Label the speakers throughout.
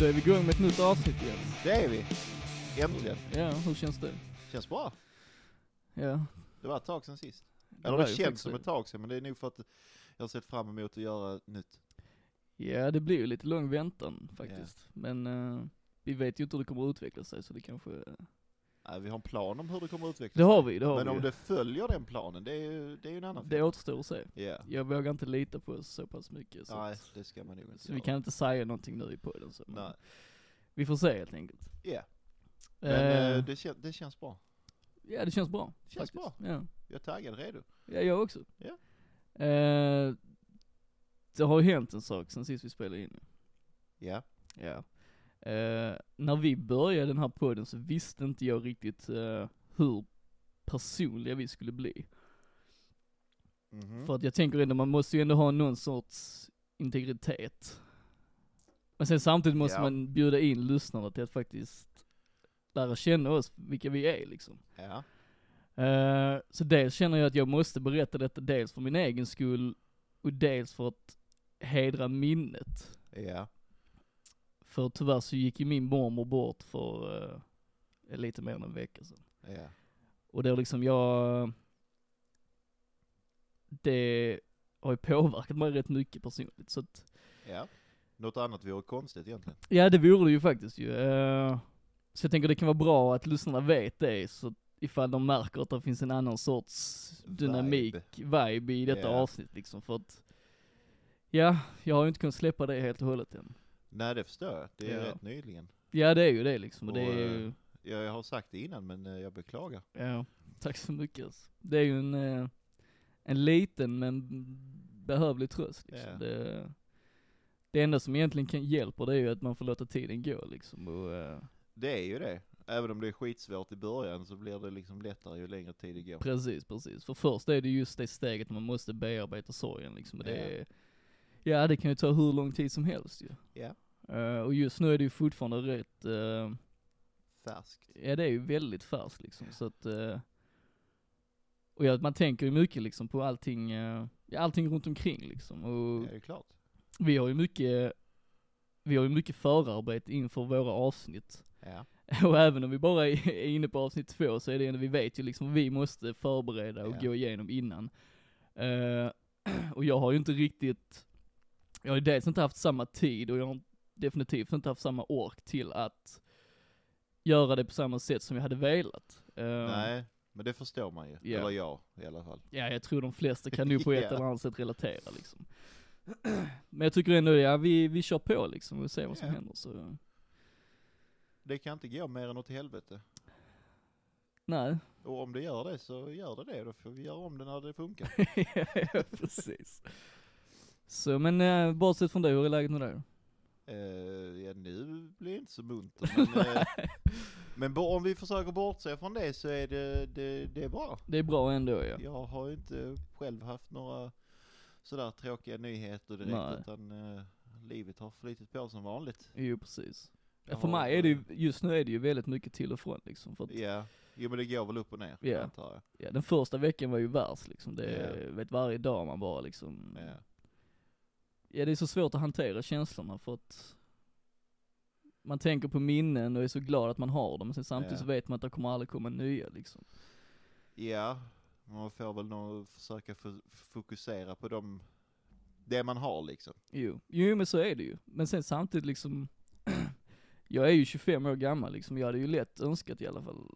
Speaker 1: Då är vi igång med ett nytt avsnitt igen.
Speaker 2: Det är vi. Äntligen.
Speaker 1: Ja, hur känns det?
Speaker 2: Känns bra.
Speaker 1: Ja.
Speaker 2: Det var ett tag sedan sist.
Speaker 1: Det
Speaker 2: Eller
Speaker 1: var
Speaker 2: det
Speaker 1: ju
Speaker 2: känns
Speaker 1: faktiskt
Speaker 2: som
Speaker 1: det.
Speaker 2: ett tag sedan, men det är nog för att jag har sett fram emot att göra nytt.
Speaker 1: Ja, det blir ju lite lång väntan faktiskt. Men eh, vi vet ju inte hur det kommer att utveckla sig, så det kanske...
Speaker 2: Nej, vi har en plan om hur det kommer att utvecklas.
Speaker 1: Det har vi, det har
Speaker 2: men
Speaker 1: vi.
Speaker 2: om
Speaker 1: ju.
Speaker 2: det följer den planen, det är ju, det är ju en annan
Speaker 1: det
Speaker 2: fråga.
Speaker 1: återstår att se.
Speaker 2: Ja.
Speaker 1: Jag vågar inte lita på oss så pass mycket. Så,
Speaker 2: Nej,
Speaker 1: att,
Speaker 2: det ska man nog inte
Speaker 1: så vi
Speaker 2: göra.
Speaker 1: kan Eh. inte säga någonting nu i podden. Så, men
Speaker 2: Nej.
Speaker 1: Vi får se helt enkelt.
Speaker 2: Ja.
Speaker 1: Eh,
Speaker 2: Men eh, det, kän, det känns bra.
Speaker 1: Ja, det känns bra.
Speaker 2: Det känns
Speaker 1: faktiskt. Ja.
Speaker 2: Jag är taggad, redo.
Speaker 1: ja, jag också.
Speaker 2: Ja.
Speaker 1: Eh, det har ju hänt en sak sen sist vi spelade in.
Speaker 2: Ja.
Speaker 1: Ja. Eh, när vi började den här podden så visste inte jag riktigt eh, hur personliga vi skulle bli.
Speaker 2: Mhm.
Speaker 1: För att jag tänker ändå, man måste ju ändå ha någon sorts integritet. Men sen samtidigt måste
Speaker 2: Ja.
Speaker 1: man bjuda in lyssnarna till att faktiskt lära känna oss, vilka vi är liksom.
Speaker 2: Ja.
Speaker 1: Eh, så dels känner jag att jag måste berätta detta dels för min egen skull och dels för att hedra minnet.
Speaker 2: Ja.
Speaker 1: För tyvärr så gick ju min mormor bort för eh, lite mer än en vecka sedan.
Speaker 2: Ja.
Speaker 1: Och då liksom jag, det har ju påverkat mig rätt mycket personligt. Så att,
Speaker 2: Ja. Något annat vore konstigt egentligen.
Speaker 1: ja det vore det ju faktiskt ju. Eh, så jag tänker det kan vara bra att lyssnarna vet det, så att ifall de märker att det finns en annan sorts dynamik, vibe, i detta
Speaker 2: Ja.
Speaker 1: avsnitt liksom. För att, ja, jag har ju inte kunnat släppa det helt och hållet än.
Speaker 2: Nej, det förstår jag. Det är
Speaker 1: Ja.
Speaker 2: rätt nyligen.
Speaker 1: Ja det är ju det liksom, och det
Speaker 2: Och,
Speaker 1: är
Speaker 2: eh,
Speaker 1: ju
Speaker 2: Jag, jag har sagt det innan, men eh, jag beklagar.
Speaker 1: Ja, tack så mycket. alltså. Det är ju en, eh, en liten men behövlig tröst. Liksom.
Speaker 2: Ja.
Speaker 1: Det, det enda som egentligen kan hjälper det är ju att man får låta tiden gå liksom. Och, eh,
Speaker 2: Det är ju det. Även om det är skitsvårt i början så blir det liksom lättare ju längre tid det går.
Speaker 1: precis, precis. För först är det just det steget man måste bearbeta sorgen liksom. Och det,
Speaker 2: Ja.
Speaker 1: är- ja, det kan ju ta hur lång tid som helst ju.
Speaker 2: Ja.
Speaker 1: Eh, och just nu är det ju fortfarande rätt, eh,
Speaker 2: Färskt.
Speaker 1: ja det är ju väldigt färskt liksom. Så att, eh, och ja, man tänker ju mycket liksom på allting, eh, ja, allting runt omkring liksom.
Speaker 2: Ja,
Speaker 1: Och,
Speaker 2: det är klart.
Speaker 1: vi har ju mycket, vi har ju mycket förarbete inför våra avsnitt.
Speaker 2: Ja.
Speaker 1: Och även om vi bara är är inne på avsnitt två så är det ändå, vi vet ju liksom, vi måste förbereda och
Speaker 2: Ja.
Speaker 1: gå igenom innan. Eh, och jag har ju inte riktigt, jag har ju dels inte haft samma tid och jag har definitivt inte haft samma ork till att göra det på samma sätt som jag hade velat. Eh,
Speaker 2: Nej, men det förstår man ju.
Speaker 1: Ja.
Speaker 2: Eller jag i alla fall.
Speaker 1: Ja, jag tror de flesta kan nu på ett
Speaker 2: Ja.
Speaker 1: eller annat sätt relatera liksom. Men jag tycker ändå, ja vi, vi kör på liksom och ser vad som
Speaker 2: Ja.
Speaker 1: händer så.
Speaker 2: Det kan inte gå mer än åt helvete.
Speaker 1: Nej.
Speaker 2: Och om det gör det så gör det det. Då får vi göra om det när det funkar.
Speaker 1: ja, precis. Så men, eh, bortsett från det, hur är läget med dig då?
Speaker 2: eh, ja, nu blir det inte så munter. Men, eh, men bo- om vi försöker bortse från det så är det, det, det är bra.
Speaker 1: Det är bra ändå ja.
Speaker 2: Jag har ju inte själv haft några sådär tråkiga nyheter direkt
Speaker 1: Nej.
Speaker 2: utan eh, livet har flyttit på som vanligt.
Speaker 1: Jo precis. Ja,
Speaker 2: Jag
Speaker 1: för
Speaker 2: har,
Speaker 1: mig är det
Speaker 2: eh,
Speaker 1: ju, just nu är det ju väldigt mycket till och från liksom. För att,
Speaker 2: Ja, jo men det går väl upp och ner
Speaker 1: Ja.
Speaker 2: antar jag.
Speaker 1: ja, den första veckan var ju värst liksom. Det, vet, varje dag man bara liksom.
Speaker 2: Ja.
Speaker 1: Ja det är så svårt att hantera känslorna för att man tänker på minnen och är så glad att man har dem, men sen samtidigt
Speaker 2: Ja.
Speaker 1: så vet man att det kommer aldrig komma nya liksom.
Speaker 2: ja, man får väl nog försöka f- fokusera på de, det man har liksom.
Speaker 1: Jo, jo men så är det ju. Men sen samtidigt liksom, jag är ju 25 år gammal liksom, jag hade ju lätt önskat i alla fall,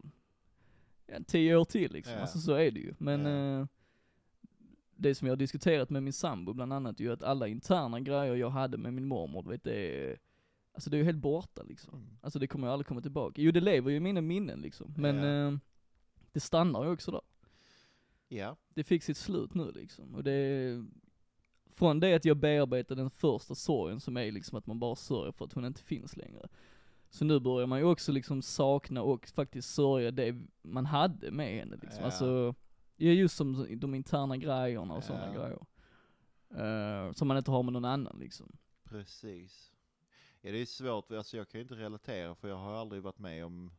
Speaker 1: ja, 10 år till liksom,
Speaker 2: Ja.
Speaker 1: alltså så är det ju. Men
Speaker 2: Ja.
Speaker 1: eh, det som jag har diskuterat med min sambo bland annat är ju att alla interna grejer jag hade med min mormor, du vet det är, Alltså det är ju helt borta liksom.
Speaker 2: Mm.
Speaker 1: Alltså det kommer ju aldrig komma tillbaka. Jo det lever ju i mina minnen liksom, men
Speaker 2: Ja.
Speaker 1: eh, det stannar ju också där.
Speaker 2: Ja,
Speaker 1: Det fick sitt slut nu liksom, och det... Från det att jag bearbetade den första sorgen som är liksom att man bara sörjer för att hon inte finns längre. Så nu börjar man ju också liksom sakna och faktiskt sörja det man hade med henne liksom.
Speaker 2: Ja.
Speaker 1: Alltså, ja, just som de interna grejerna och sådana
Speaker 2: Ja.
Speaker 1: grejer. Eh, som man inte har med någon annan liksom.
Speaker 2: precis. Ja, det är svårt, alltså jag kan ju inte relatera för jag har aldrig varit med om...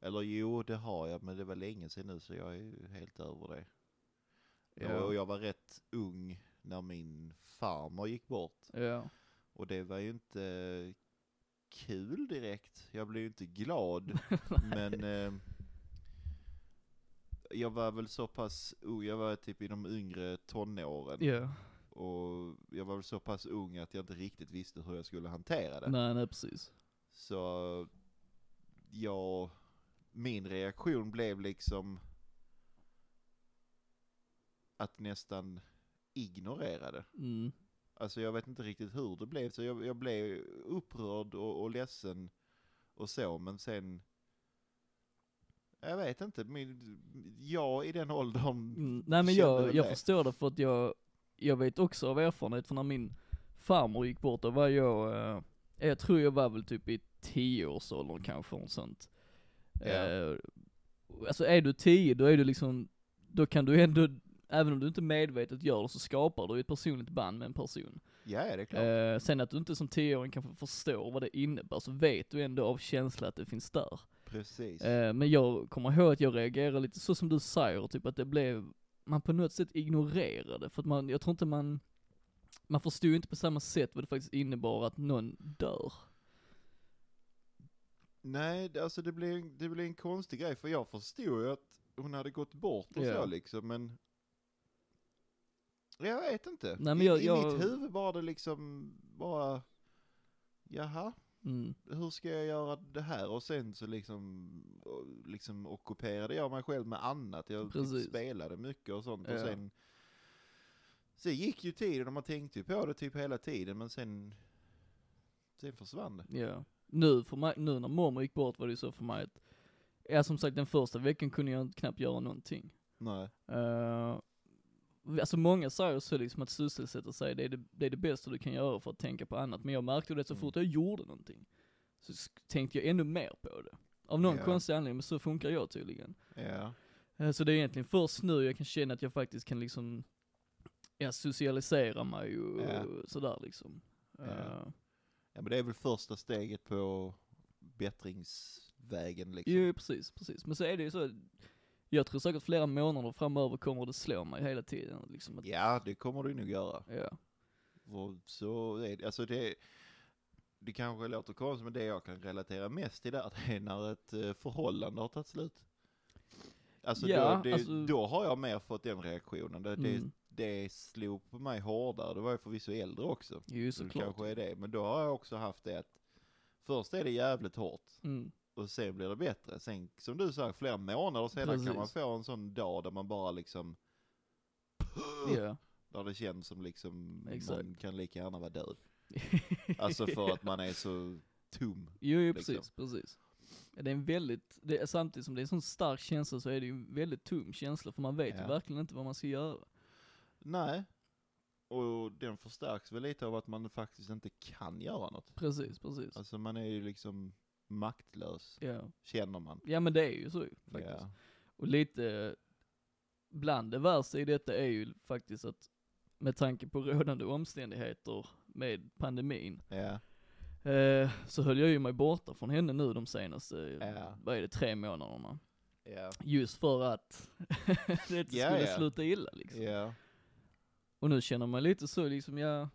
Speaker 2: Eller jo, det har jag, men det var länge sedan nu så jag är ju helt över det.
Speaker 1: Ja.
Speaker 2: Och jag var rätt ung när min farmor gick bort.
Speaker 1: Ja.
Speaker 2: Och det var ju inte kul direkt. Jag blev ju inte glad. men eh, jag var väl så pass ung, jag var typ i de yngre tonåren.
Speaker 1: Ja.
Speaker 2: Och jag var väl så pass ung att jag inte riktigt visste hur jag skulle hantera det.
Speaker 1: Nej, nej precis.
Speaker 2: Så jag, min reaktion blev liksom att nästan ignorera det.
Speaker 1: Mm.
Speaker 2: Alltså jag vet inte riktigt hur det blev, så jag, jag blev upprörd och, och ledsen och så, men sen... Jag vet inte, min, jag i den åldern...
Speaker 1: Mm. Nej men
Speaker 2: kände
Speaker 1: jag,
Speaker 2: väl
Speaker 1: jag
Speaker 2: det.
Speaker 1: förstår det för att jag, jag vet också av erfarenhet för när min farmor gick bort, då var jag, eh, jag tror jag var väl typ i tioårsåldern kanske, och sånt.
Speaker 2: Ja.
Speaker 1: Eh, alltså är du tio, då är du liksom, då kan du ändå, även om du inte medvetet gör det, så skapar du ett personligt band med en person.
Speaker 2: Ja, ja, det är klart.
Speaker 1: Eh, sen att du inte som tioåring kanske förstår vad det innebär, så vet du ändå av känsla att det finns där.
Speaker 2: Precis.
Speaker 1: Eh, men jag kommer ihåg att jag reagerade lite så som du säger, typ att det blev, man på något sätt ignorerade, för att man, jag tror inte man, man förstod ju inte på samma sätt vad det faktiskt innebar att någon dör.
Speaker 2: Nej, det- alltså det blev, en- det blev en konstig grej, för jag förstod ju att hon hade gått bort och
Speaker 1: Ja.
Speaker 2: så liksom, men... Jag vet inte.
Speaker 1: Nej, men
Speaker 2: I,
Speaker 1: jag-
Speaker 2: I
Speaker 1: jag-
Speaker 2: mitt huvud var det liksom bara... Jaha,
Speaker 1: Mm.
Speaker 2: hur ska jag göra det här? Och sen så liksom, och- liksom ockuperade jag mig själv med annat. Jag
Speaker 1: Precis.
Speaker 2: typ spelade mycket och sånt.
Speaker 1: Ja.
Speaker 2: Och sen, sen gick ju tiden och man tänkte ju på det typ hela tiden. Men sen, sen försvann det.
Speaker 1: Ja. Nu för mig, nu när mormor gick bort var det ju så för mig att, ja som sagt den första veckan kunde jag knappt göra någonting.
Speaker 2: Nej.
Speaker 1: Eh, alltså många säger så liksom att sysselsätta sig, det är det, det är det bästa du kan göra för att tänka på annat. Men jag märkte det så
Speaker 2: Mm.
Speaker 1: fort jag gjorde någonting, så sk- tänkte jag ännu mer på det. Av någon
Speaker 2: Ja.
Speaker 1: konstig anledning, men så funkar jag tydligen.
Speaker 2: Ja.
Speaker 1: Eh, så det är egentligen först nu jag kan känna att jag faktiskt kan liksom, ja, socialisera mig och
Speaker 2: Ja.
Speaker 1: sådär liksom.
Speaker 2: Ja.
Speaker 1: Eh,
Speaker 2: ja, men det är väl första steget på bättringsvägen liksom.
Speaker 1: Jo, precis, precis. Men så är det ju så, jag tror säkert flera månader framöver kommer det slå mig hela tiden liksom. Att,
Speaker 2: Ja, det kommer du nog göra.
Speaker 1: ja.
Speaker 2: Och så är det, alltså det, det kanske låter konstigt, men det jag kan relatera mest till där, det är när ett eh, förhållande har tagit slut. Alltså,
Speaker 1: Ja,
Speaker 2: då, det,
Speaker 1: alltså-
Speaker 2: då har jag mer fått den reaktionen. Det, det,
Speaker 1: Mm.
Speaker 2: det slog på mig hårdare, det var jag förvisso äldre också.
Speaker 1: Jo,
Speaker 2: Så det
Speaker 1: såklart.
Speaker 2: kanske är det, men då har jag också haft det att först är det jävligt hårt
Speaker 1: Mm.
Speaker 2: och sen blir det bättre. Sen, som du sa, flera månader senare kan man
Speaker 1: Precis.
Speaker 2: få en sån dag där man bara liksom,
Speaker 1: Ja.
Speaker 2: där det känns som liksom,
Speaker 1: Exakt.
Speaker 2: man kan lika gärna vara död. Alltså för att man är så tom.
Speaker 1: Jo, jo
Speaker 2: liksom.
Speaker 1: precis, precis. Ja, Det är en väldigt, det är, samtidigt som det är en sån stark känsla så är det ju en väldigt tom känsla för man vet ju
Speaker 2: Ja.
Speaker 1: verkligen inte vad man ska göra.
Speaker 2: Nej. Och den förstärks väl lite av att man faktiskt inte kan göra något.
Speaker 1: Precis, precis.
Speaker 2: Alltså man är ju liksom maktlös,
Speaker 1: Ja.
Speaker 2: känner man.
Speaker 1: ja men det är ju så ju, faktiskt.
Speaker 2: Ja.
Speaker 1: Och lite, bland det värsta i detta är ju faktiskt att med tanke på rådande omständigheter med pandemin,
Speaker 2: ja.
Speaker 1: eh, så höll jag ju mig borta från henne nu de senaste,
Speaker 2: Ja.
Speaker 1: vad är det, tre månaderna.
Speaker 2: Ja.
Speaker 1: Just för att det inte
Speaker 2: Ja,
Speaker 1: skulle
Speaker 2: ja.
Speaker 1: sluta illa liksom.
Speaker 2: Ja.
Speaker 1: Och nu känner man lite så liksom, ja,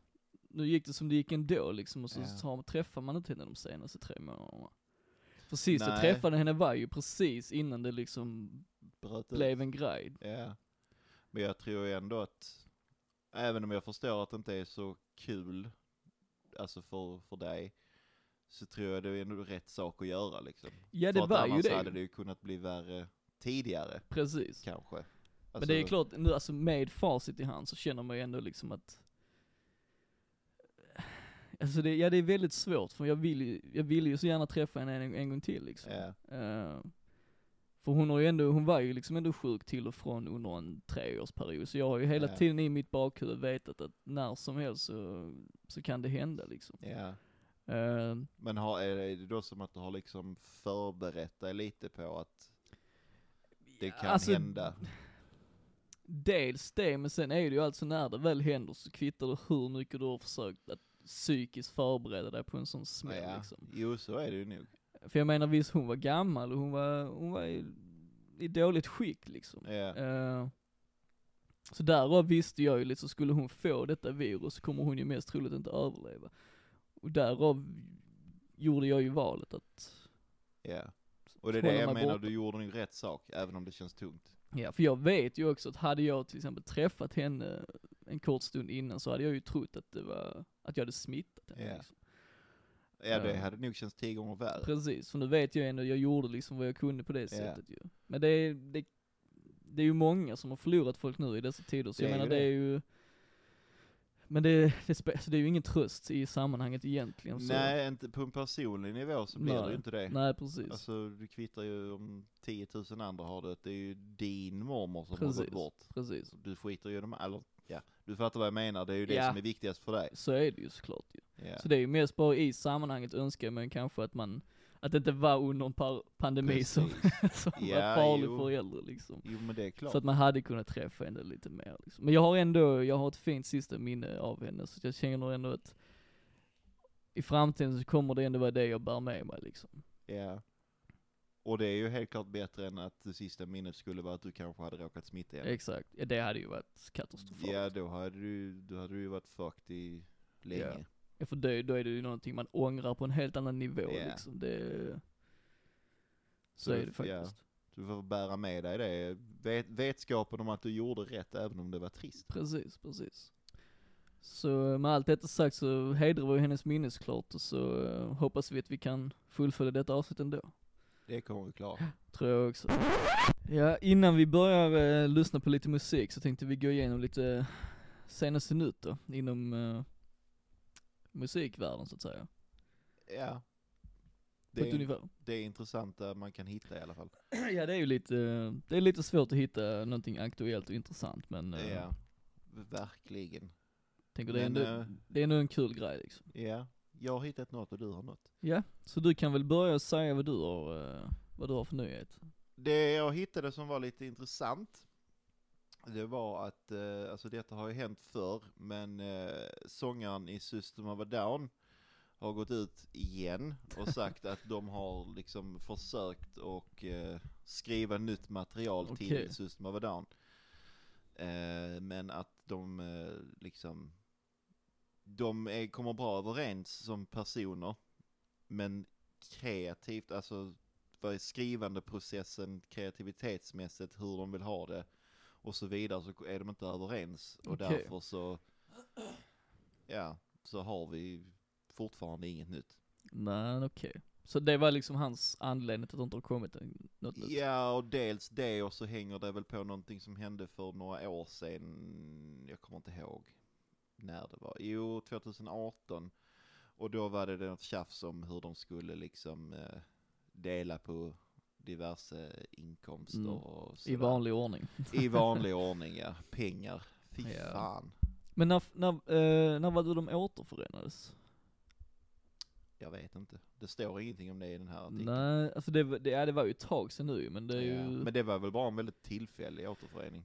Speaker 1: nu gick det som det gick ändå liksom och så
Speaker 2: Ja.
Speaker 1: tar, träffar man inte henne de senaste tre månaderna. Precis, jag
Speaker 2: Nej.
Speaker 1: träffade henne var ju precis innan det liksom
Speaker 2: Bröt ut.
Speaker 1: blev en grej.
Speaker 2: Ja. Men jag tror ju ändå att, även om jag förstår att det inte är så kul, alltså för, för dig, så tror jag det är ändå rätt sak att göra liksom.
Speaker 1: Ja
Speaker 2: för
Speaker 1: det
Speaker 2: att
Speaker 1: var ju
Speaker 2: annars
Speaker 1: det.
Speaker 2: hade det ju kunnat bli värre tidigare,
Speaker 1: Precis.
Speaker 2: kanske.
Speaker 1: Men det är
Speaker 2: Alltså-
Speaker 1: klart, nu alltså med facit i hand så känner man ju ändå liksom att Alltså det, ja det är väldigt svårt för jag vill ju, jag vill ju så gärna träffa henne en, en gång till liksom.
Speaker 2: Ja.
Speaker 1: Eh, för hon har ju ändå, hon var ju liksom ändå sjuk till och från under en treårsperiod. Så jag har ju hela
Speaker 2: Ja.
Speaker 1: tiden i mitt bakhuvud vetat att när som helst så, så kan det hända liksom.
Speaker 2: ja.
Speaker 1: Eh,
Speaker 2: Men har, är det då som att du har liksom förberett dig lite på att det kan
Speaker 1: alltså,
Speaker 2: hända?
Speaker 1: Dels det, men sen är det ju alltså när det väl händer så kvittar det hur mycket du har försökt att psykiskt förbereda dig på en sån smäll
Speaker 2: Ja.
Speaker 1: liksom.
Speaker 2: Jo, så är det ju nog.
Speaker 1: För jag menar visst, hon var gammal och hon var, hon var i, i dåligt skick liksom.
Speaker 2: Ja.
Speaker 1: Eh, Så därav visste jag ju lite, så skulle hon få detta virus så kommer hon ju mest troligt inte överleva. Och därav gjorde jag ju valet att,
Speaker 2: ja. Och det
Speaker 1: Håller
Speaker 2: är det jag
Speaker 1: man
Speaker 2: menar,
Speaker 1: borta.
Speaker 2: du gjorde nog rätt sak, även om det känns tungt.
Speaker 1: ja för jag vet ju också att hade jag till exempel träffat henne en kort stund innan så hade jag ju trott att det var, att jag hade smittat henne.
Speaker 2: Ja.
Speaker 1: Liksom.
Speaker 2: Ja, det
Speaker 1: Ja.
Speaker 2: hade nog känts tio gånger värre.
Speaker 1: Precis, för nu vet jag ändå, jag gjorde liksom vad jag kunde på det sättet ju. Men det är, det, det är ju många som har förlorat folk nu i dessa tider, så
Speaker 2: Det
Speaker 1: jag
Speaker 2: är
Speaker 1: menar
Speaker 2: ju
Speaker 1: det.
Speaker 2: det.
Speaker 1: är ju men det, det, spe- så det är ju ingen tröst i sammanhanget egentligen. Så,
Speaker 2: Nej, inte på en personlig nivå så blir det
Speaker 1: Nej.
Speaker 2: ju inte det.
Speaker 1: Nej, precis.
Speaker 2: Alltså, du kvittar ju om 10 000 andra har det. Det är ju din mormor som har
Speaker 1: Precis.
Speaker 2: gått bort.
Speaker 1: precis.
Speaker 2: Du skiter ju i de alla. Ja, du fattar vad jag menar. Det är ju det
Speaker 1: Ja.
Speaker 2: som är viktigast för dig.
Speaker 1: Så är det ju såklart ju.
Speaker 2: Ja.
Speaker 1: Så det är ju mest bara i sammanhanget önskar man kanske att man, att det inte var under en par pandemi som,
Speaker 2: Precis.
Speaker 1: som var
Speaker 2: Ja,
Speaker 1: farlig
Speaker 2: jo.
Speaker 1: för äldre liksom.
Speaker 2: Jo, men det är klart.
Speaker 1: Så att man hade kunnat träffa henne lite mer liksom. Men jag har ändå, jag har ett fint sista minne av henne, så jag känner ändå att i framtiden så kommer det ändå vara det jag bär med mig liksom.
Speaker 2: Ja. Och det är ju helt klart bättre än att det sista minnet skulle vara att du kanske hade råkat smitta igen.
Speaker 1: Exakt, ja, det hade ju varit katastrofalt.
Speaker 2: Ja, då hade du, då hade du ju varit fucked i länge.
Speaker 1: Ja. Ja, För det, då är det ju någonting man ångrar på en helt annan nivå
Speaker 2: Ja.
Speaker 1: liksom. Det, så
Speaker 2: Så
Speaker 1: är det
Speaker 2: f- ja.
Speaker 1: faktiskt.
Speaker 2: Du får bära med dig det. Vet, vetskapen om att du gjorde rätt även om det var trist.
Speaker 1: Precis, precis. Så med allt detta sagt så hedrar vi hennes minne såklart och så eh, hoppas vi att vi kan fullfölja detta avsnitt ändå.
Speaker 2: Det kommer vi klara.
Speaker 1: Tror jag också. Ja, innan vi börjar eh, lyssna på lite musik så tänkte vi gå igenom lite eh, senaste nytt då, inom eh, musikvärlden så att säga.
Speaker 2: Ja.
Speaker 1: På ett
Speaker 2: Det är,
Speaker 1: ungefär.
Speaker 2: det är intressanta man kan hitta i alla fall.
Speaker 1: ja, det är ju lite, eh, det är lite svårt att hitta någonting aktuellt och intressant men eh,
Speaker 2: Ja. Verkligen.
Speaker 1: tänker det är,
Speaker 2: Men,
Speaker 1: ändå,
Speaker 2: eh,
Speaker 1: det är ändå en kul grej liksom.
Speaker 2: Ja. Jag har hittat något och du har något.
Speaker 1: Ja, så du kan väl börja säga vad du har, eh, vad du har för nyhet?
Speaker 2: Det jag hittade som var lite intressant, det var att, eh, alltså detta har ju hänt förr, men eh, sångaren i System of a Down har gått ut igen och sagt att de har liksom försökt och eh, skriva nytt material
Speaker 1: Okej.
Speaker 2: till System of a Down. Eh, men att de eh, liksom, de är, kommer bra överens som personer, men kreativt, alltså vad är skrivandeprocessen kreativitetsmässigt, hur de vill ha det och så vidare så är de inte överens och
Speaker 1: Okej.
Speaker 2: därför så, ja, så har vi fortfarande inget nytt.
Speaker 1: Nej, okej. Så det var liksom hans anledning till att det inte har kommit en- något nytt?
Speaker 2: Ja, och dels det och så hänger det väl på någonting som hände för några år sedan, jag kommer inte ihåg när det var, jo 2018 och då var det något tjafs om hur de skulle liksom eh, dela på diverse inkomster
Speaker 1: Mm.
Speaker 2: och
Speaker 1: I
Speaker 2: sådär.
Speaker 1: vanlig ordning.
Speaker 2: I vanlig ordning ja, pengar. Fy
Speaker 1: Ja.
Speaker 2: fan.
Speaker 1: Men när, när, eh, när var det de återförenades?
Speaker 2: Jag vet inte. Det står ingenting om det i den här artikeln.
Speaker 1: Nej, alltså det, var- det, ja, det var ju ett tag sedan nu ju, men det är
Speaker 2: Ja.
Speaker 1: ju,
Speaker 2: Men det var väl bara en väldigt tillfällig återförening.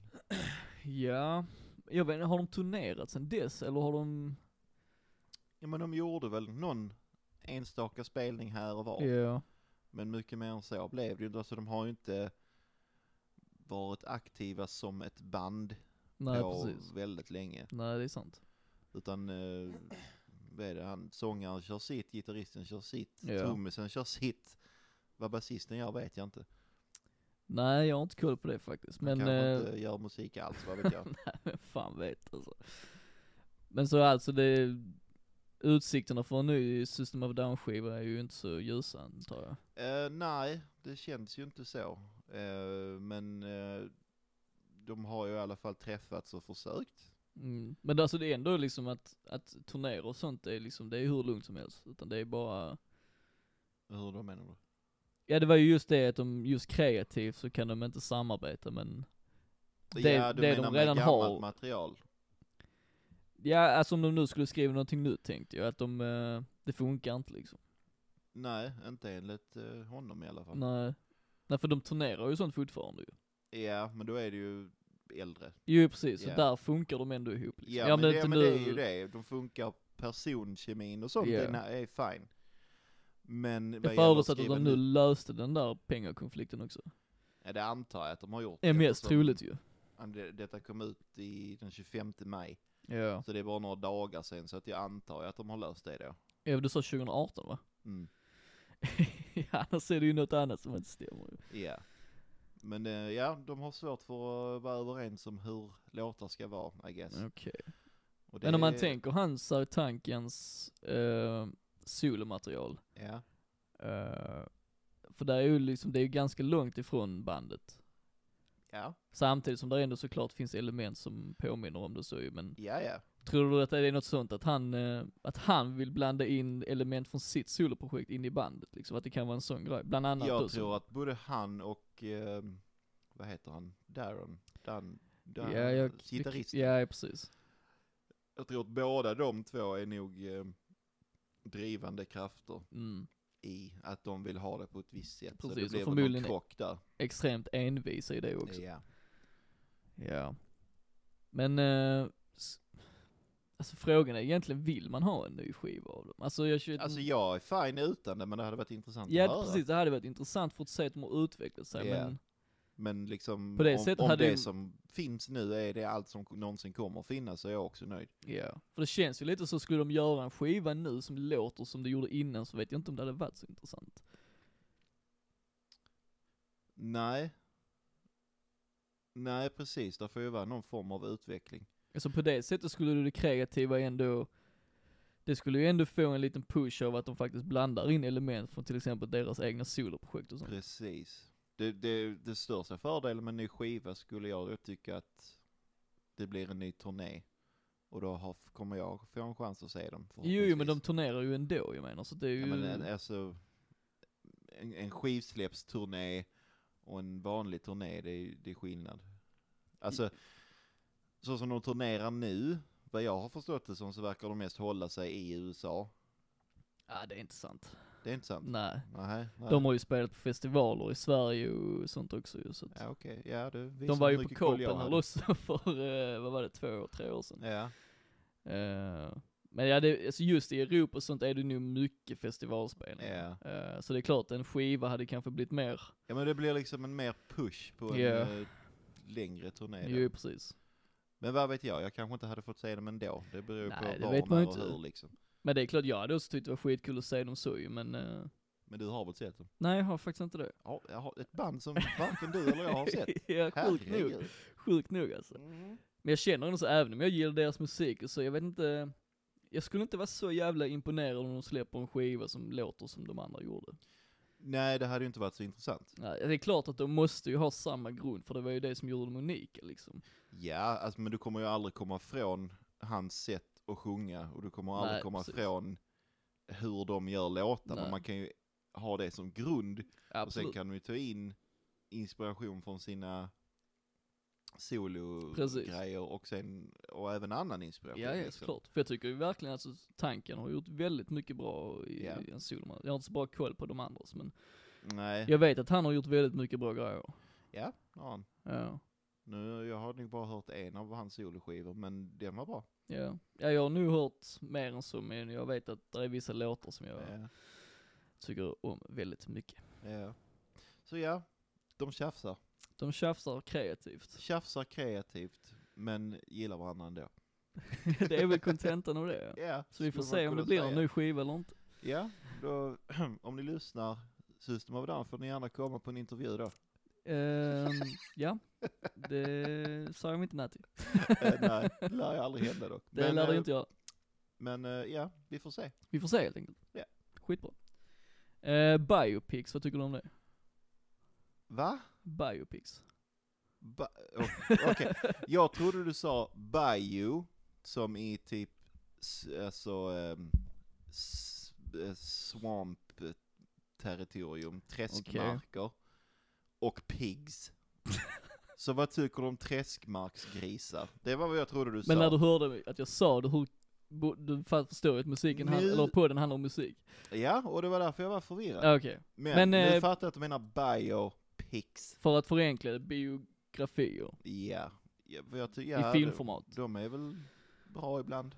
Speaker 1: ja. Jag vet inte, har de turnerat sedan dess eller har de?
Speaker 2: Ja men de gjorde väl någon enstaka spelning här och var.
Speaker 1: Ja.
Speaker 2: Men mycket mer än så blev det ju inte. Alltså de har ju inte varit aktiva som ett band
Speaker 1: Nej
Speaker 2: på
Speaker 1: precis.
Speaker 2: väldigt länge.
Speaker 1: Nej det är sant.
Speaker 2: Utan, eh, vad är det, han, sångaren kör sitt, gitarristen kör sitt,
Speaker 1: Ja.
Speaker 2: trummisen kör sitt. Vad basisten gör vet jag inte.
Speaker 1: Nej jag har inte koll på det faktiskt, men
Speaker 2: Kanske
Speaker 1: eh,
Speaker 2: inte gör musik alls, vad vet jag.
Speaker 1: vem fan vet alltså. Men så alltså det, utsikterna för en ny System of Down skiva är ju inte så ljusa antar jag.
Speaker 2: Eh, nej, det känns ju inte så. Eh, men eh, de har ju i alla fall träffats och försökt.
Speaker 1: Mm. Men alltså det är ändå liksom att, att turnéer och sånt är liksom, det är hur lugnt som helst. Utan det är bara,
Speaker 2: Hur då menar du?
Speaker 1: ja det var ju just det att de, just kreativt så kan de inte samarbeta men, Det-
Speaker 2: ja, du
Speaker 1: det de
Speaker 2: menar
Speaker 1: redan
Speaker 2: med gammalt
Speaker 1: har.
Speaker 2: material?
Speaker 1: ja alltså om de nu skulle skriva någonting nytt tänkte jag, att de, eh, det funkar inte liksom.
Speaker 2: Nej, inte enligt eh, honom i alla fall.
Speaker 1: Nej. Nej för de turnerar ju sånt fortfarande ju.
Speaker 2: Ja, men då är det ju äldre.
Speaker 1: Jo precis,
Speaker 2: Ja.
Speaker 1: så där funkar de ändå ihop liksom.
Speaker 2: Ja, men, det,
Speaker 1: inte
Speaker 2: men det är
Speaker 1: nu-
Speaker 2: ju det. De funkar personkemin och sånt,
Speaker 1: Ja.
Speaker 2: det är, är fine. Men vad
Speaker 1: Jag
Speaker 2: gäller
Speaker 1: förutsätter att
Speaker 2: skriva
Speaker 1: de nu
Speaker 2: nytt-
Speaker 1: löste den där pengakonflikten också.
Speaker 2: Ja, det antar jag att de har gjort.
Speaker 1: Är mest
Speaker 2: eftersom
Speaker 1: troligt ju.
Speaker 2: an- det- Detta kom ut i den 25 maj,
Speaker 1: Ja.
Speaker 2: så det är bara några dagar sen så att jag antar att de har löst det då.
Speaker 1: ja du sa 2018 va?
Speaker 2: Mm.
Speaker 1: ja, annars är det ju något annat som inte stämmer ju.
Speaker 2: Ja. Men eh, ja, de har svårt för att vara överens om hur låtar ska vara, I guess.
Speaker 1: Okej.
Speaker 2: Och det
Speaker 1: Men om man
Speaker 2: är-
Speaker 1: tänker hans eh, Sartankens eh, solomaterial.
Speaker 2: Ja,
Speaker 1: Eh, för där är ju liksom, det är ju ganska långt ifrån bandet.
Speaker 2: ja,
Speaker 1: Samtidigt som där ändå såklart finns element som påminner om det så ju, men
Speaker 2: ja, ja.
Speaker 1: tror du att det är något sånt att han, eh, att han vill blanda in element från sitt soloprojekt in i bandet liksom? Att det kan vara en sån grej, bland annat
Speaker 2: Jag
Speaker 1: då, som-
Speaker 2: tror att både han och, eh, vad heter han, Darren, Dan, Dan
Speaker 1: Ja, jag,
Speaker 2: eh, gitarristen.
Speaker 1: Ja, ja, precis.
Speaker 2: Jag tror att båda de två är nog eh, drivande krafter
Speaker 1: Mm.
Speaker 2: i att de vill ha det på ett visst sätt.
Speaker 1: Precis, och
Speaker 2: så det blir väl någon
Speaker 1: förmodligen-
Speaker 2: krock där.
Speaker 1: Extremt envisa i det också.
Speaker 2: Ja.
Speaker 1: Ja. Men, eh, s- alltså frågan är egentligen, vill man ha en ny skiva av dem? Alltså jag känner,
Speaker 2: Alltså jag är fine utan det, men det hade varit intressant att
Speaker 1: ja
Speaker 2: höra.
Speaker 1: precis, det hade varit intressant för att se att de har utvecklat sig,
Speaker 2: Ja.
Speaker 1: men
Speaker 2: Men liksom,
Speaker 1: På det
Speaker 2: om,
Speaker 1: sättet
Speaker 2: om
Speaker 1: hade
Speaker 2: det
Speaker 1: ju-
Speaker 2: som finns nu är det allt som någonsin kommer att finnas så är jag också nöjd.
Speaker 1: ja. För det känns ju lite så, skulle de göra en skiva nu som låter som det gjorde innan så vet jag inte om det hade varit så intressant.
Speaker 2: Nej. Nej, precis. Det får ju vara någon form av utveckling.
Speaker 1: Alltså på det sättet skulle det kreativa ändå, det skulle ju ändå få en liten push av att de faktiskt blandar in element från till exempel deras egna soloprojekt och sånt.
Speaker 2: Precis. Det, det, det största fördelen med en ny skiva skulle jag då tycka att det blir en ny turné. Och då har, kommer jag få en chans att se dem.
Speaker 1: Jo, jo, men de
Speaker 2: förhoppningsvis.
Speaker 1: turnerar ju ändå jag menar, så det är ju...
Speaker 2: Ja, men en, alltså, en, en skivsläppsturné och en vanlig turné, det är, det är skillnad. Alltså, så som de turnerar nu, vad jag har förstått det som så verkar de mest hålla sig i USA.
Speaker 1: Ja, det är inte sant.
Speaker 2: Det är inte sant?
Speaker 1: Nej.
Speaker 2: Nej. nej.
Speaker 1: Mm. De har ju spelat på festivaler i Sverige och sånt också ju, så att
Speaker 2: Ja, okej. Ja, du visar
Speaker 1: De var
Speaker 2: hur
Speaker 1: ju på
Speaker 2: mycket koll jag
Speaker 1: Copenhagen
Speaker 2: hade.
Speaker 1: också för, eh, vad var det, två, år, tre år sedan.
Speaker 2: Ja,
Speaker 1: Eh, men ja, det, alltså just i Europa och sånt är det nu mycket festivalspelning.
Speaker 2: ja.
Speaker 1: Eh, så det är klart, en skiva hade kanske blivit mer,
Speaker 2: Ja men det blir liksom en mer push på en
Speaker 1: Ja.
Speaker 2: eh, längre turné.
Speaker 1: ju
Speaker 2: då.
Speaker 1: precis.
Speaker 2: Men vad vet jag, jag kanske inte hade fått se dem ändå. Det beror ju på
Speaker 1: Nej, det
Speaker 2: var,
Speaker 1: vet man
Speaker 2: när
Speaker 1: ju
Speaker 2: och
Speaker 1: inte.
Speaker 2: hur liksom.
Speaker 1: Men det är klart, jag hade också tyckt det var skitkul att se dem så ju, men eh,
Speaker 2: Men du har väl sett dem?
Speaker 1: nej jag har faktiskt inte det.
Speaker 2: Ja, jag har ett band som varken du eller jag har sett.
Speaker 1: ja, sjukt nog.
Speaker 2: Herregud.
Speaker 1: Sjukt nog alltså.
Speaker 2: Mm.
Speaker 1: Men jag känner ändå så, även om jag gillar deras musik och så, jag vet inte, jag skulle inte vara så jävla imponerad om de släpper en skiva som låter som de andra gjorde.
Speaker 2: Nej, det hade ju inte varit så intressant.
Speaker 1: Nej, det är klart att de måste ju ha samma grund, för det var ju det som gjorde dem unika liksom.
Speaker 2: Ja, alltså, men du kommer ju aldrig komma från hans sätt att sjunga och du kommer aldrig
Speaker 1: Nej,
Speaker 2: komma
Speaker 1: precis.
Speaker 2: från hur de gör låtarna.
Speaker 1: Nej.
Speaker 2: Man kan ju ha det som grund och sen
Speaker 1: Absolut.
Speaker 2: kan de ju ta in inspiration från sina
Speaker 1: Precis.
Speaker 2: solo-grejer och sen, och även annan inspiration.
Speaker 1: Ja, ja,
Speaker 2: liksom.
Speaker 1: såklart. För jag tycker ju verkligen att alltså, tanken har gjort väldigt mycket bra i
Speaker 2: Ja.
Speaker 1: i en soloman. Jag har inte så bra koll på de andras, men
Speaker 2: Nej,
Speaker 1: jag vet att han har gjort väldigt mycket bra grejer.
Speaker 2: ja, ja.
Speaker 1: Ja.
Speaker 2: Nu, jag har nog bara hört en av hans soloskivor, men den var bra.
Speaker 1: Ja. ja, jag har nu hört mer än så, men jag vet att det är vissa låtar som jag
Speaker 2: Ja.
Speaker 1: tycker om väldigt mycket.
Speaker 2: Ja. Så ja, de tjafsar.
Speaker 1: De tjafsar kreativt.
Speaker 2: Tjafsar kreativt, men gillar varandra ändå.
Speaker 1: det är väl kontentan av det. ja.
Speaker 2: Ja,
Speaker 1: Så vi får
Speaker 2: skulle
Speaker 1: se
Speaker 2: man
Speaker 1: om det
Speaker 2: kunna
Speaker 1: blir en
Speaker 2: säga.
Speaker 1: ny skiva eller inte.
Speaker 2: Ja, då, om ni lyssnar, System of a Down får ni gärna komma på en intervju då.
Speaker 1: Ehm, ja, det sa jag inte nej till.
Speaker 2: Eh, Nej, det lär ju aldrig hända dock.
Speaker 1: Det lär
Speaker 2: eh,
Speaker 1: det inte jag.
Speaker 2: Men eh, ja, vi får se.
Speaker 1: Vi får se helt enkelt.
Speaker 2: Ja.
Speaker 1: Skitbra. Eh, biopics, vad tycker du om det?
Speaker 2: Va?
Speaker 1: Biopics.
Speaker 2: Ba- o- Oh, Okej, jag trodde du sa bio, som i typ, s- alltså, ehm, s- eh, swamp territorium, träskmarker, och pigs. Så vad tycker du om träskmarksgrisar? Det var vad jag trodde du sa.
Speaker 1: Men när du hörde mig- att jag sa det, hur, bo- du fa- förstår ju att musiken, hand,
Speaker 2: Nu-
Speaker 1: eller podden handlar om musik.
Speaker 2: Ja, och det var därför jag var förvirrad.
Speaker 1: Ja, Okej,
Speaker 2: Men,
Speaker 1: men,
Speaker 2: nu
Speaker 1: eh,
Speaker 2: fattar jag att du menar biopics.
Speaker 1: för att förenkla det, biografier
Speaker 2: Ja. ja, för jag ty- ja
Speaker 1: i filmformat.
Speaker 2: De, de är väl bra ibland.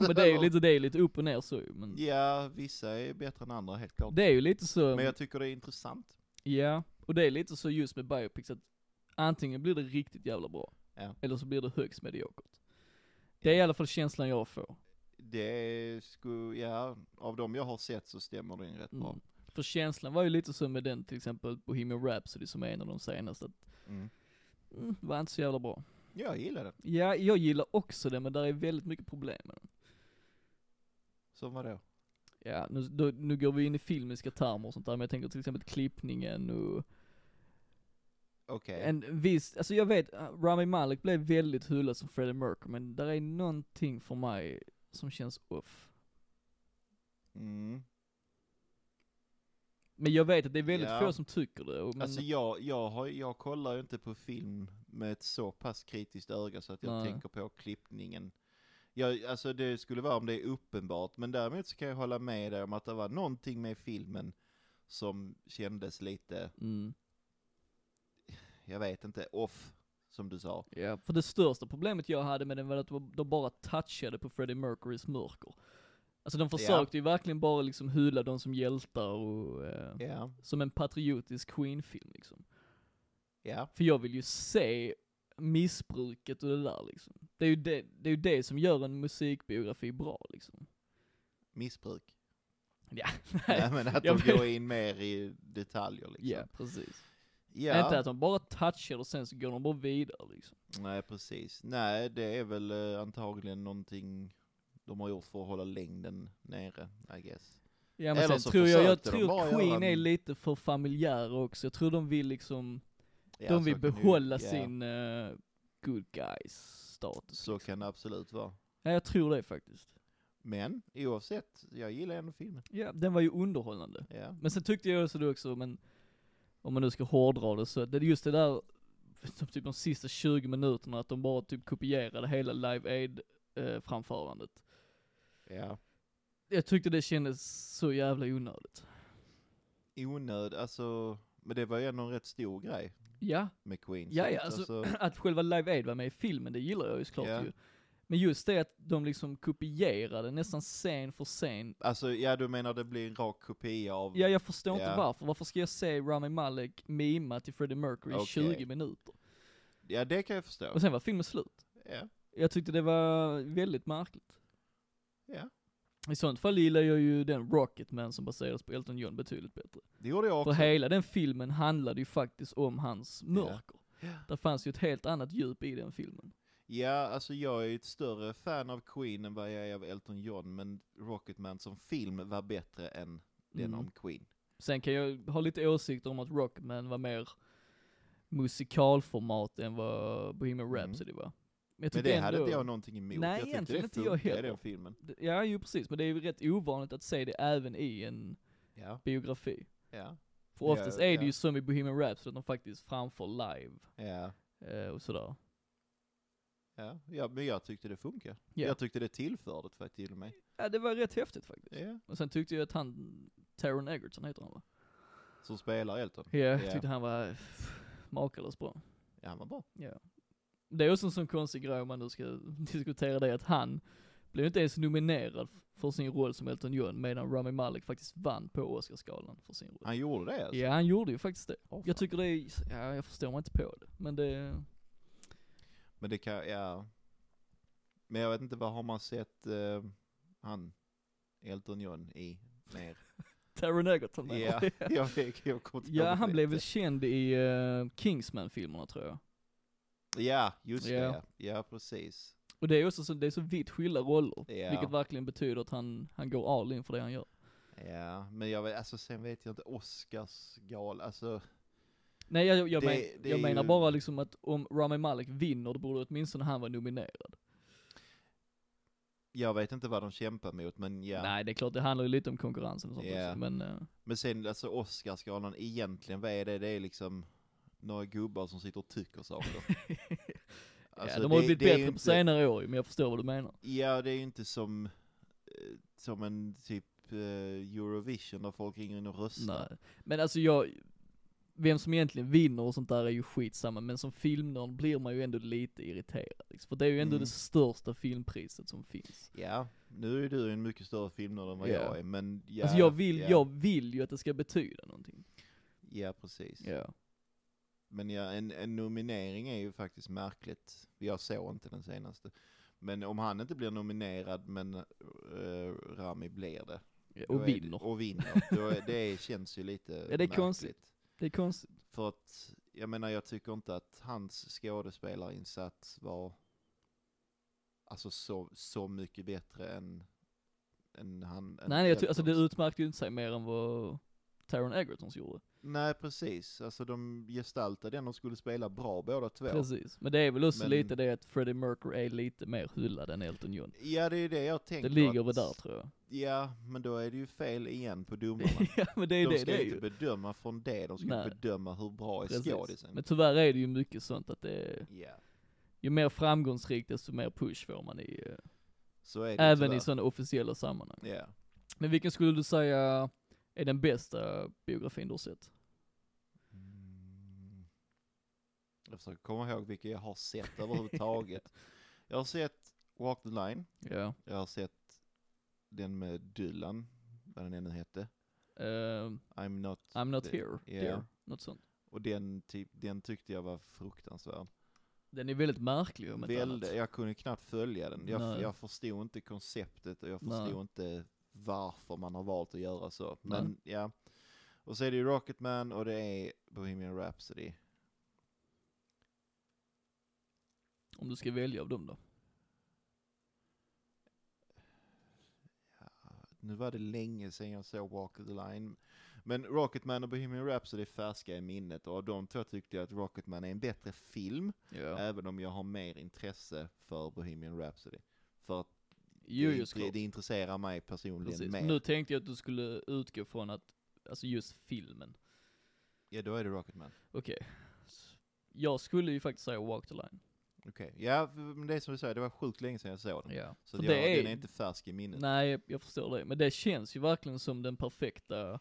Speaker 1: men det är ju lite, det är ju lite upp och ner så ju, men
Speaker 2: Ja, vissa är bättre än andra helt klart.
Speaker 1: det är ju lite så,
Speaker 2: Men jag tycker det är intressant.
Speaker 1: ja, och det är lite så just med biopics att antingen blir det riktigt jävla bra,
Speaker 2: Ja.
Speaker 1: eller så blir det högst mediokert. Det är i alla fall känslan jag får.
Speaker 2: Det skulle, ja, av de jag har sett så stämmer det in rätt bra.
Speaker 1: Mm. För känslan var ju lite så med den till exempel Bohemian Rhapsody som är en av de senaste, att
Speaker 2: Mm.
Speaker 1: mm, var inte så jävla bra.
Speaker 2: Jag gillar det.
Speaker 1: Ja, jag gillar också det men där är väldigt mycket problem med den.
Speaker 2: Som vadå?
Speaker 1: Ja, nu, då, nu går vi in i filmiska termer och sånt där, men jag tänker till exempel klippningen och
Speaker 2: Okej.
Speaker 1: en viss, alltså jag vet, eh, Rami Malek blev väldigt hyllad som Freddie Mercury, men där är någonting för mig som känns off.
Speaker 2: Mm.
Speaker 1: Men jag vet att det är väldigt
Speaker 2: Ja.
Speaker 1: få som tycker det, och men,
Speaker 2: Alltså jag, jag, har, jag kollar ju inte på film med ett så pass kritiskt öga så att jag
Speaker 1: Nej.
Speaker 2: tänker på klippningen. Jag, alltså det skulle vara om det är uppenbart, men däremot så kan jag hålla med dig om att det var någonting med filmen som kändes lite,
Speaker 1: mm,
Speaker 2: jag vet inte, off, som du sa.
Speaker 1: ja. För det största problemet jag hade med den var att de de bara touchade på Freddie Mercurys mörker. Alltså de försökte ju verkligen bara liksom hylla de som hjältar och, eh,
Speaker 2: Ja,
Speaker 1: som en patriotisk Queen-film liksom.
Speaker 2: ja,
Speaker 1: För jag vill ju se missbruket och det där liksom. Det är ju det, det, är ju det som gör en musikbiografi bra liksom.
Speaker 2: missbruk.
Speaker 1: Ja,
Speaker 2: Nej, men att
Speaker 1: Ja,
Speaker 2: de
Speaker 1: men-
Speaker 2: går in mer i detaljer liksom.
Speaker 1: ja precis.
Speaker 2: Ja.
Speaker 1: Inte att de bara touchar och sen så går de bara vidare liksom.
Speaker 2: Nej, precis. Nej, det är väl eh, antagligen någonting de har gjort för att hålla längden nere, I guess.
Speaker 1: Ja men
Speaker 2: Eller
Speaker 1: sen
Speaker 2: så
Speaker 1: tror jag, jag
Speaker 2: försökte de bara
Speaker 1: tror
Speaker 2: göra
Speaker 1: Queen
Speaker 2: en-
Speaker 1: är lite för familjära också. Jag tror de vill liksom,
Speaker 2: Ja,
Speaker 1: de vill
Speaker 2: så kan det ju-
Speaker 1: behålla
Speaker 2: ja,
Speaker 1: sin eh, good guys status.
Speaker 2: Så
Speaker 1: liksom.
Speaker 2: kan det absolut vara.
Speaker 1: Ja jag tror det faktiskt.
Speaker 2: Men oavsett, jag gillar ändå filmen.
Speaker 1: Ja, den var ju underhållande.
Speaker 2: Ja.
Speaker 1: Men sen tyckte jag också det också, men om man nu ska hårdra det så, det är just det där, som typ de sista 20 minuterna, att de bara typ kopierade hela Live Aid eh, framförandet.
Speaker 2: ja.
Speaker 1: Jag tyckte det kändes så jävla onödigt.
Speaker 2: Onöd, alltså, men det var ju ändå en rätt stor grej
Speaker 1: Ja,
Speaker 2: med Queen.
Speaker 1: ja,
Speaker 2: så
Speaker 1: ja
Speaker 2: att,
Speaker 1: alltså, att själva Live Aid var med i filmen, det gillar jag ju såklart
Speaker 2: Ja.
Speaker 1: ju. Men just det att de liksom kopierade nästan scen för scen.
Speaker 2: alltså, ja du menar det blir en rak kopia av,
Speaker 1: Ja, jag förstår inte
Speaker 2: Ja.
Speaker 1: varför. Varför ska jag se Rami Malek mima till Freddie Mercury i
Speaker 2: Okej.
Speaker 1: 20 minuter?
Speaker 2: ja det kan jag förstå.
Speaker 1: Och sen var filmen slut.
Speaker 2: Ja,
Speaker 1: Jag tyckte det var väldigt märkligt.
Speaker 2: ja.
Speaker 1: I sånt fall gillar jag ju den Rocketman som baseras på Elton John betydligt bättre.
Speaker 2: Det gjorde jag också.
Speaker 1: För hela den filmen handlade ju faktiskt om hans mörker.
Speaker 2: Ja.
Speaker 1: Där fanns ju ett helt annat djup i den filmen.
Speaker 2: Ja, alltså jag är ju ett större fan av Queen än vad jag är av Elton John, men Rocketman som film var bättre än den
Speaker 1: Mm.
Speaker 2: om Queen.
Speaker 1: Sen kan jag ha lite åsikter om att Rocketman var mer musikalformat än vad Bohemian
Speaker 2: Mm.
Speaker 1: Rhapsody var. Men jag
Speaker 2: Men
Speaker 1: tyckte
Speaker 2: det hade inte
Speaker 1: ändå-
Speaker 2: jag någonting emot.
Speaker 1: Nej,
Speaker 2: jag tyckte
Speaker 1: egentligen
Speaker 2: det
Speaker 1: inte jag
Speaker 2: funkar i
Speaker 1: heller.
Speaker 2: den filmen.
Speaker 1: Ja, ju precis, men det är ju rätt ovanligt att se det även i en
Speaker 2: Ja,
Speaker 1: biografi.
Speaker 2: ja,
Speaker 1: För
Speaker 2: Ja,
Speaker 1: oftast är det
Speaker 2: ja.
Speaker 1: ju som i Bohemian Rhapsody, att de faktiskt framför live
Speaker 2: ja,
Speaker 1: eh, och sådär.
Speaker 2: ja, ja, men jag tyckte det funkar.
Speaker 1: Ja.
Speaker 2: Jag tyckte det tillförde det faktiskt till mig.
Speaker 1: Ja, det var rätt häftigt faktiskt.
Speaker 2: Ja.
Speaker 1: Och sen tyckte jag att han, Taron Egerton heter han va?
Speaker 2: Som spelar Elton.
Speaker 1: Ja, jag
Speaker 2: Ja.
Speaker 1: tyckte han var makalöst bra.
Speaker 2: Ja, han var bra.
Speaker 1: Det är också en sån konstig grej om man nu ska diskutera det, att han blev inte ens nominerad f- för sin roll som Elton John, medan Rami Malek faktiskt vann på Oscarsgalan för sin roll.
Speaker 2: Han gjorde det alltså.
Speaker 1: Ja, han gjorde ju faktiskt det.
Speaker 2: Åh, fan.
Speaker 1: Jag tycker det är, ja jag förstår mig inte på det, men det,
Speaker 2: Men det kan, ja. Men jag vet inte, vad har man sett eh, han, Elton John, i mer?
Speaker 1: Taron Egerton menar
Speaker 2: Ja,
Speaker 1: jag.
Speaker 2: jag, jag kommer inte
Speaker 1: Ja,
Speaker 2: ihåg
Speaker 1: han
Speaker 2: det.
Speaker 1: blev väl känd i eh, Kingsman-filmerna tror jag.
Speaker 2: Ja, just
Speaker 1: Ja.
Speaker 2: det. Ja, Ja, precis.
Speaker 1: Och det är också så, det är så vitt skilda roller,
Speaker 2: Ja.
Speaker 1: vilket verkligen betyder att han, han går all in för det han gör.
Speaker 2: Ja, men jag vet, alltså sen vet jag inte, Oscarsgal, alltså
Speaker 1: Nej jag, jag,
Speaker 2: Det-
Speaker 1: men,
Speaker 2: det är
Speaker 1: jag menar
Speaker 2: ju-
Speaker 1: bara liksom att om Rami Malek vinner, då borde åtminstone han vara nominerad.
Speaker 2: Jag vet inte vad de kämpar mot, men ja.
Speaker 1: Nej det är klart, det handlar ju lite om konkurrensen och sånt
Speaker 2: Ja.
Speaker 1: också, men eh,
Speaker 2: Men sen alltså Oscarsgalan, egentligen vad är det? Det är liksom några gubbar som sitter och tycker saker. Alltså,
Speaker 1: ja, de har ju
Speaker 2: det-
Speaker 1: blivit
Speaker 2: det är ju
Speaker 1: bättre på
Speaker 2: inte-
Speaker 1: senare år men jag förstår vad du menar.
Speaker 2: Ja, det är ju inte som, eh, som en typ eh, Eurovision där folk ringer in och röstar.
Speaker 1: Nej. Men alltså jag, vem som egentligen vinner och sånt där är ju skitsamma, men som filmnörd blir man ju ändå lite irriterad liksom. För det är ju ändå
Speaker 2: Mm.
Speaker 1: det största filmpriset som finns.
Speaker 2: Ja, nu är du en mycket större filmnörd än vad
Speaker 1: Ja.
Speaker 2: jag är, men ja.
Speaker 1: alltså jag vill,
Speaker 2: ja,
Speaker 1: jag vill ju att det ska betyda någonting.
Speaker 2: Ja, precis.
Speaker 1: Ja.
Speaker 2: Men ja, en, en nominering är ju faktiskt märkligt. Jag såg inte den senaste. Men om han inte blir nominerad, men eh, Rami blir det. då
Speaker 1: Och
Speaker 2: är det-
Speaker 1: vinner.
Speaker 2: Och vinner. Då är, det känns ju lite
Speaker 1: är
Speaker 2: märkligt.
Speaker 1: konstigt. Det är konstigt.
Speaker 2: För att, jag menar jag tycker inte att hans skådespelarinsats var alltså så, så mycket bättre än, än han. än
Speaker 1: Nej, nej jag ty-
Speaker 2: Eltons.
Speaker 1: alltså det utmärkte ju inte sig mer än vad Taron Egertons gjorde.
Speaker 2: Nej precis, alltså de gestaltade den och skulle spela bra båda två.
Speaker 1: Precis. Men det är väl också
Speaker 2: Men-
Speaker 1: lite det att Freddie Mercury är lite mer hyllad än Elton John.
Speaker 2: Ja det är det jag tänker.
Speaker 1: Det ligger
Speaker 2: att-
Speaker 1: väl där tror jag.
Speaker 2: Ja, men då är det ju fel igen på domarna.
Speaker 1: ja men det är
Speaker 2: de
Speaker 1: det,
Speaker 2: ska typ
Speaker 1: det är
Speaker 2: inte
Speaker 1: ju.
Speaker 2: bedöma från det, de ska
Speaker 1: Nej.
Speaker 2: bedöma hur bra är
Speaker 1: Precis.
Speaker 2: skådisen.
Speaker 1: Men tyvärr är det ju mycket sånt att det,
Speaker 2: Ja,
Speaker 1: ju mer framgångsrikt desto mer push får man i, eh,
Speaker 2: så är det
Speaker 1: även
Speaker 2: tyvärr.
Speaker 1: i sådana officiella sammanhang.
Speaker 2: Ja.
Speaker 1: Men vilken skulle du säga är den bästa biografin du har sett?
Speaker 2: Mm. Jag försöker komma ihåg vilka jag har sett överhuvudtaget. jag har sett Walk the Line,
Speaker 1: Ja.
Speaker 2: jag har sett den med Dylan, vad den ännu hette,
Speaker 1: Eh,
Speaker 2: I'm not,
Speaker 1: I'm not
Speaker 2: Det-
Speaker 1: here,
Speaker 2: ja.
Speaker 1: dear. Något sånt.
Speaker 2: och den, typ, den tyckte jag var fruktansvärd.
Speaker 1: Den är väldigt märklig om inte annat.
Speaker 2: Välde, jag kunde knappt följa den, jag,
Speaker 1: Nej.
Speaker 2: jag förstod inte konceptet och jag
Speaker 1: Nej.
Speaker 2: förstod inte varför man har valt att göra så. Men ja, och så är det ju Rocketman och det är Bohemian Rhapsody.
Speaker 1: Om du ska välja av dem då.
Speaker 2: nu var det länge sedan jag såg Walk the Line. Men Rocketman och Bohemian Rhapsody är färska i minnet och av de två tyckte jag att Rocketman är en bättre film,
Speaker 1: Ja.
Speaker 2: även om jag har mer intresse för Bohemian Rhapsody. För att
Speaker 1: Jo,
Speaker 2: det,
Speaker 1: jo,
Speaker 2: int-
Speaker 1: såklart.
Speaker 2: det intresserar mig personligen
Speaker 1: Precis.
Speaker 2: mer.
Speaker 1: Nu tänkte jag att du skulle utgå från att, alltså just filmen.
Speaker 2: Ja, då är det Rocketman.
Speaker 1: Okej. Jag skulle ju faktiskt säga Walk the Line.
Speaker 2: Okej, ja, f- men det är som du säger, det var sjukt länge sedan jag såg den.
Speaker 1: Ja.
Speaker 2: Så
Speaker 1: För
Speaker 2: jag,
Speaker 1: det
Speaker 2: den är
Speaker 1: är,
Speaker 2: inte färsk i minnet.
Speaker 1: nej jag förstår det, men det känns ju verkligen som den perfekta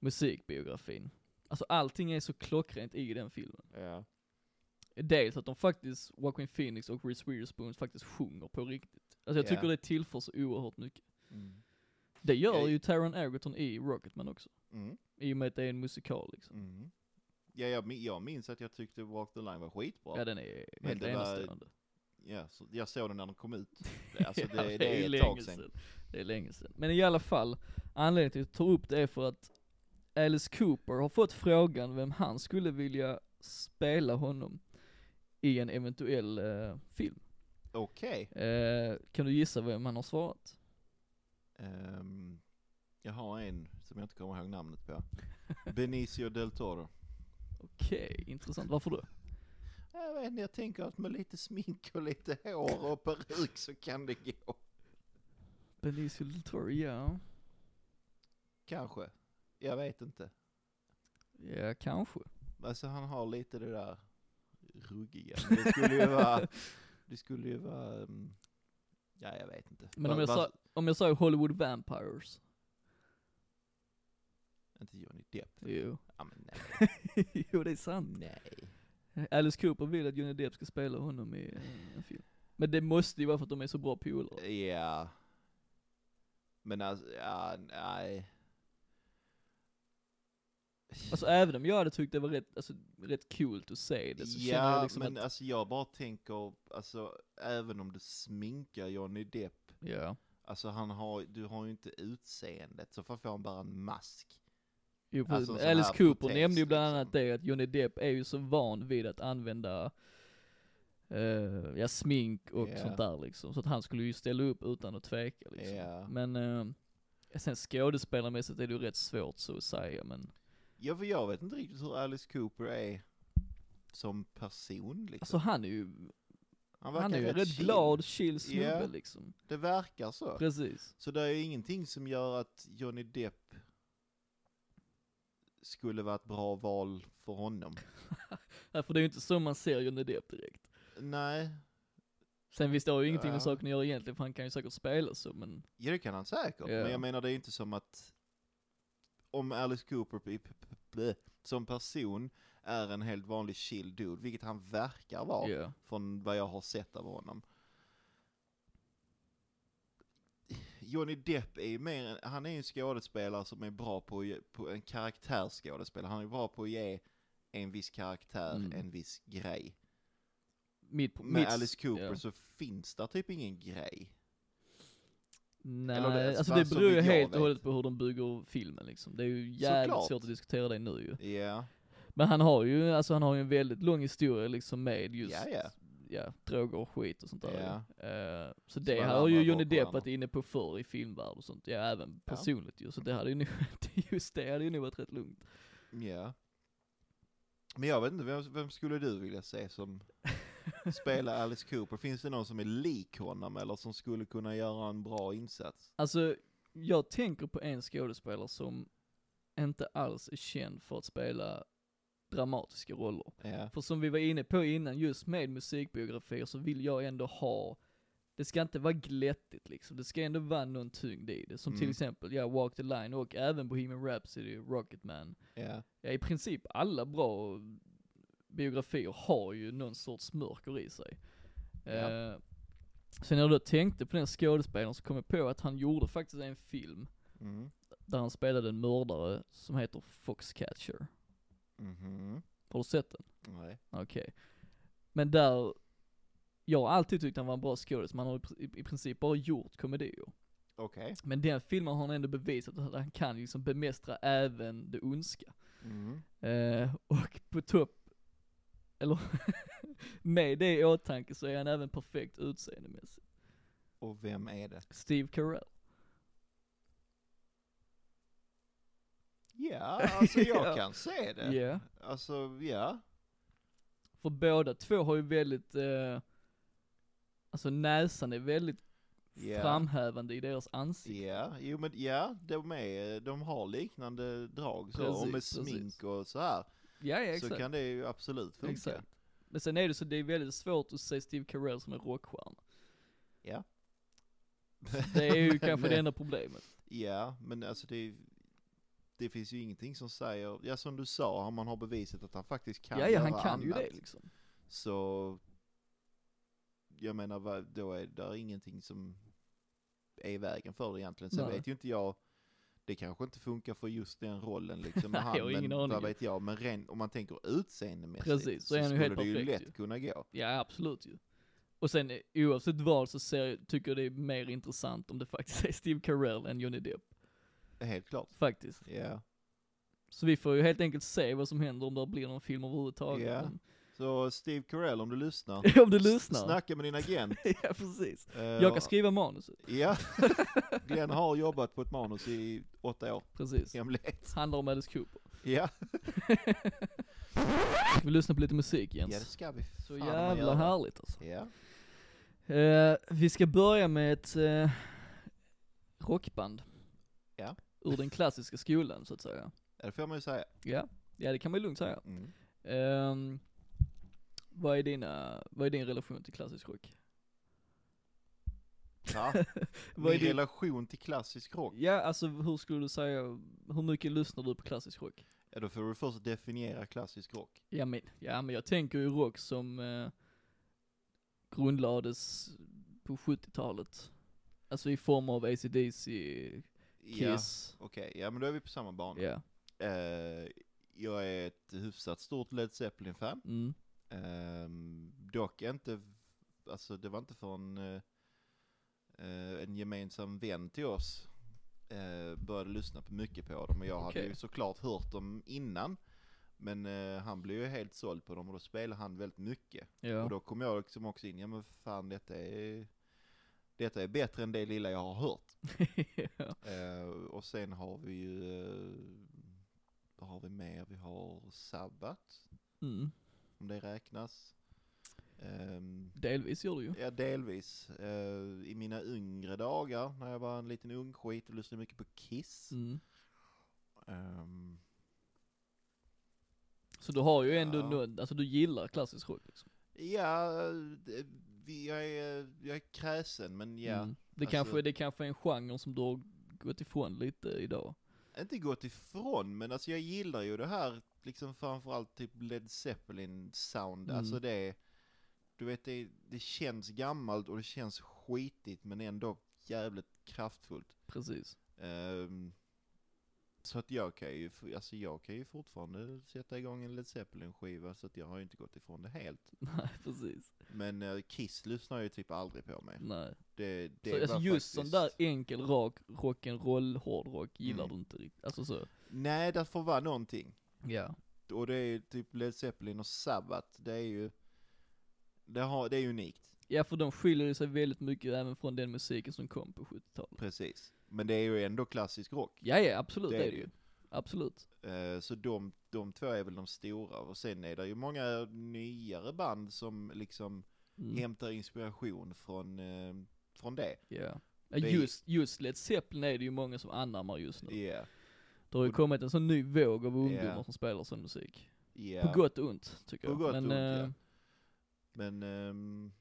Speaker 1: musikbiografin. Alltså allting är så klockrent i den filmen.
Speaker 2: Ja.
Speaker 1: Dels att de faktiskt, Joaquin Phoenix och Reese Witherspoon faktiskt sjunger på riktigt. Alltså jag
Speaker 2: Ja.
Speaker 1: tycker det tillför så oerhört mycket.
Speaker 2: Mm.
Speaker 1: Det gör
Speaker 2: Jag-
Speaker 1: ju Taron Egerton i Rocketman också.
Speaker 2: Mm.
Speaker 1: I och med att det är en musikal liksom.
Speaker 2: Mm. Ja, jag, min- jag minns att jag tyckte Walk the Line var skitbra.
Speaker 1: Ja den är
Speaker 2: Men
Speaker 1: helt
Speaker 2: det var-
Speaker 1: enastående.
Speaker 2: Ja, så jag såg den när den kom ut. Alltså det,
Speaker 1: Ja,
Speaker 2: det, är ett tag sedan.
Speaker 1: Det är länge sedan. Men i alla fall, anledningen till att jag tar upp det är för att Alice Cooper har fått frågan vem han skulle vilja spela honom i en eventuell eh, film.
Speaker 2: Okej.
Speaker 1: Eh, kan du gissa vem han har svarat?
Speaker 2: Ehm, jag har en som jag inte kommer ihåg namnet på. Benicio del Toro.
Speaker 1: Okej, intressant. Varför då?
Speaker 2: Jag vet inte, jag tänker att med lite smink och lite hår och peruk så kan det gå.
Speaker 1: Benicio del Toro, ja.
Speaker 2: Kanske. Jag vet inte.
Speaker 1: Ja, kanske.
Speaker 2: Alltså han har lite det där ruggiga. Men Det skulle ju vara... Det skulle ju vara... mm, Ja, jag vet inte.
Speaker 1: Men om
Speaker 2: Va-
Speaker 1: jag
Speaker 2: va-
Speaker 1: sa- Om jag säger Hollywood Vampires.
Speaker 2: Inte Johnny Depp.
Speaker 1: Jo.
Speaker 2: Ja, men nej.
Speaker 1: jo, det är sant.
Speaker 2: nej.
Speaker 1: Alice Cooper vill att Johnny Depp ska spela honom i eh, en film. Men det måste ju vara för att de är så bra polare.
Speaker 2: Ja. Men alltså, ja, nej.
Speaker 1: Alltså även om jag hade tyckt det var rätt, alltså, rätt kul att se det så känner jag
Speaker 2: Ja,
Speaker 1: liksom
Speaker 2: men
Speaker 1: att,
Speaker 2: alltså jag bara tänker, alltså även om du sminkar Johnny Depp,
Speaker 1: ja.
Speaker 2: alltså han har, du har ju inte utseendet, så varför får han bara en mask?
Speaker 1: Jo,
Speaker 2: Alltså,
Speaker 1: precis. Men
Speaker 2: en sån här
Speaker 1: Alice Cooper
Speaker 2: protes,
Speaker 1: nämnde ju bland
Speaker 2: liksom.
Speaker 1: annat det att Johnny Depp är ju så van vid att använda eh, ja, smink och
Speaker 2: Ja.
Speaker 1: sånt där liksom. Så att han skulle ju ställa upp utan att tveka liksom.
Speaker 2: Ja.
Speaker 1: Men eh, sen skådespelarmässigt är det ju rätt svårt så att säga men
Speaker 2: Ja, för jag vet inte riktigt hur Alice Cooper är som person liksom.
Speaker 1: Alltså han är ju,
Speaker 2: han
Speaker 1: han är ju en rätt
Speaker 2: chill.
Speaker 1: glad, chill snubbe
Speaker 2: Ja.
Speaker 1: liksom.
Speaker 2: Det verkar så.
Speaker 1: Precis.
Speaker 2: Så det är ju ingenting som gör att Johnny Depp skulle vara ett bra val för honom.
Speaker 1: Ja, för det är ju inte så man ser Johnny Depp direkt.
Speaker 2: Nej,
Speaker 1: Sen visst, det har ju ingenting
Speaker 2: Ja.
Speaker 1: med saken att göra egentligen, för han kan ju säkert spela så, men
Speaker 2: ja det kan han säkert.
Speaker 1: Ja.
Speaker 2: Men jag menar det är ju inte som att om Alice Cooper p- p- p- bleh, som person är en helt vanlig chill dude, vilket han verkar vara.
Speaker 1: ja.
Speaker 2: från vad jag har sett av honom. Johnny Depp är ju mer, en- han är ju en skådespelare som är bra på, att ge- på en karaktärsskådespelare. Han är bra på att ge en viss karaktär,
Speaker 1: Mm.
Speaker 2: en viss grej.
Speaker 1: Mitt,
Speaker 2: Med
Speaker 1: mitt-
Speaker 2: Alice Cooper
Speaker 1: ja.
Speaker 2: så finns där typ ingen grej.
Speaker 1: Nej,
Speaker 2: Eller det-
Speaker 1: alltså
Speaker 2: vad-
Speaker 1: det
Speaker 2: så
Speaker 1: beror ju
Speaker 2: vitt jag
Speaker 1: helt och
Speaker 2: vet.
Speaker 1: hållet på hur de bygger filmen liksom. Det är ju jävligt
Speaker 2: Såklart.
Speaker 1: svårt att diskutera det nu ju.
Speaker 2: Ja,
Speaker 1: Men han har ju, alltså han har ju en väldigt lång historia liksom med just,
Speaker 2: Ja, ja.
Speaker 1: ja, droger och skit och sånt där
Speaker 2: Ja.
Speaker 1: Eh, Så det
Speaker 2: alla
Speaker 1: här har ju
Speaker 2: andra
Speaker 1: Johnny Depp
Speaker 2: rockstjärnor.
Speaker 1: varit inne på förr i filmvärld och sånt, ja även
Speaker 2: Ja.
Speaker 1: personligt ju, så det hade ju nu, just det hade ju nog varit rätt lugnt.
Speaker 2: ja. Men jag vet inte, vem, vem skulle du vilja se som spelar Alice Cooper? Finns det någon som är lik honom eller som skulle kunna göra en bra insats?
Speaker 1: Alltså, jag tänker på en skådespelare som inte alls är känd för att spela dramatiska roller.
Speaker 2: Ja,
Speaker 1: För som vi var inne på innan, just med musikbiografier så vill jag ändå ha, det ska inte vara glättigt liksom, det ska ändå vara någon tyngd i det. Som till
Speaker 2: Mm.
Speaker 1: exempel, ja, Walk the Line och även Bohemian Rhapsody, Rocketman.
Speaker 2: ja.
Speaker 1: Ja, i princip alla bra biografier har ju någon sorts mörker i sig.
Speaker 2: Ja.
Speaker 1: Eh, sen när jag då tänkte på den skådespelaren så kom jag på att han gjorde faktiskt en film
Speaker 2: Mm.
Speaker 1: där han spelade en mördare som heter Foxcatcher.
Speaker 2: Mhm.
Speaker 1: Har du sett den?
Speaker 2: Nej.
Speaker 1: Okej. Men där, jag har alltid tyckt han var en bra skådis, men han har i- i princip bara gjort komedier.
Speaker 2: Okej.
Speaker 1: Men den filmen har han ändå bevisat att han kan liksom bemästra även det ondska.
Speaker 2: Mm.
Speaker 1: Eh, och på topp, eller med det i åtanke så är han även perfekt utseendemässigt.
Speaker 2: Och vem är det?
Speaker 1: Steve Carell.
Speaker 2: Ja, alltså jag
Speaker 1: Ja.
Speaker 2: kan se
Speaker 1: Ja.
Speaker 2: det. Alltså, ja.
Speaker 1: För båda två har ju väldigt, eh, alltså näsan är väldigt
Speaker 2: Ja.
Speaker 1: framhävande i deras ansikte.
Speaker 2: Ja, jo men ja, de är, de har liknande drag så, och
Speaker 1: Precis,
Speaker 2: med
Speaker 1: precis.
Speaker 2: smink och så här.
Speaker 1: Ja, ja
Speaker 2: Så
Speaker 1: exakt.
Speaker 2: kan det ju absolut funka.
Speaker 1: Exakt. Men sen är det så, det är väldigt svårt att se Steve Carell som en rockstjärna.
Speaker 2: Ja.
Speaker 1: Det är ju
Speaker 2: Men,
Speaker 1: kanske
Speaker 2: eh,
Speaker 1: det enda problemet.
Speaker 2: Ja, men alltså det, det finns ju ingenting som säger, ja som du sa, har man har bevisat att han faktiskt kan
Speaker 1: Ja, ja, han
Speaker 2: göra
Speaker 1: kan
Speaker 2: annat.
Speaker 1: ju det liksom.
Speaker 2: Så, jag menar vad- då är det ingenting som är i vägen för det egentligen. Sen
Speaker 1: Nej.
Speaker 2: vet ju inte jag, det kanske inte funkar för just den rollen liksom med
Speaker 1: Nej, jag har
Speaker 2: han, men
Speaker 1: ingen aning.
Speaker 2: vad vet jag, men ren, om man tänker utseendemässigt
Speaker 1: Precis, så
Speaker 2: så,
Speaker 1: är han ju
Speaker 2: skulle
Speaker 1: helt
Speaker 2: det ju
Speaker 1: perfekt
Speaker 2: lätt
Speaker 1: ju.
Speaker 2: kunna gå.
Speaker 1: Ja, absolut ju. Och sen eh, oavsett vad så ser, tycker jag det är mer intressant om det faktiskt är Steve Carell än Johnny Depp.
Speaker 2: Helt klart.
Speaker 1: Faktiskt.
Speaker 2: Ja.
Speaker 1: Så vi får ju helt enkelt se vad som händer om det blir någon film överhuvudtaget.
Speaker 2: Ja.
Speaker 1: Men-
Speaker 2: Så Steve Carell, om du lyssnar,
Speaker 1: om du lyssnar.
Speaker 2: s- snacka med din agent.
Speaker 1: ja, precis.
Speaker 2: Eh,
Speaker 1: Jag kan skriva manuset.
Speaker 2: Ja, Glenn har jobbat på ett manus i åtta år,
Speaker 1: Precis.
Speaker 2: i hemlighet.
Speaker 1: Handlar om Alice Cooper.
Speaker 2: Ja,
Speaker 1: Ska vi lyssna på lite musik
Speaker 2: ja
Speaker 1: Jens?
Speaker 2: det ska vi
Speaker 1: Så
Speaker 2: fan göra.
Speaker 1: jävla härligt alltså.
Speaker 2: Ja.
Speaker 1: Eh, vi ska börja med ett eh, rockband.
Speaker 2: Ja.
Speaker 1: Ur den klassiska skolan så att säga.
Speaker 2: Ja, det får man ju säga.
Speaker 1: Ja, ja det kan man ju lugnt säga.
Speaker 2: Mm.
Speaker 1: Ehm, vad, är dina, vad är din relation till klassisk rock?
Speaker 2: Ja,
Speaker 1: Vad är
Speaker 2: min
Speaker 1: din-
Speaker 2: relation till klassisk rock.
Speaker 1: Ja, alltså hur skulle du säga, hur mycket lyssnar du på klassisk rock?
Speaker 2: Ja, då får du först definiera klassisk rock.
Speaker 1: Ja men, ja, men jag tänker ju rock som eh, grundlades på 70-talet. Alltså i form av AC/DC, Kiss.
Speaker 2: Ja, Okej, ja men då är vi på samma bana.
Speaker 1: Ja.
Speaker 2: Eh, jag är ett hyfsat stort Led Zeppelin-fan.
Speaker 1: Mm.
Speaker 2: Ehm, dock inte, alltså det var inte från eh, eh, en gemensam vän till oss. Eh, började lyssna på mycket på dem och jag hade
Speaker 1: Okej.
Speaker 2: ju såklart hört dem innan. Men eh, han blev ju helt såld på dem och då spelade han väldigt mycket. Och
Speaker 1: Ja.
Speaker 2: då kom jag liksom också in, ja men fan detta är, detta är bättre än det lilla jag har hört.
Speaker 1: ja.
Speaker 2: Eh, och sen har vi ju eh, vad har vi mer? Vi har Sabbat,
Speaker 1: Mm.
Speaker 2: om det räknas. Ehm,
Speaker 1: Delvis gör du ju.
Speaker 2: Ja, delvis. Eh, I mina yngre dagar, när jag var en liten ungskit och lyssnade mycket på Kiss.
Speaker 1: Mm.
Speaker 2: Ehm,
Speaker 1: Så du har ju ändå,
Speaker 2: Ja.
Speaker 1: nå- alltså du gillar klassisk rock liksom.
Speaker 2: ja, det- vi- jag är, jag är kräsen, men ja.
Speaker 1: Mm. Det,
Speaker 2: alltså-
Speaker 1: kanske, det kanske är en genre som du har gått ifrån lite idag.
Speaker 2: Inte gått ifrån, men alltså jag gillar ju det här, liksom framförallt typ Led Zeppelin-sound.
Speaker 1: Mm.
Speaker 2: Alltså det, du vet det, det känns gammalt och det känns skitigt, men ändå jävligt kraftfullt.
Speaker 1: Precis.
Speaker 2: Ehm, så att jag kan, ju, f- alltså jag kan ju fortfarande sätta igång en Led Zeppelin-skiva så att jag har ju inte gått ifrån det helt.
Speaker 1: Nej, precis.
Speaker 2: Men eh, Kiss lyssnar jag ju typ aldrig på mig.
Speaker 1: Nej.
Speaker 2: Det, det
Speaker 1: Så,
Speaker 2: var
Speaker 1: alltså just sån
Speaker 2: faktiskt-
Speaker 1: där enkel rak, rock'n'roll, hårdrock gillar
Speaker 2: Mm.
Speaker 1: du inte riktigt. Alltså så.
Speaker 2: Nej, det får vara någonting.
Speaker 1: Ja.
Speaker 2: Och det är ju typ Led Zeppelin och Sabbath, det är ju, det, har, det är unikt.
Speaker 1: Ja för de skiljer ju sig väldigt mycket även från den musiken som kom på 70-talet.
Speaker 2: Precis. Men det är ju ändå klassisk rock.
Speaker 1: Ja ja, absolut det är det ju. Absolut.
Speaker 2: Eh, Så de, de två är väl de stora. Och sen är det ju många nyare band som liksom
Speaker 1: Mm.
Speaker 2: hämtar inspiration från, eh, från det.
Speaker 1: Ja. Ja,
Speaker 2: Det är-
Speaker 1: Just, just Led Zeppelin är det ju många som anammar just nu.
Speaker 2: Yeah.
Speaker 1: Det har ju
Speaker 2: Och-
Speaker 1: kommit en sån ny våg av ungdomar
Speaker 2: Ja.
Speaker 1: som spelar sån musik.
Speaker 2: Yeah.
Speaker 1: På gott och ont, tycker
Speaker 2: På
Speaker 1: jag.
Speaker 2: gott och ont, ja.
Speaker 1: eh,
Speaker 2: Men ehm,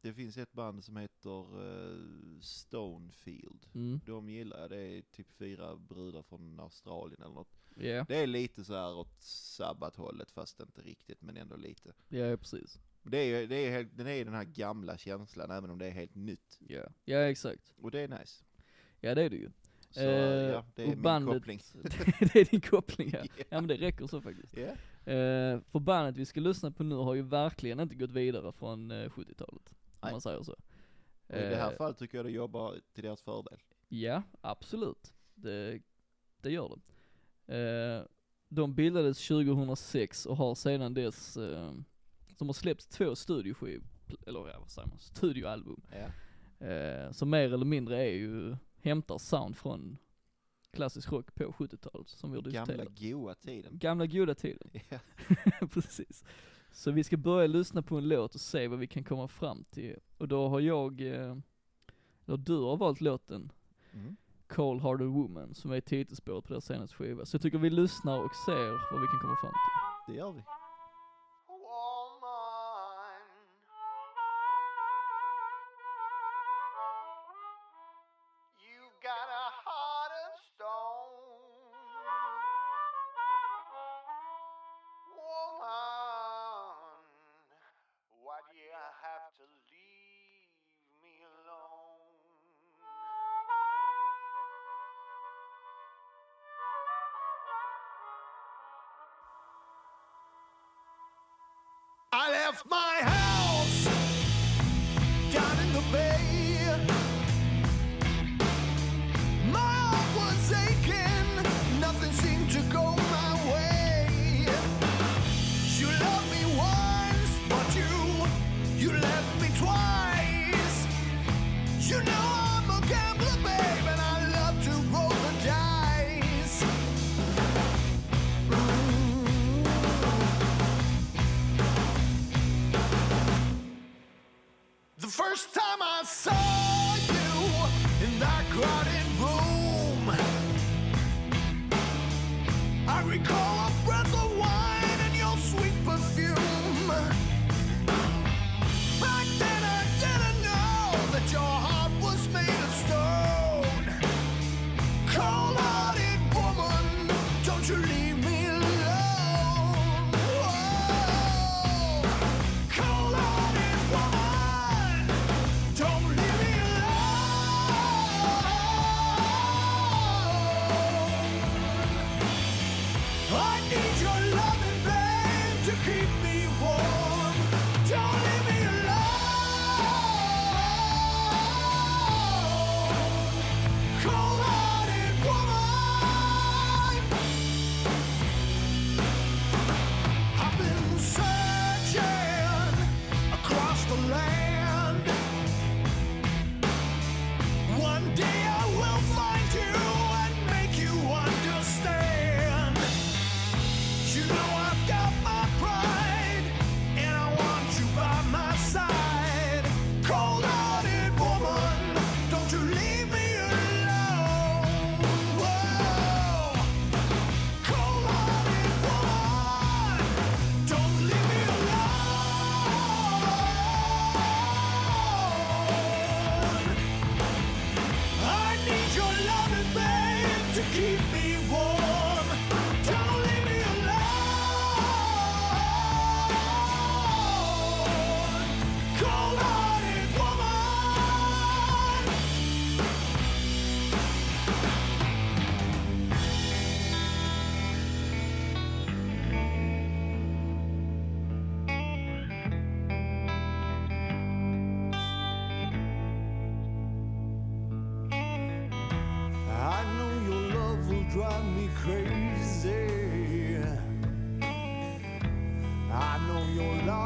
Speaker 2: det finns ett band som heter eh, Stonefield.
Speaker 1: mm,
Speaker 2: De gillar jag, det är typ fyra brudar från Australien eller något.
Speaker 1: ja,
Speaker 2: Det är lite så här åt sabbathållet fast inte riktigt men ändå lite.
Speaker 1: ja precis.
Speaker 2: Det är ju det är helt, den, är ju den här gamla känslan även om det är helt nytt.
Speaker 1: Ja, ja exakt.
Speaker 2: Och det är nice.
Speaker 1: Ja det är det ju.
Speaker 2: Så
Speaker 1: Eh,
Speaker 2: ja, det är
Speaker 1: och
Speaker 2: min
Speaker 1: bandet-
Speaker 2: koppling.
Speaker 1: det är din koppling ja.
Speaker 2: Ja.
Speaker 1: Ja men det räcker så faktiskt.
Speaker 2: Ja.
Speaker 1: Eh, för bandet vi ska lyssna på nu har ju verkligen inte gått vidare från eh, 70-talet. Om
Speaker 2: Nej.
Speaker 1: man säger så.
Speaker 2: Och I det här
Speaker 1: Eh,
Speaker 2: fallet tycker jag det jobbar till deras fördel.
Speaker 1: Ja, absolut. Det, det gör det. Eh, de bildades 2006 och har sedan dess, eh, de har släppt två studioskiv, eller ja, vad säger man, studioalbum.
Speaker 2: Ja.
Speaker 1: Eh, som mer eller mindre är ju, hämtar sound från klassisk rock på 70-talet som vi har
Speaker 2: Gamla
Speaker 1: diskuterat.
Speaker 2: goa tiden.
Speaker 1: Gamla goda tiden,
Speaker 2: Ja.
Speaker 1: precis. Så vi ska börja lyssna på en låt och se vad vi kan komma fram till. Och då har jag, eh, eller du har valt låten
Speaker 2: Mm.
Speaker 1: Cold Hearted Woman som är titelspåret på deras senaste skiva. Så jag tycker vi lyssnar och ser vad vi kan komma fram till.
Speaker 2: Det gör vi.
Speaker 3: Woman, you've got a heart of stone. Woman, why do you have to leave me alone? I left my house down in the bay. My heart was aching, nothing seemed to go my way. You loved me once, but you you left me twice. You know I'm a gambler, babe, and I love to roll the dice. The first time I saw you in that crowded room, I recall a breath of wine and your sweet perfume. Back then I didn't know that your heart was made of stone. Cold-hearted woman, don't you leave me alone. Whoa. Cold-hearted woman, don't leave me alone. I need your loving, babe, to keep me warm. Don't leave me alone. Cold-hearted woman. I've been searching across the land. One day I will find you and make you understand.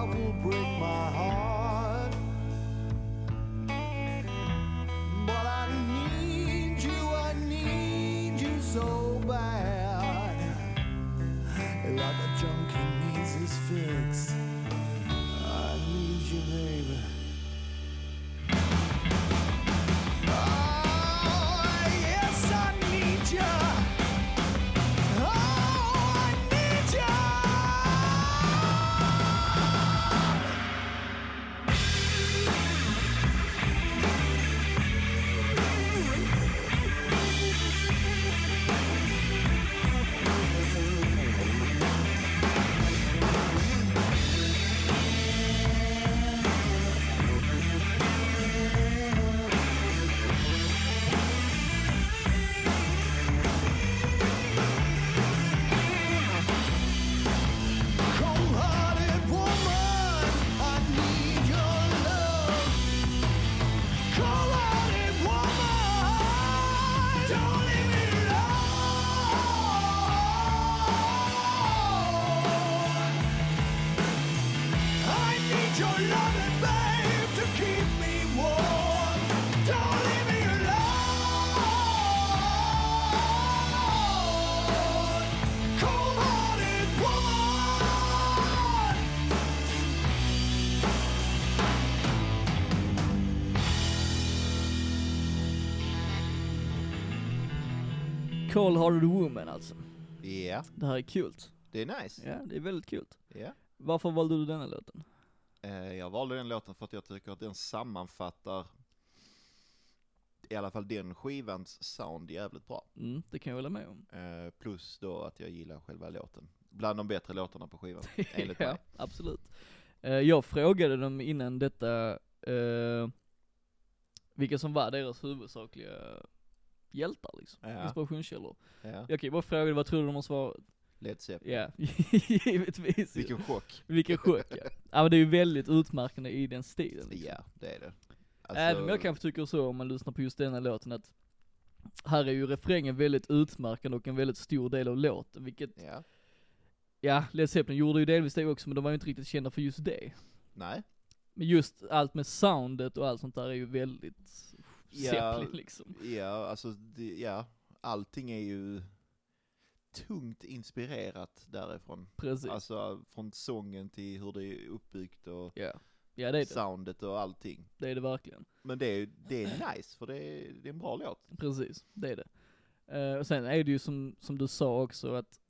Speaker 3: will break my heart. But I need you, I need you so bad. Like a junkie needs his fix. I need you, baby. Oh, yes, I need you. Oh, I need you. Cold-hearted woman, I need your love. Cold-hearted woman, don't leave me alone. I need your loving, babe, to keep me warm. Don't leave me alone. Cold-hearted woman.
Speaker 1: Cold Hearted Woman alltså.
Speaker 2: Ja,
Speaker 1: Det här är kul.
Speaker 2: det är nice.
Speaker 1: Ja, det är väldigt kul.
Speaker 2: Ja.
Speaker 1: Varför valde du denna låten?
Speaker 2: Eh, Jag valde den låten för att jag tycker att den sammanfattar i alla fall den skivans sound jävligt bra.
Speaker 1: Mm, det kan jag hålla med om.
Speaker 2: Eh, Plus då att jag gillar själva låten. Bland de bättre låtarna på skivan, enligt
Speaker 1: ja,
Speaker 2: mig.
Speaker 1: absolut. Eh, jag frågade dem innan detta, eh, vilka som var deras huvudsakliga hjältar liksom.
Speaker 2: Ja.
Speaker 1: Inspirationskällor.
Speaker 2: Ja.
Speaker 1: Jag kan ju bara fråga, vad tror du de har svarat?
Speaker 2: Led Zeppelin.
Speaker 1: Ja, givetvis. Vilken,
Speaker 2: Vilken chock.
Speaker 1: Vilken chock ja. ja men det är ju väldigt utmärkande i den stilen.
Speaker 2: Ja, alltså-
Speaker 1: Liksom.
Speaker 2: det är det.
Speaker 1: Även om Äh, jag kanske tycker så om man lyssnar på just denna låten att här är ju refrängen väldigt utmärkande och en väldigt stor del av låten, vilket,
Speaker 2: Alltså, Ja.
Speaker 1: ja, Led Zeppelin gjorde ju delvis det också, men de var ju inte riktigt kända för just det.
Speaker 2: Nej.
Speaker 1: Men just allt med soundet och allt sånt där är ju väldigt
Speaker 2: Ja.
Speaker 1: Zeppelin liksom.
Speaker 2: Ja, alltså, det, ja. Allting är ju tungt inspirerat därifrån.
Speaker 1: Precis.
Speaker 2: Alltså från sången till hur det är uppbyggt och
Speaker 1: ja. ja, det är det.
Speaker 2: soundet och allting.
Speaker 1: Det är det verkligen.
Speaker 2: Men det är, det är nice, för det är, det är en bra låt.
Speaker 1: Precis, det är det. Eh, och sen är det ju som, som du sa också att,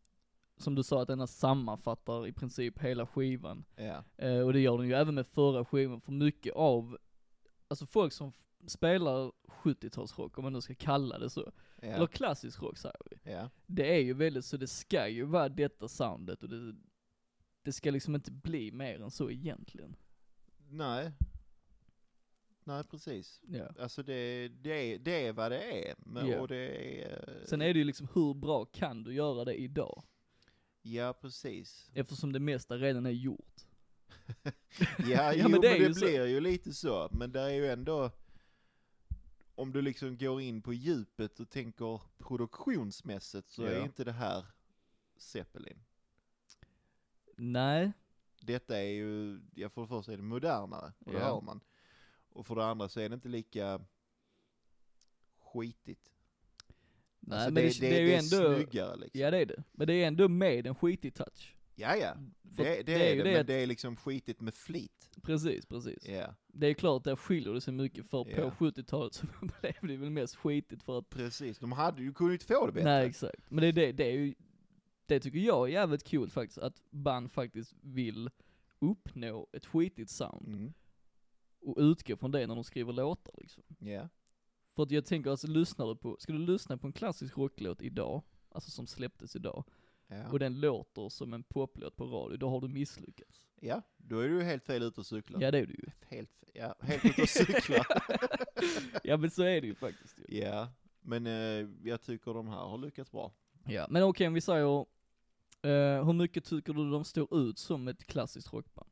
Speaker 1: som du sa att denna sammanfattar i princip hela skivan.
Speaker 2: Ja,
Speaker 1: Eh, och det gör den ju även med förra skivan, för mycket av, alltså folk som f- spelar 70-talsrock, om man nu ska kalla det så, eller
Speaker 2: ja,
Speaker 1: klassisk rock säger vi,
Speaker 2: ja,
Speaker 1: det är ju väldigt så, det ska ju vara detta soundet och det, det ska liksom inte bli mer än så egentligen.
Speaker 2: Nej. Nej, precis.
Speaker 1: Ja.
Speaker 2: Alltså det, det, är- det är vad det är. Men,
Speaker 1: Ja.
Speaker 2: och det är... eh,
Speaker 1: Sen är det ju liksom, hur bra kan du göra det idag?
Speaker 2: Ja, precis.
Speaker 1: Eftersom det mesta redan är gjort.
Speaker 2: Ja,
Speaker 1: Ja,
Speaker 2: jo,
Speaker 1: men
Speaker 2: men
Speaker 1: det
Speaker 2: det,
Speaker 1: är ju så.
Speaker 2: blir ju lite så. Men det är ju ändå, om du liksom går in på djupet och tänker produktionsmässigt så är
Speaker 1: Ja.
Speaker 2: inte det här Zeppelin.
Speaker 1: Nej,
Speaker 2: Detta är ju, ja för det första är det modernare, och det
Speaker 1: Ja.
Speaker 2: hör man. Och för det andra så är det inte lika skitigt.
Speaker 1: nej
Speaker 2: Alltså,
Speaker 1: men det, det, är ju ändå,
Speaker 2: snyggare liksom.
Speaker 1: ja det är det. Men det är ändå med en skitig touch.
Speaker 2: Ja, ja.
Speaker 1: För
Speaker 2: Det, det,
Speaker 1: det är
Speaker 2: är,
Speaker 1: ju
Speaker 2: det,
Speaker 1: det
Speaker 2: men
Speaker 1: att-
Speaker 2: det är liksom skitigt med flit.
Speaker 1: Precis, precis.
Speaker 2: Ja,
Speaker 1: Det är klart, där skiljer det sig mycket för på
Speaker 2: Ja.
Speaker 1: 70-talet så blev det väl mest skitigt för att,
Speaker 2: precis. De hade ju, kunde ju inte få det bättre.
Speaker 1: nej exakt. Men det, är det, det är ju, det tycker jag är jävligt kul faktiskt, att band faktiskt vill uppnå ett skitigt sound
Speaker 2: Mm.
Speaker 1: och utgå från det när de skriver låtar liksom.
Speaker 2: Ja,
Speaker 1: För att jag tänker, alltså lyssnar du på, ska du lyssna på en klassisk rocklåt idag, alltså som släpptes idag,
Speaker 2: ja.
Speaker 1: och den låter som en poplåt på radio, då har du misslyckats.
Speaker 2: ja, då är du ju helt fel ute och cyklar.
Speaker 1: Ja det är du ju.
Speaker 2: Helt, ja, helt ute och cyklar.
Speaker 1: ja men så är det ju faktiskt ju.
Speaker 2: ja, men eh, jag tycker de här har lyckats bra.
Speaker 1: Ja, men okej om vi säger, eh, hur mycket tycker du de står ut som ett klassiskt rockband?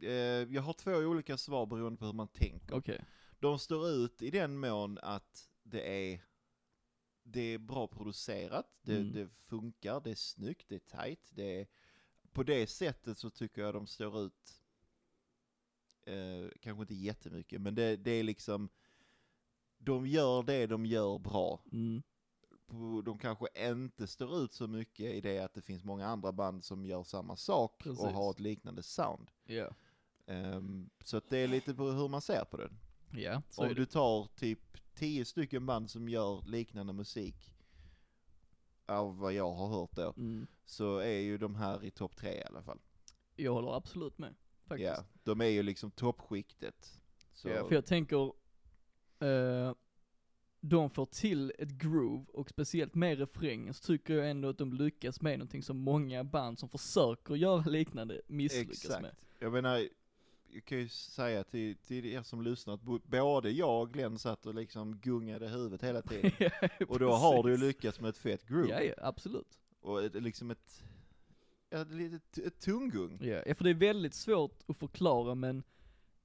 Speaker 2: Eh, jag har två olika svar beroende på hur man tänker.
Speaker 1: Okej.
Speaker 2: De står ut i den mån att det är det är bra producerat, det,
Speaker 1: Mm.
Speaker 2: det funkar, det är snyggt, det är tight, det är... På det sättet så tycker jag de står ut, eh, kanske inte jättemycket, men det, det är liksom, de gör det de gör bra.
Speaker 1: Mm.
Speaker 2: På- De kanske inte står ut så mycket i det att det finns många andra band som gör samma sak och
Speaker 1: Precis.
Speaker 2: har ett liknande sound.
Speaker 1: Ja.
Speaker 2: Ehm, så att det är lite på hur man ser på det.
Speaker 1: Ja, så
Speaker 2: Om
Speaker 1: är det.
Speaker 2: du tar typ tio stycken band som gör liknande musik, av vad jag har hört då,
Speaker 1: Mm.
Speaker 2: så är ju de här i topp tre i alla fall.
Speaker 1: Jag håller absolut med.
Speaker 2: Ja,
Speaker 1: Faktiskt.
Speaker 2: de är ju liksom toppskiktet. Så,
Speaker 1: Ja, för jag tänker, eh, de får till ett groove och speciellt med refrängen så tycker jag ändå att de lyckas med någonting som många band som försöker göra liknande misslyckas med.
Speaker 2: exakt. Jag menar, jag kan ju säga till, till er som lyssnar att bo- både jag och Glenn satt och liksom gungade huvudet hela tiden. och då har du ju lyckats med ett fett groove.
Speaker 1: Ja, ja, absolut.
Speaker 2: Och ett, liksom ett, ja, ett, ett tunggung.
Speaker 1: Ja, ja, för det är väldigt svårt att förklara men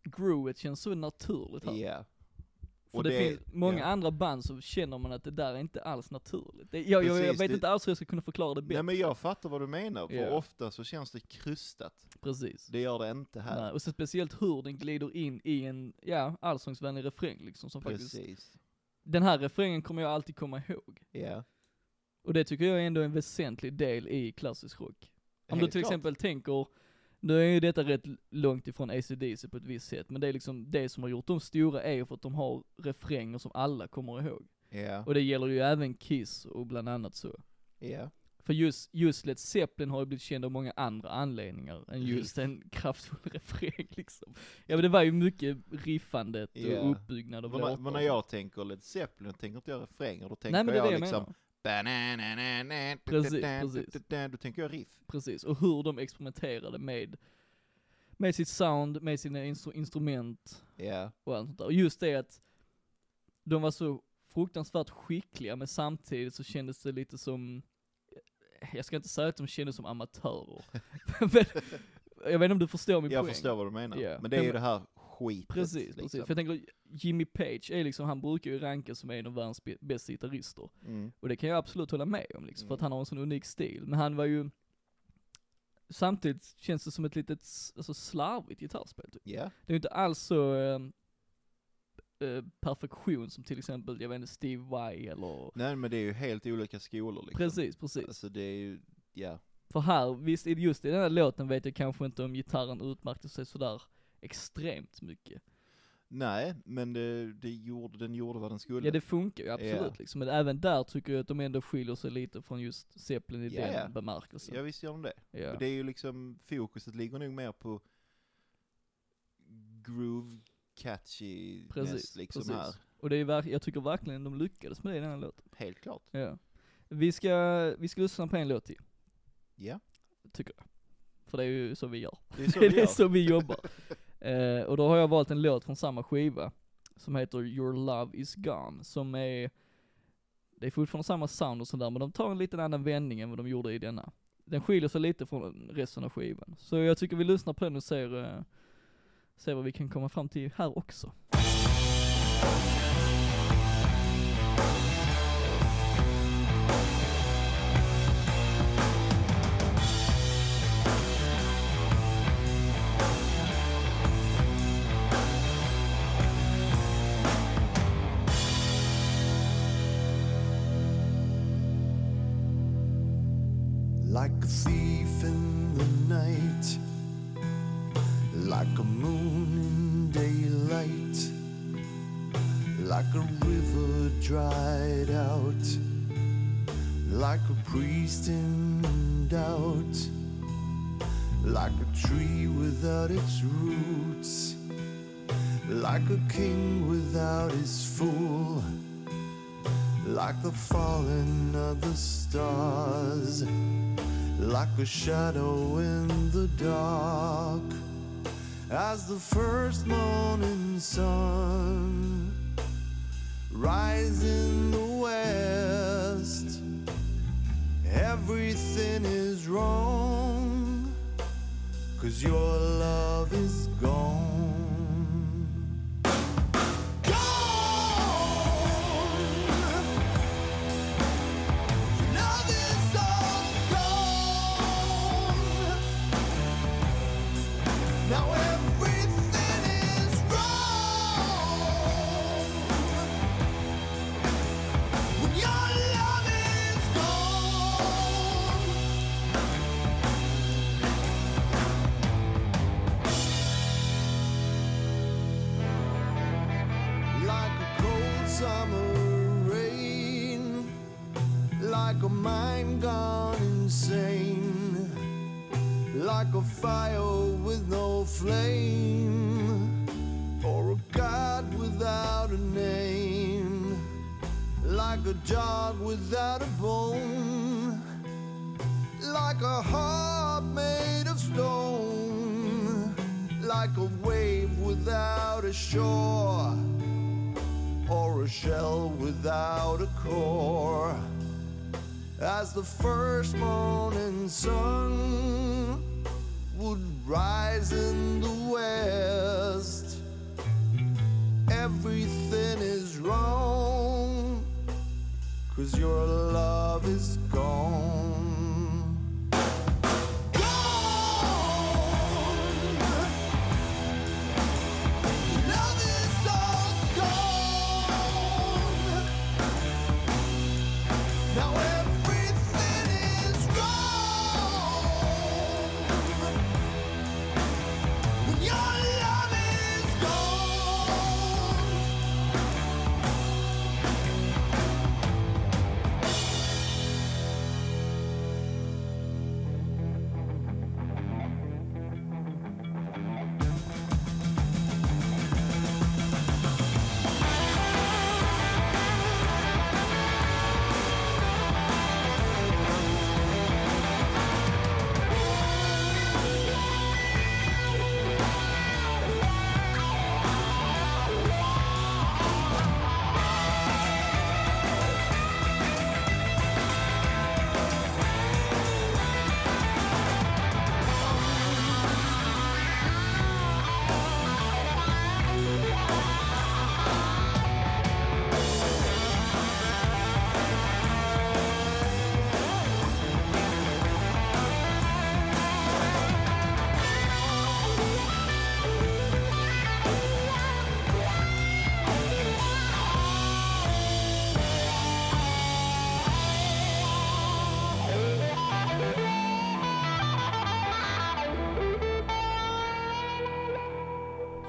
Speaker 1: groovet känns så naturligt här.
Speaker 2: Ja.
Speaker 1: För
Speaker 2: och
Speaker 1: det,
Speaker 2: det-
Speaker 1: finns många
Speaker 2: ja.
Speaker 1: andra band så känner man att det där är inte alls naturligt. Det, jag, jag, jag
Speaker 2: Precis,
Speaker 1: vet
Speaker 2: det-
Speaker 1: inte alls hur jag ska kunna förklara det bättre.
Speaker 2: Nej men jag fattar vad du menar, för
Speaker 1: Ja.
Speaker 2: ofta så känns det krystat.
Speaker 1: Precis.
Speaker 2: Det gör det inte här.
Speaker 1: Nej, Eh, och så speciellt hur den glider in i en, ja, allsångsvänlig refräng liksom som faktiskt,
Speaker 2: Precis.
Speaker 1: den här refrängen kommer jag alltid komma ihåg.
Speaker 2: Ja.
Speaker 1: Och det tycker jag är ändå en väsentlig del i klassisk rock. Om du
Speaker 2: Helt
Speaker 1: till
Speaker 2: klart.
Speaker 1: exempel tänker, nu är ju detta rätt långt ifrån ACDC på ett visst sätt, men det är liksom det som har gjort dem stora är ju för att de har refränger som alla kommer ihåg.
Speaker 2: Ja.
Speaker 1: Och det gäller ju även Kiss och bland annat så.
Speaker 2: Ja.
Speaker 1: För just, just Led Zeppelin har ju blivit känd av många andra anledningar än just
Speaker 2: Riff.
Speaker 1: en kraftfull refräng liksom. Ja men det var ju mycket riffandet
Speaker 2: Ja.
Speaker 1: och uppbyggnad av
Speaker 2: Men när-
Speaker 1: låtar.
Speaker 2: men när jag tänker Led Zeppelin, tänker inte jag refränger, då
Speaker 1: Nej
Speaker 2: tänker
Speaker 1: men det är det
Speaker 2: jag
Speaker 1: jag
Speaker 2: liksom...
Speaker 1: menar.
Speaker 2: Banananana,
Speaker 1: Precis,
Speaker 2: da-da-dan,
Speaker 1: precis.
Speaker 2: da-da-dan, Då tänker jag riff.
Speaker 1: Precis, och hur de experimenterade med, med sitt sound, med sina instru- instrument
Speaker 2: Ja.
Speaker 1: och allt sånt där. Och just det att de var så fruktansvärt skickliga men samtidigt så kändes det lite som, jag ska inte säga att de kändes som amatörer. men, jag vet inte om du förstår min
Speaker 2: Jag
Speaker 1: poäng.
Speaker 2: förstår vad du menar.
Speaker 1: Ja.
Speaker 2: Men det är ju
Speaker 1: Men-
Speaker 2: det här skitet.
Speaker 1: Precis,
Speaker 2: liksom.
Speaker 1: precis. För jag tänker, Jimmy Page är liksom, han brukar ju rankas som en av världens bä- bästa gitarrister.
Speaker 2: Mm.
Speaker 1: Och det kan jag absolut hålla med om liksom, för att
Speaker 2: Mm.
Speaker 1: han har en sån unik stil. Men han var ju, samtidigt känns det som ett litet, s- alltså slarvigt gitarrspel typ.
Speaker 2: Ja.
Speaker 1: Det är ju inte alls så eh, eh, perfektion som till exempel, jag vet inte, Steve Vai eller...
Speaker 2: Nej men det är ju helt olika skolor liksom.
Speaker 1: Precis, precis.
Speaker 2: Alltså det är ju, ja.
Speaker 1: För här, visst, i- just i den här låten vet jag kanske inte om gitarren utmärkte sig sådär extremt mycket.
Speaker 2: Nej, men det, det gjorde, den gjorde vad den skulle.
Speaker 1: Ja det funkar ju absolut
Speaker 2: Ja.
Speaker 1: liksom, men även där tycker jag att de ändå skiljer sig lite från just Zeppelin i
Speaker 2: Ja, ja.
Speaker 1: den bemärkelsen.
Speaker 2: ja visst gör de det.
Speaker 1: Ja.
Speaker 2: Och Det är ju liksom, fokuset ligger nog mer på groove catchy
Speaker 1: Precis,
Speaker 2: liksom
Speaker 1: precis.
Speaker 2: här.
Speaker 1: Och det är verk- jag tycker verkligen de lyckades med det i den här låten.
Speaker 2: Helt klart.
Speaker 1: Ja. Vi ska, vi ska lyssna på en låt till,
Speaker 2: Ja,
Speaker 1: tycker jag. För det är ju så vi gör.
Speaker 2: det är så
Speaker 1: det
Speaker 2: vi
Speaker 1: är
Speaker 2: gör.
Speaker 1: så vi jobbar. Eh, och då har jag valt en låt från samma skiva, som heter Your Love Is Gone, som är, det är fortfarande samma sound och sådär, men de tar en liten annan vändning än vad de gjorde i denna. Den skiljer sig lite från resten av skivan. Så jag tycker vi lyssnar på den och ser, eh, ser vad vi kan komma fram till här också.
Speaker 3: Like a thief in the night, like a moon in daylight, like a river dried out, like a priest in doubt, like a tree without its roots, like a king without his fool, like the falling of the stars like a shadow in the dark as the first morning sun rises in the west everything is wrong cause your love is gone gone like a mind gone insane, like a fire with no flame, or a god without a name, like a dog without a bone, like a heart made of stone, like a wave without a shore or a shell without a core. As the first morning sun would rise in the west, everything is wrong, cause your love is gone. Gone! Love is all gone. Now everything is wrong. When your love is gone.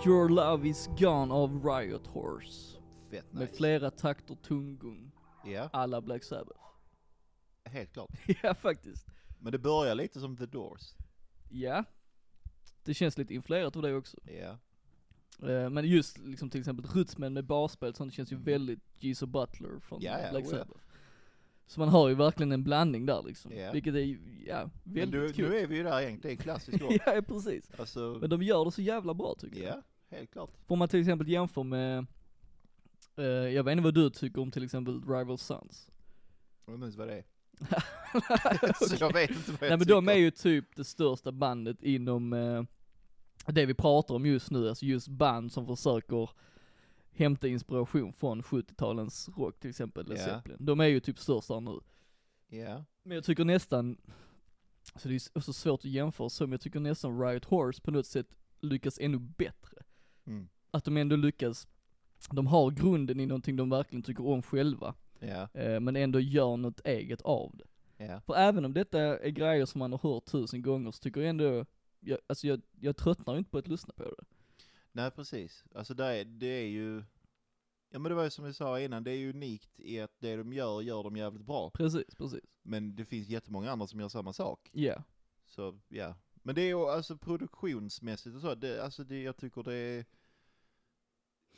Speaker 1: Your Love Is Gone av Riot Horse.
Speaker 2: Fett
Speaker 1: Med
Speaker 2: nice.
Speaker 1: flera takter tumgung.
Speaker 2: Ja,
Speaker 1: Alla Black Sabbath.
Speaker 2: helt klart.
Speaker 1: ja, faktiskt.
Speaker 2: Men det börjar lite som The Doors.
Speaker 1: Ja. Det känns lite influerat av det också.
Speaker 2: Ja,
Speaker 1: Eh, Men just liksom till exempel rytmen med basspel sånt känns ju
Speaker 2: Mm.
Speaker 1: väldigt Geezer Butler från
Speaker 2: Ja, ja,
Speaker 1: Black
Speaker 2: oh ja.
Speaker 1: Sabbath. Så man har ju verkligen en blandning där liksom.
Speaker 2: Ja.
Speaker 1: Vilket är ju, ja,
Speaker 2: men du,
Speaker 1: väldigt
Speaker 2: nu
Speaker 1: kul.
Speaker 2: är vi ju där egentligen, det är en klassisk rock.
Speaker 1: ja, precis.
Speaker 2: Alltså,
Speaker 1: Men de gör det så jävla bra tycker jag.
Speaker 2: ja, helt klart.
Speaker 1: Får man till exempel jämför med, eh, jag vet inte vad du tycker om till exempel Rival Sons.
Speaker 2: Jag vet inte ens vad det är. Så jag vet inte vad jag
Speaker 1: Nej men
Speaker 2: tycker.
Speaker 1: de är ju typ det största bandet inom eh, det vi pratar om just nu, alltså just band som försöker hämta inspiration från 70-talens rock till exempel, Led
Speaker 2: Ja.
Speaker 1: Zeppelin. De är ju typ största nu.
Speaker 2: Ja,
Speaker 1: Men jag tycker nästan, alltså det är så- så svårt att jämföra så, men jag tycker nästan Riot Horse på något sätt lyckas ännu bättre.
Speaker 2: Mm.
Speaker 1: Att de ändå lyckas, de har grunden i någonting de verkligen tycker om själva,
Speaker 2: ja,
Speaker 1: eh, men ändå gör något eget av det.
Speaker 2: ja.
Speaker 1: För även om detta är grejer som man har hört tusen gånger så tycker jag ändå, jag, alltså jag, jag tröttnar ju inte på att lyssna på det.
Speaker 2: Nej, precis. Alltså där är, det är ju... Ja men det var ju som jag sa innan, det är ju unikt i att det de gör, gör de jävligt bra.
Speaker 1: Precis, precis.
Speaker 2: Men det finns jättemånga andra som gör samma sak.
Speaker 1: Ja.
Speaker 2: Så ja. Men det är ju alltså produktionsmässigt och så, det, alltså det, jag tycker det är...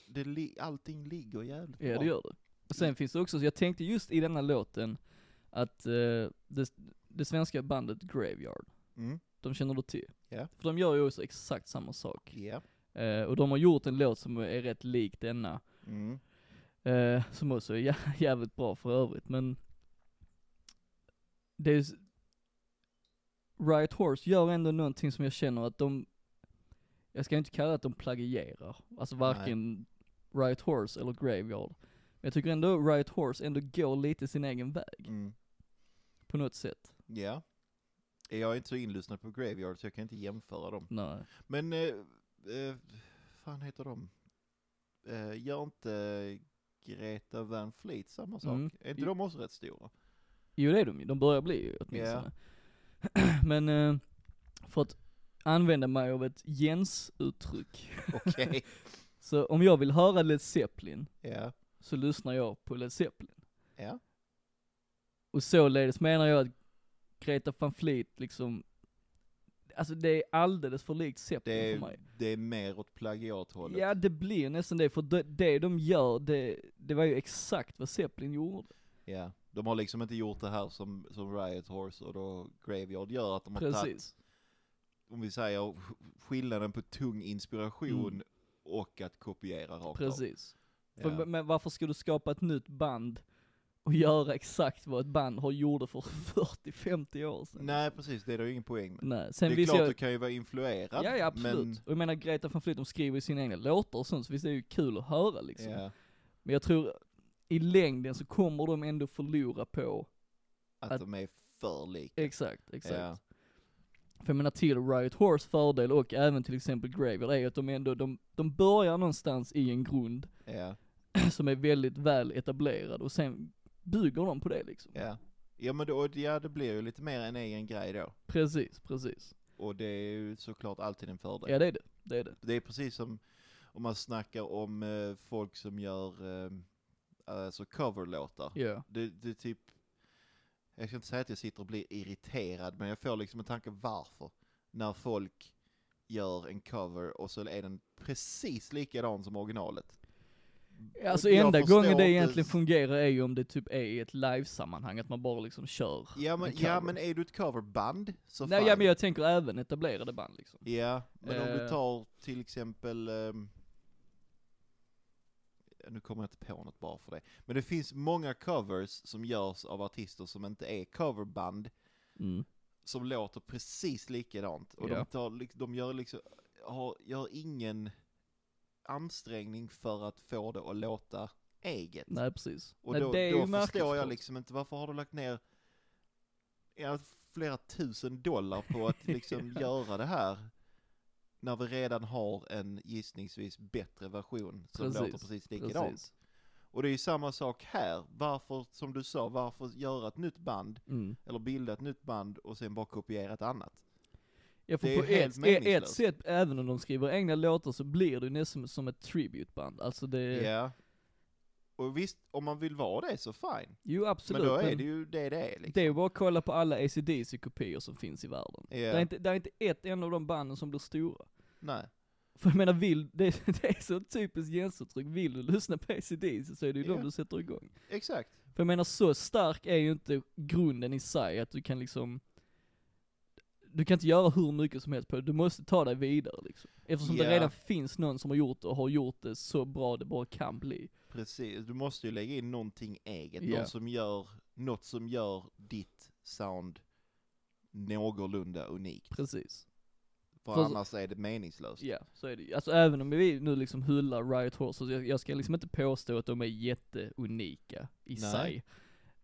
Speaker 2: Det, li- allting ligger jävligt
Speaker 1: Ja
Speaker 2: bra.
Speaker 1: det gör det. Och sen finns det också, jag tänkte just i denna låten att eh, det, det svenska bandet Graveyard,
Speaker 2: Mm.
Speaker 1: de känner du till.
Speaker 2: Ja.
Speaker 1: För de gör ju också exakt samma sak.
Speaker 2: Ja.
Speaker 1: Eh, och de har gjort en låt som är rätt lik denna,
Speaker 2: Mm.
Speaker 1: eh, som också är jä- jävligt bra för övrigt men det är s- Riot Horse gör ändå någonting som jag känner att de, jag ska inte kalla att de plagierar, alltså varken Riot Horse eller Graveyard. Men jag tycker ändå Riot Horse ändå går lite sin egen väg,
Speaker 2: Mm.
Speaker 1: på något sätt.
Speaker 2: Ja. Jag är inte så inlyssnad på Graveyard så jag kan inte jämföra dem.
Speaker 1: Nej.
Speaker 2: Men, eh, eh, fan heter de? Eh, gör inte Greta Van Fleet samma sak?
Speaker 1: Mm.
Speaker 2: Är inte de också rätt stora?
Speaker 1: Jo det är de ju, de börjar bli ju åtminstone. Men eh, för att använda mig av ett Jens-uttryck,
Speaker 2: Okej.
Speaker 1: så om jag vill höra Led Zeppelin
Speaker 2: ja.
Speaker 1: så lyssnar jag på Led Zeppelin.
Speaker 2: Ja.
Speaker 1: Och således menar jag att Greta van Fleet liksom, alltså det är alldeles för likt Zeppelin
Speaker 2: Det
Speaker 1: för mig.
Speaker 2: är, det är mer åt plagiathållet.
Speaker 1: Ja det blir nästan det, för det, det de gör, det, det var ju exakt vad Zeppelin gjorde.
Speaker 2: Ja. De har liksom inte gjort det här som, som Riot Horse och då Graveyard gör, att de har tagit,
Speaker 1: Precis.
Speaker 2: om vi säger sk- skillnaden på tung inspiration
Speaker 1: Mm.
Speaker 2: och att kopiera rakt av.
Speaker 1: Precis. För,
Speaker 2: Ja.
Speaker 1: Men varför ska du skapa ett nytt band och göra exakt vad ett band har gjort för 40-50 år sedan?
Speaker 2: Nej precis, det är det ju ingen poäng med.
Speaker 1: Nej. Sen
Speaker 2: det är
Speaker 1: visst
Speaker 2: klart,
Speaker 1: jag,
Speaker 2: du kan ju vara influerad.
Speaker 1: ja, ja absolut.
Speaker 2: Men,
Speaker 1: Och jag menar Greta van Fleet, de skriver ju sina egna låtar och sånt, så visst är det ju kul att höra liksom.
Speaker 2: ja,
Speaker 1: Men jag tror, i längden så kommer de ändå förlora på,
Speaker 2: att,
Speaker 1: Att-
Speaker 2: de är för lika.
Speaker 1: exakt, exakt.
Speaker 2: Ja.
Speaker 1: För jag menar till Riot Horse fördel och även till exempel Graveyard är ju att de ändå, de, de börjar någonstans i en grund
Speaker 2: Ja,
Speaker 1: som är väldigt väl etablerad och sen bygger de på det liksom.
Speaker 2: ja. Ja men då, ja, det blir ju lite mer en egen grej då.
Speaker 1: Precis, precis.
Speaker 2: Och det är ju såklart alltid en fördel.
Speaker 1: Ja det är det, det är det.
Speaker 2: Det är precis som om man snackar om eh, folk som gör eh, alltså coverlåtar.
Speaker 1: Ja.
Speaker 2: Det, det är typ, jag ska inte säga att jag sitter och blir irriterad, men jag får liksom en tanke varför. När folk gör en cover och så är den precis likadan som originalet.
Speaker 1: Alltså
Speaker 2: Jag
Speaker 1: enda
Speaker 2: förstår
Speaker 1: gången det
Speaker 2: inte-
Speaker 1: egentligen fungerar är ju om det typ är i ett livesammanhang, att man bara liksom kör.
Speaker 2: Ja men,
Speaker 1: en cover.
Speaker 2: ja, men är du ett coverband så
Speaker 1: Nej
Speaker 2: fine.
Speaker 1: ja, men jag tänker även etablerade band liksom.
Speaker 2: Ja, men om du
Speaker 1: Eh.
Speaker 2: tar till exempel... ehm, nu kommer jag inte på något bara för det. Men det finns många covers som görs av artister som inte är coverband,
Speaker 1: Mm.
Speaker 2: som låter precis likadant. Och
Speaker 1: Ja.
Speaker 2: de, tar, lik- de gör liksom, har, gör ingen ansträngning för att få det att låta eget.
Speaker 1: Nej precis.
Speaker 2: Och
Speaker 1: Nej,
Speaker 2: då,
Speaker 1: det är
Speaker 2: då
Speaker 1: ju märkligt
Speaker 2: förstår jag
Speaker 1: såklart.
Speaker 2: liksom inte, varför har du lagt ner ja, flera tusen dollar på att liksom
Speaker 1: Ja.
Speaker 2: göra det här? När vi redan har en gissningsvis bättre version
Speaker 1: Precis,
Speaker 2: som liksom låter precis likadant.
Speaker 1: precis.
Speaker 2: Och det är ju samma sak här, varför, som du sa, varför göra ett nytt band,
Speaker 1: Mm.
Speaker 2: eller bilda ett nytt band och sen bara kopiera ett annat?
Speaker 1: Ja, för
Speaker 2: Det är
Speaker 1: på
Speaker 2: ju helt
Speaker 1: ett, ett, ett
Speaker 2: meningslöst.
Speaker 1: sätt, även om de skriver egna låtar så blir det ju nästan som ett tributeband. Alltså det,
Speaker 2: Ja. Och visst, om man vill vara det så fine.
Speaker 1: jo absolut.
Speaker 2: men då är det ju det det är liksom.
Speaker 1: det är ju bara att kolla på alla ACDC kopior som finns i världen.
Speaker 2: Ja.
Speaker 1: Det, är inte, det är inte ett enda av de banden som blir stora.
Speaker 2: Nej.
Speaker 1: För jag menar, vill, det, det är så typiskt gästuttryck, vill du lyssna på ACDC så är det ju
Speaker 2: Ja.
Speaker 1: de du sätter igång.
Speaker 2: Exakt.
Speaker 1: För jag menar, så stark är ju inte grunden i sig att du kan liksom, du kan inte göra hur mycket som helst på det, du måste ta dig vidare liksom. Eftersom
Speaker 2: Ja.
Speaker 1: det redan finns någon som har gjort det och har gjort det så bra det bara kan bli.
Speaker 2: Precis, du måste ju lägga in någonting eget,
Speaker 1: Ja.
Speaker 2: någon som gör, något som gör ditt sound någorlunda unikt.
Speaker 1: Precis.
Speaker 2: För
Speaker 1: För-
Speaker 2: annars är det meningslöst.
Speaker 1: Ja, så är det ju. Alltså även om vi nu liksom hyllar Riot Horse, så jag, jag ska liksom inte påstå att de är jätteunika i
Speaker 2: Nej.
Speaker 1: sig.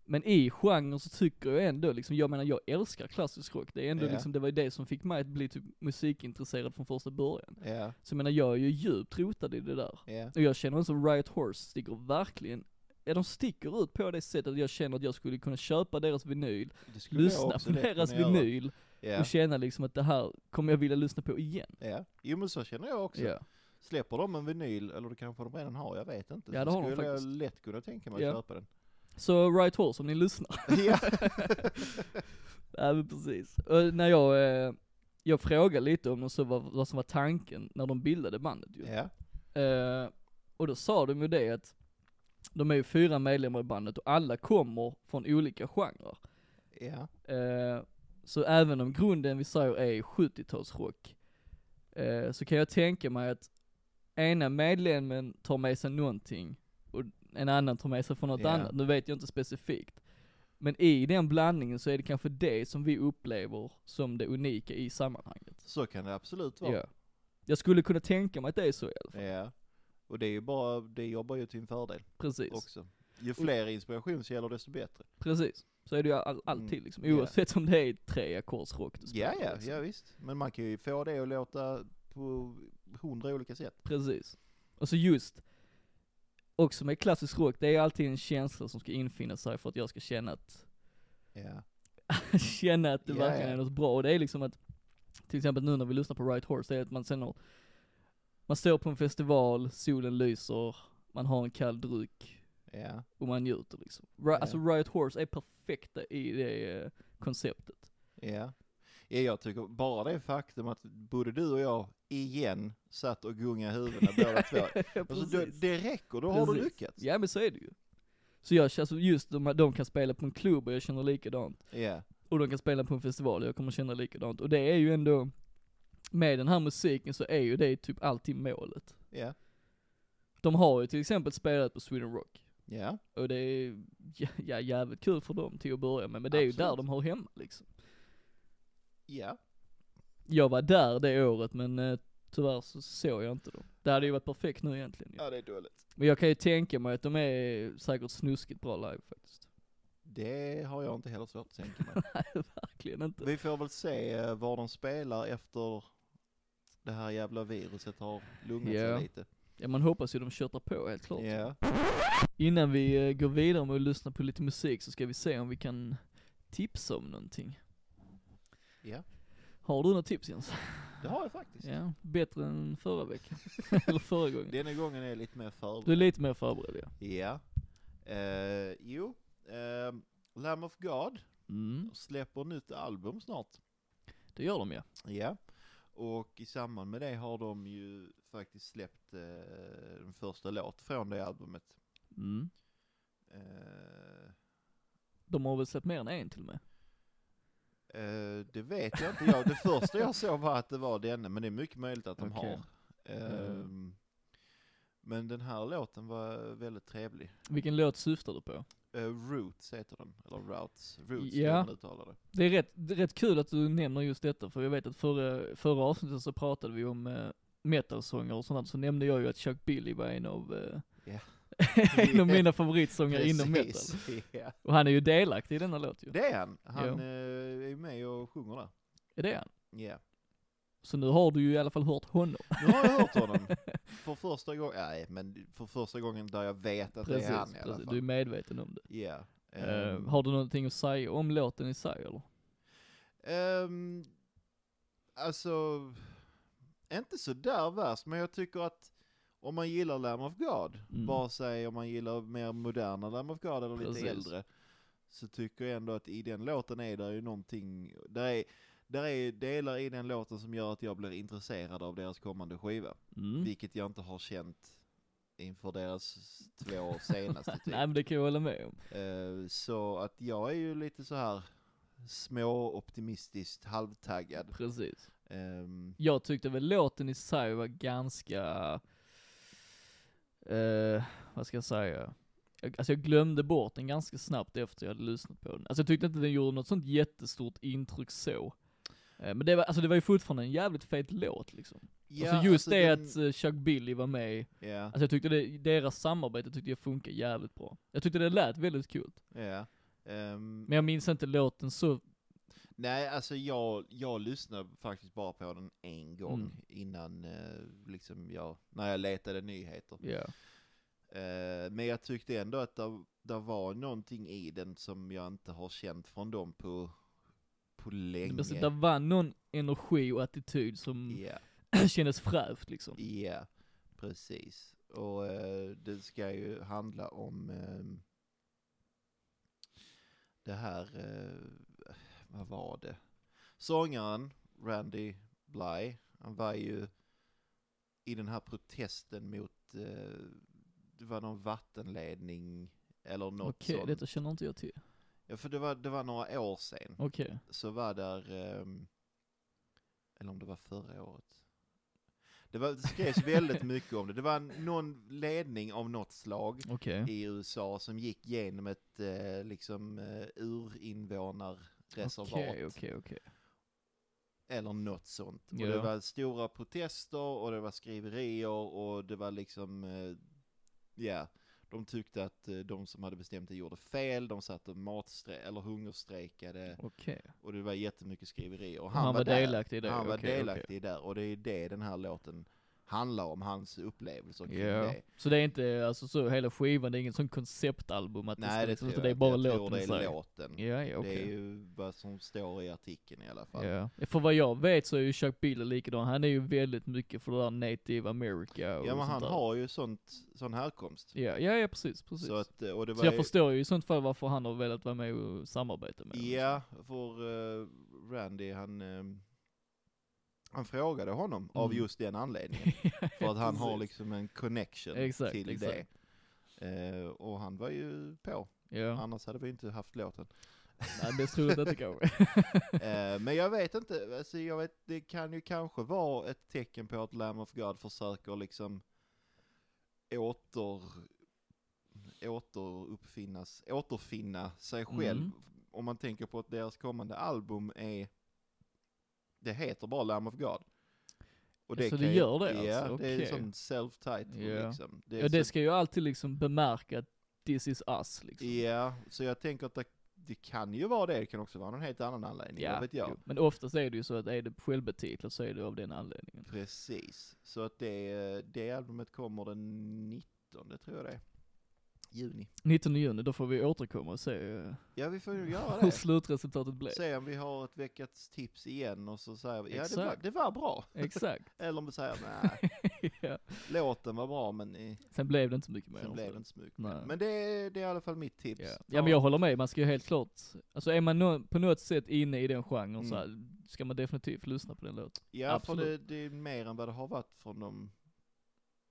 Speaker 1: Men i genren så tycker jag ändå liksom, jag menar jag älskar klassisk rock, det är ändå
Speaker 2: Ja.
Speaker 1: liksom, det var ju det som fick mig att bli typ musikintresserad från första början.
Speaker 2: Ja,
Speaker 1: Så jag menar jag är ju djupt rotad i det där.
Speaker 2: ja,
Speaker 1: Och jag känner som Riot Horse sticker verkligen, ja de sticker ut på det sättet att jag känner att jag skulle kunna köpa deras vinyl,
Speaker 2: det skulle jag
Speaker 1: lyssna
Speaker 2: också
Speaker 1: på
Speaker 2: lätt
Speaker 1: deras
Speaker 2: kunna göra.
Speaker 1: vinyl
Speaker 2: Ja,
Speaker 1: och känna liksom att det här kommer jag vilja lyssna på igen.
Speaker 2: ja. Jo men så känner jag också.
Speaker 1: Ja.
Speaker 2: Släpper de en vinyl, eller det kanske de redan har, jag vet inte.
Speaker 1: Ja,
Speaker 2: så
Speaker 1: det har de
Speaker 2: skulle jag
Speaker 1: faktiskt.
Speaker 2: lätt kunna tänka mig
Speaker 1: Ja.
Speaker 2: att köpa den.
Speaker 1: Så Right Horse om ni lyssnar.
Speaker 2: ja.
Speaker 1: ja men precis. Och när jag, eh, jag frågade lite om de så var, vad som var tanken när de bildade bandet ju.
Speaker 2: ja,
Speaker 1: Eh, och då sa de ju det att de är ju fyra medlemmar i bandet och alla kommer från olika genrer.
Speaker 2: ja,
Speaker 1: Eh, så även om grunden vi säger är 70-talsrock, eh, så kan jag tänka mig att ena medlemmen tar med sig någonting och en annan tar med sig från något
Speaker 2: Ja.
Speaker 1: annat. Nu vet jag inte specifikt. Men i den blandningen så är det kanske det som vi upplever som det unika i sammanhanget.
Speaker 2: så kan det absolut vara.
Speaker 1: Ja. Jag skulle kunna tänka mig att det är så i alla fall.
Speaker 2: ja. Och det är ju bara, det jobbar ju till en fördel
Speaker 1: Precis,
Speaker 2: också. Ju fler inspirationskällor desto bättre.
Speaker 1: precis. Så är det ju all, alltid liksom,
Speaker 2: Mm. Ja.
Speaker 1: oavsett om det är tre ackordsrock du
Speaker 2: Ja,
Speaker 1: spelar.
Speaker 2: ja,
Speaker 1: liksom.
Speaker 2: ja visst. Men man kan ju få det att låta på hundra olika sätt.
Speaker 1: Precis. Och så just, också med klassisk rock, det är alltid en känsla som ska infinna sig för att jag ska känna att,
Speaker 2: Ja.
Speaker 1: känna att det
Speaker 2: Ja,
Speaker 1: verkligen
Speaker 2: ja.
Speaker 1: är något bra. Och det är liksom att, till exempel nu när vi lyssnar på Right Horse, det är att man sen har, man står på en festival, solen lyser, man har en kall dryck,
Speaker 2: Ja.
Speaker 1: och man njuter liksom. Ri-
Speaker 2: Ja.
Speaker 1: Alltså Riot Horse är perfekta i det eh, konceptet.
Speaker 2: Ja. ja. Jag tycker bara det faktum att både du och jag igen satt och gungade huvudena båda två. Alltså, det,
Speaker 1: Precis.
Speaker 2: det räcker, då har du
Speaker 1: Precis.
Speaker 2: lyckats.
Speaker 1: Ja men så är det ju. Så jag, alltså just de, de kan spela på en klubb och jag känner likadant.
Speaker 2: Ja.
Speaker 1: Och de kan spela på en festival och jag kommer känna likadant. Och det är ju ändå, med den här musiken så är ju det typ alltid målet.
Speaker 2: Ja.
Speaker 1: De har ju till exempel spelat på Sweden Rock.
Speaker 2: Ja.
Speaker 1: Och det är ja, ja, jävligt kul för dem till att börja med, men det är ju
Speaker 2: Absolut.
Speaker 1: där de hör hemma liksom.
Speaker 2: Ja.
Speaker 1: Jag var där det året men eh, tyvärr så såg jag inte dem. Det hade ju varit perfekt nu egentligen. ju.
Speaker 2: Ja, det är dåligt.
Speaker 1: Men jag kan ju tänka mig att de är säkert snuskigt bra live faktiskt.
Speaker 2: Det har jag inte heller svårt att tänka mig.
Speaker 1: Nej verkligen inte.
Speaker 2: Vi får väl se eh, var de spelar efter det här jävla viruset har lugnat
Speaker 1: Ja.
Speaker 2: sig lite.
Speaker 1: Ja man hoppas ju de köttar på helt klart.
Speaker 2: Ja.
Speaker 1: Innan vi eh, går vidare med att lyssna på lite musik så ska vi se om vi kan tipsa om någonting.
Speaker 2: Ja.
Speaker 1: Har du något tips Jens?
Speaker 2: Det har jag faktiskt.
Speaker 1: Ja, bättre än förra veckan. Eller förra gången.
Speaker 2: Denna gången är jag lite mer förberedd.
Speaker 1: Du är lite mer förberedd ja.
Speaker 2: Ja. Eh, jo. Eh, Lamb of God
Speaker 1: Mm,
Speaker 2: släpper nytt album snart.
Speaker 1: det gör de ja.
Speaker 2: Ja. Och i samband med det har de ju faktiskt släppt eh, den första låt från det albumet.
Speaker 1: Mm.
Speaker 2: Eh,
Speaker 1: De har väl släppt mer än en till och med?
Speaker 2: eh, det vet jag inte. Jag, det första jag såg var att det var denna, men det är mycket möjligt att de
Speaker 1: Okej. Mm.
Speaker 2: har. Ehm, Men den här låten var väldigt trevlig.
Speaker 1: Vilken låt syftar du på?
Speaker 2: Eh, Roots heter den, eller Routes. Roots
Speaker 1: Ja.
Speaker 2: yeah. uttalar det.
Speaker 1: Det är, rätt, det är rätt kul att du nämner just detta, för jag vet att förra, förra avsnittet så pratade vi om eh, metalsånger och sådant, så nämnde jag ju att Chuck Billy var en av, eh,
Speaker 2: Ja.
Speaker 1: en av mina favoritsångare inom metal.
Speaker 2: Precis, Ja.
Speaker 1: Och han är ju delaktig i denna låt ju.
Speaker 2: Det är han. Han
Speaker 1: Ja.
Speaker 2: eh, är ju med och sjunger där.
Speaker 1: Är det han?
Speaker 2: Ja.
Speaker 1: Så nu har du ju i alla fall hört honom.
Speaker 2: Nu har jag hört honom. För första gången, nej men för första gången där jag vet att
Speaker 1: Precis,
Speaker 2: det är han i alla
Speaker 1: precis. du är
Speaker 2: fall.
Speaker 1: medveten om det.
Speaker 2: Ja.
Speaker 1: Eh,
Speaker 2: Ehm,
Speaker 1: har du någonting att säga om låten i sig eller?
Speaker 2: Ehm, alltså, inte så där värst, men jag tycker att om man gillar Lamb of God,
Speaker 1: Mm.
Speaker 2: vare sig om man gillar mer moderna Lamb of God eller
Speaker 1: Precis.
Speaker 2: lite äldre, så tycker jag ändå att i den låten är det ju någonting, där är, där är delar i den låten som gör att jag blir intresserad av deras kommande skiva,
Speaker 1: Mm.
Speaker 2: vilket jag inte har känt inför deras två senaste typ.
Speaker 1: Nej men det kan jag hålla med om.
Speaker 2: Eh, Så att jag är ju lite så här små optimistiskt halvtaggad.
Speaker 1: Precis.
Speaker 2: Ehm,
Speaker 1: Jag tyckte väl låten i sig var ganska, eh, vad ska jag säga? Jag, alltså jag glömde bort den ganska snabbt efter jag hade lyssnat på den. Alltså jag tyckte inte den gjorde något sånt jättestort intryck så. Eh, men det var, alltså det var ju fortfarande en jävligt fet låt liksom. alltså just det
Speaker 2: den-
Speaker 1: att eh, Chuck Billy var med,
Speaker 2: Ja,
Speaker 1: alltså jag tyckte det, deras samarbete tyckte jag funkade jävligt bra. Jag tyckte det lät väldigt kul.
Speaker 2: ja. Ehm,
Speaker 1: Men jag minns inte låten så,
Speaker 2: nej, alltså jag, jag lyssnade faktiskt bara på den en gång
Speaker 1: Mm.
Speaker 2: innan eh, liksom jag, när jag letade nyheter.
Speaker 1: ja.
Speaker 2: Eh, men jag tyckte ändå att det, det var någonting i den som jag inte har känt från dem på, på länge.
Speaker 1: Precis, Alltså, där var någon energi och attityd som
Speaker 2: Ja.
Speaker 1: kändes fräscht liksom.
Speaker 2: Ja, precis. Och eh, det ska ju handla om ehm, det här, eh, vad var det? Sångaren Randy Bly, han var ju i den här protesten mot, eh, det var någon vattenledning eller något
Speaker 1: Okej,
Speaker 2: sånt.
Speaker 1: detta känner inte jag till.
Speaker 2: Ja, för det var, det var några år sedan.
Speaker 1: Okej.
Speaker 2: så var där, ehm, eller om det var förra året. Det, var, det skrevs väldigt mycket om det. Det var en- någon ledning av något slag
Speaker 1: Okej.
Speaker 2: i USA som gick genom ett eh, liksom eh, urinvånarreservat
Speaker 1: Okej, okej, okej.
Speaker 2: eller något sånt. Och det
Speaker 1: Ja.
Speaker 2: var stora protester och det var skriverier och det var liksom, eh, ja, de tyckte att eh, de som hade bestämt det gjorde fel, de satt och matstre- eller hungerstrejkade
Speaker 1: Okej.
Speaker 2: och det var jättemycket skriverier. Och
Speaker 1: Han var delaktig i det,
Speaker 2: Han var
Speaker 1: okej,
Speaker 2: delaktig där och det är det den här låten handlar om hans upplevelser kring
Speaker 1: Ja.
Speaker 2: det.
Speaker 1: Så det är inte, alltså så hela skivan, det är ingen sån konceptalbum att
Speaker 2: Nej,
Speaker 1: det
Speaker 2: det
Speaker 1: ska, liksom-
Speaker 2: tror
Speaker 1: utan
Speaker 2: jag
Speaker 1: det är
Speaker 2: inte.
Speaker 1: bara
Speaker 2: jag tror
Speaker 1: låten i
Speaker 2: det är
Speaker 1: sig.
Speaker 2: låten.
Speaker 1: Ja, ja, okej.
Speaker 2: Det är ju vad som står i artikeln i alla fall.
Speaker 1: Ja. För vad jag vet så är ju Chuck Biller likadan, han är ju väldigt mycket för det där native America och
Speaker 2: Ja men
Speaker 1: sånt
Speaker 2: han
Speaker 1: där.
Speaker 2: har ju sånt, sån härkomst.
Speaker 1: Ja, ja, ja precis, precis.
Speaker 2: Så,
Speaker 1: Så,
Speaker 2: att, och det var
Speaker 1: jag
Speaker 2: ju,
Speaker 1: förstår ju i sånt fall varför han har velat vara med och samarbeta med dem.
Speaker 2: Ja, för eh, Randy han, eh, han frågade honom av
Speaker 1: Mm.
Speaker 2: just den anledningen. för att han har
Speaker 1: Precis.
Speaker 2: liksom en connection
Speaker 1: Exakt,
Speaker 2: till
Speaker 1: exakt.
Speaker 2: det. Eh, och han var ju på,
Speaker 1: Ja,
Speaker 2: annars hade vi inte haft låten.
Speaker 1: nej det tror jag inte kanske.
Speaker 2: Eh, men jag vet inte, alltså jag vet, det kan ju kanske vara ett tecken på att Lamb of God försöker liksom åter, återuppfinnas, återfinna sig själv.
Speaker 1: Mm.
Speaker 2: Om man tänker på att deras kommande album är, det heter bara Lamb of God. Och
Speaker 1: Så det
Speaker 2: kan ju-
Speaker 1: gör det
Speaker 2: Ja,
Speaker 1: alltså?
Speaker 2: det är
Speaker 1: Okej.
Speaker 2: sån self-title
Speaker 1: Ja.
Speaker 2: liksom. Det är
Speaker 1: Ja det
Speaker 2: så,
Speaker 1: ska ju alltid liksom bemärka att this is us liksom.
Speaker 2: ja, så jag tänker att det, det kan ju vara det, det kan också vara någon helt annan anledning, vad vet jag.
Speaker 1: jo. men oftast är det ju så att är det självbetitlat så är det av den anledningen.
Speaker 2: Precis, så att det, det albumet kommer den 19, tror jag det är. Juni.
Speaker 1: 19 juni, då får vi återkomma och se eh,
Speaker 2: Ja, vi får ju göra
Speaker 1: hur
Speaker 2: det.
Speaker 1: slutresultatet blev.
Speaker 2: Se om vi har ett veckans tips igen och så säger vi, ja det var,
Speaker 1: Exakt.
Speaker 2: det var bra.
Speaker 1: Exakt.
Speaker 2: Eller om vi säger, nej,
Speaker 1: ja.
Speaker 2: låten var bra men eh,
Speaker 1: Sen blev det inte så mycket mer.
Speaker 2: sen
Speaker 1: av
Speaker 2: blev det inte så mycket.
Speaker 1: Nej.
Speaker 2: Men det, är- det är i alla fall mitt tips.
Speaker 1: Ja.
Speaker 2: Ta-
Speaker 1: ja men jag håller med, man ska ju helt klart, alltså är man nå- på något sätt inne i den genren
Speaker 2: Mm.
Speaker 1: så här, ska man definitivt lyssna på den låten.
Speaker 2: ja för det,
Speaker 1: absolut.
Speaker 2: det är mer än vad det har varit från dem,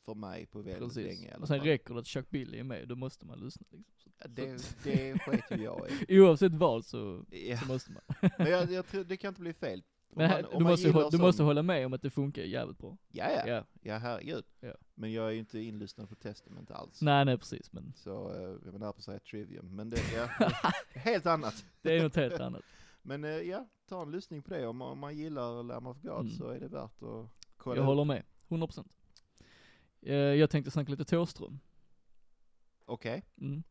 Speaker 2: för mig på väldigt länge i
Speaker 1: Precis.
Speaker 2: alla
Speaker 1: Och sen
Speaker 2: fall.
Speaker 1: räcker det att Chuck Billy är med, då måste man lyssna liksom. Så-
Speaker 2: Ja, det, det sket ju jag i.
Speaker 1: Oavsett vad så,
Speaker 2: Ja,
Speaker 1: så måste man.
Speaker 2: men jag, jag tror, det kan inte bli fel. Om
Speaker 1: Men här,
Speaker 2: man- om
Speaker 1: du,
Speaker 2: man
Speaker 1: måste, ju
Speaker 2: gillar
Speaker 1: hå- du
Speaker 2: sån-
Speaker 1: måste hålla med om att det funkar jävligt bra.
Speaker 2: Ja, ja.
Speaker 1: Ja.
Speaker 2: Ja, herregud.
Speaker 1: Ja.
Speaker 2: Men jag är ju inte inlyssnad på Testament alls.
Speaker 1: Nej nej precis, men
Speaker 2: Så eh, jag var nära på att säga Trivium, men det är helt annat.
Speaker 1: det är något helt annat.
Speaker 2: Men eh, ja, ta en lyssning på det. Om, om man gillar Lamb of God
Speaker 1: Mm.
Speaker 2: så är det värt att kolla.
Speaker 1: Jag
Speaker 2: upp.
Speaker 1: håller med, 100%. Eh, jag tänkte snacka lite Thåström.
Speaker 2: Okej,
Speaker 1: Mm.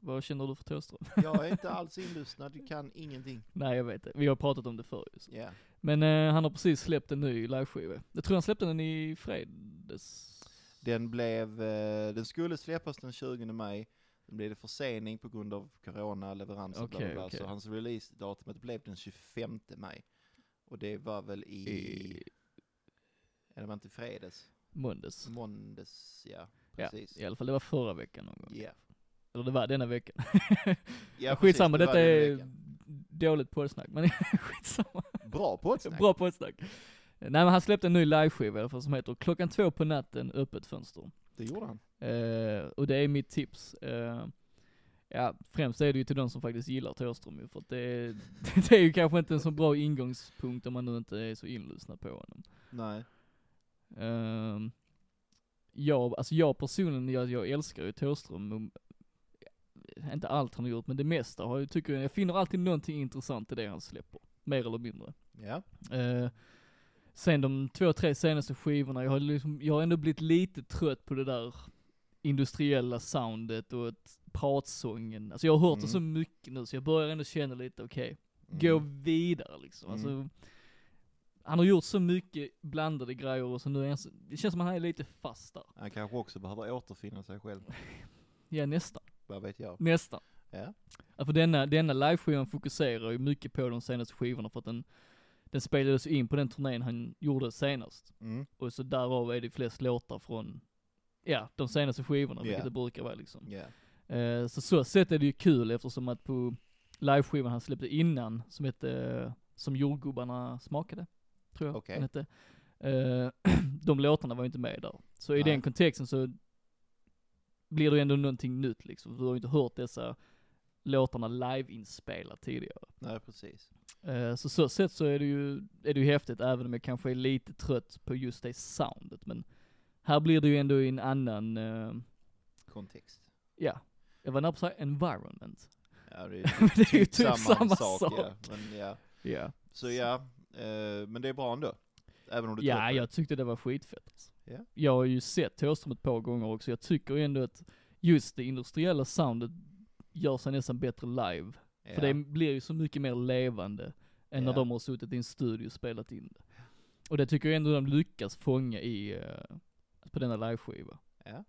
Speaker 1: Vad känner du för Thåström?
Speaker 2: jag är inte alls inlyssnad, jag kan ingenting.
Speaker 1: nej jag vet det, vi har pratat om det förr ju, så.
Speaker 2: Ja,
Speaker 1: Men eh, han har precis släppt en ny liveskiva. Jag tror han släppte den i fredags.
Speaker 2: Den blev, eh, den skulle släppas den 20 maj. Sen blev det försening på grund av corona, leveranser, bla, bla,
Speaker 1: Okej,
Speaker 2: bla.
Speaker 1: okej.
Speaker 2: Så hans release-datumet blev den 25 maj. Och det var väl i,
Speaker 1: I
Speaker 2: eller var inte fredags?
Speaker 1: måndags.
Speaker 2: Måndags, ja.
Speaker 1: Ja,
Speaker 2: Precis.
Speaker 1: I alla fall, det var förra veckan någon gång.
Speaker 2: Ja.
Speaker 1: Eller det var denna veckan.
Speaker 2: Ja,
Speaker 1: skitsamma,
Speaker 2: precis,
Speaker 1: detta
Speaker 2: det var den
Speaker 1: är
Speaker 2: veckan.
Speaker 1: dåligt poddsnack, men skitsamma.
Speaker 2: Bra poddsnack!
Speaker 1: Bra poddsnack. Nej men han släppte en ny liveskiva i alla fall som heter Klockan två på natten, öppet fönster.
Speaker 2: Det gjorde han.
Speaker 1: Eh, och det är mitt tips. Eh, ja, främst är det ju till de som faktiskt gillar Thåström ju, för att det är, det är ju kanske inte en så bra ingångspunkt om man nu inte är så inlyssnad på honom.
Speaker 2: Nej.
Speaker 1: Ehm, jag, alltså jag personligen, jag, jag älskar ju Thåström. om- Inte allt han har gjort, men det mesta har jag, tycker jag, jag finner alltid någonting intressant i det han släpper. Mer eller mindre.
Speaker 2: Ja.
Speaker 1: Eh, sen de två, tre senaste skivorna, jag har, liksom, jag har ändå blivit lite trött på det där industriella soundet och att pratsången. Alltså jag har hört det
Speaker 2: Mm.
Speaker 1: så mycket nu så jag börjar ändå känna lite, okej,
Speaker 2: Mm.
Speaker 1: gå vidare liksom.
Speaker 2: Mm.
Speaker 1: Alltså, han har gjort så mycket blandade grejer och så nu är han så, det känns som att han är lite fast där.
Speaker 2: Han kanske också behöver återfinna sig själv.
Speaker 1: Ja nästan,
Speaker 2: Vad vet jag.
Speaker 1: nästan.
Speaker 2: Ja.
Speaker 1: Ja, För denna, denna liveskivan fokuserar ju mycket på de senaste skivorna för att den, den spelades ju in på den turnén han gjorde senast.
Speaker 2: Mm.
Speaker 1: Och så därav är det flest låtar från, ja, de senaste skivorna, vilket
Speaker 2: Ja.
Speaker 1: det brukar vara liksom.
Speaker 2: Ja.
Speaker 1: Eh, så så sett är det ju kul eftersom att på liveskivan han släppte innan, som hette, som jordgubbarna smakade, tror jag
Speaker 2: Okej.
Speaker 1: den hette. Eh, de låtarna var ju inte med där. Så i
Speaker 2: Nej.
Speaker 1: den kontexten så blir det ju ändå någonting nytt liksom. Du har ju inte hört dessa låtarna live-inspelat tidigare.
Speaker 2: Nej, precis.
Speaker 1: Eh, Så så sett så är det, ju, är det ju häftigt, även om jag kanske är lite trött på just det soundet. Men här blir det ju ändå i en annan, eh,
Speaker 2: Kontext.
Speaker 1: ja, jag var nära på att säga environment.
Speaker 2: Ja, det är
Speaker 1: Men det är ju
Speaker 2: typ samma, sak. Ja. Men, ja.
Speaker 1: Ja,
Speaker 2: Så ja, eh, men det är bra ändå. Även om du
Speaker 1: ja
Speaker 2: tror
Speaker 1: jag tyckte det var skitfett alltså.
Speaker 2: Ja.
Speaker 1: Jag har ju sett Thåström ett par gånger också, jag tycker ändå att just det industriella soundet gör sig nästan bättre live.
Speaker 2: ja.
Speaker 1: För det blir ju så mycket mer levande än när
Speaker 2: Ja.
Speaker 1: de har suttit i en studio och spelat in det. Och det tycker jag ändå de lyckas fånga i, eh, på denna liveskiva.
Speaker 2: Ja.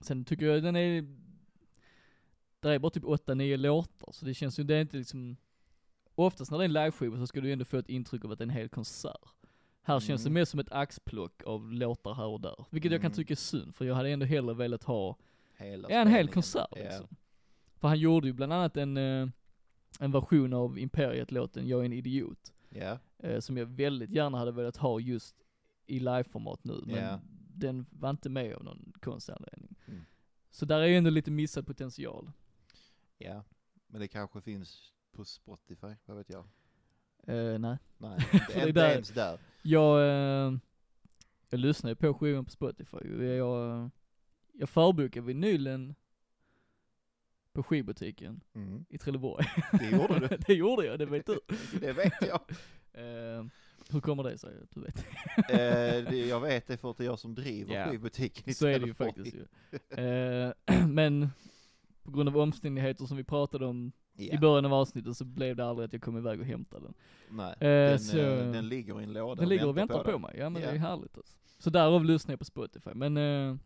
Speaker 1: Sen tycker jag den är, där är bara typ 8-9 låtar, så det känns ju, det är inte liksom, oftast när det är en liveskiva så ska du ändå få ett intryck av att det är en hel konsert. Här känns det
Speaker 2: Mm.
Speaker 1: mer som ett axplock av låtar här och där, vilket jag kan
Speaker 2: Mm.
Speaker 1: tycka är synd, för jag hade ändå hellre velat ha
Speaker 2: Hela
Speaker 1: Ja, en hel
Speaker 2: spelningen.
Speaker 1: konsert
Speaker 2: Ja.
Speaker 1: liksom. För han gjorde ju bland annat en, eh, en version av Imperiet-låten Jag är en idiot,
Speaker 2: Ja,
Speaker 1: eh, som jag väldigt gärna hade velat ha just i liveformat nu, men
Speaker 2: Ja.
Speaker 1: den var inte med av någon konstig anledning.
Speaker 2: Mm.
Speaker 1: Så där är ju ändå lite missad potential.
Speaker 2: ja. Men det kanske finns på Spotify, vad vet jag?
Speaker 1: Eh, nej.
Speaker 2: Nej, det är inte
Speaker 1: där-
Speaker 2: ens där.
Speaker 1: Jag, eh, jag lyssnar ju på skivan på Spotify, jag, eh, jag förbokar vinylen på skivbutiken
Speaker 2: Mm.
Speaker 1: i Trelleborg.
Speaker 2: Det gjorde du,
Speaker 1: det gjorde jag, det vet du.
Speaker 2: det vet jag.
Speaker 1: Eh, hur kommer det sig att du vet?
Speaker 2: Eh, det, jag vet det för att det är jag som driver
Speaker 1: Ja.
Speaker 2: skivbutiken i
Speaker 1: Så är det ju
Speaker 2: Trelleborg.
Speaker 1: faktiskt ju. Eh, men på grund av omständigheter som vi pratade om
Speaker 2: Ja.
Speaker 1: i början av avsnittet så blev det aldrig att jag kom iväg och hämtade den.
Speaker 2: Nej,
Speaker 1: Eh,
Speaker 2: den,
Speaker 1: så-
Speaker 2: eh, den ligger i en låda
Speaker 1: Den ligger och väntar på,
Speaker 2: dig.
Speaker 1: mig, ja men
Speaker 2: Ja.
Speaker 1: det är härligt alltså. Så därav lyssnar jag på Spotify, men eh,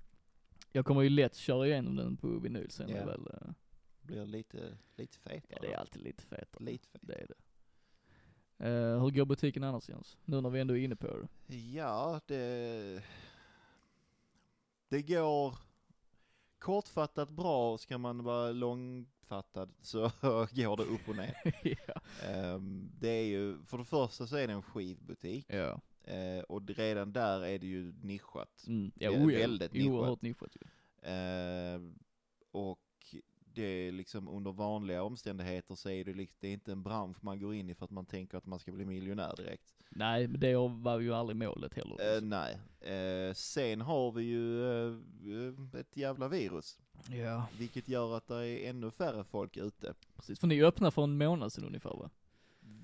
Speaker 1: jag kommer ju lätt köra igenom den på vinyl sen
Speaker 2: Ja.
Speaker 1: yeah. väl. eh,
Speaker 2: Blir lite, lite
Speaker 1: Ja
Speaker 2: fetare.
Speaker 1: det är alltid lite fetare.
Speaker 2: Lite fetare.
Speaker 1: Det är det. Eh, hur går butiken annars Jens? Nu när vi ändå är inne på det.
Speaker 2: Ja, det... Det går kortfattat bra, ska man vara långfattad så går det upp och ner.
Speaker 1: ja.
Speaker 2: Ehm, det är ju, för det första så är det en skivbutik
Speaker 1: ja.
Speaker 2: eh, och d- redan där är det ju nischat.
Speaker 1: Mm. ja,
Speaker 2: Det är
Speaker 1: oh, ja.
Speaker 2: väldigt
Speaker 1: Oerhört nischat ju.
Speaker 2: Ehm, och det är liksom under vanliga omständigheter så är det, liksom, det är inte en bransch man går in i för att man tänker att man ska bli miljonär direkt.
Speaker 1: Nej, men det var ju aldrig målet heller.
Speaker 2: Eh,
Speaker 1: liksom.
Speaker 2: nej. Eh, sen har vi ju eh, ett jävla virus,
Speaker 1: Ja,
Speaker 2: vilket gör att det är ännu färre folk ute.
Speaker 1: precis. För ni öppnar för en månad sedan ungefär va?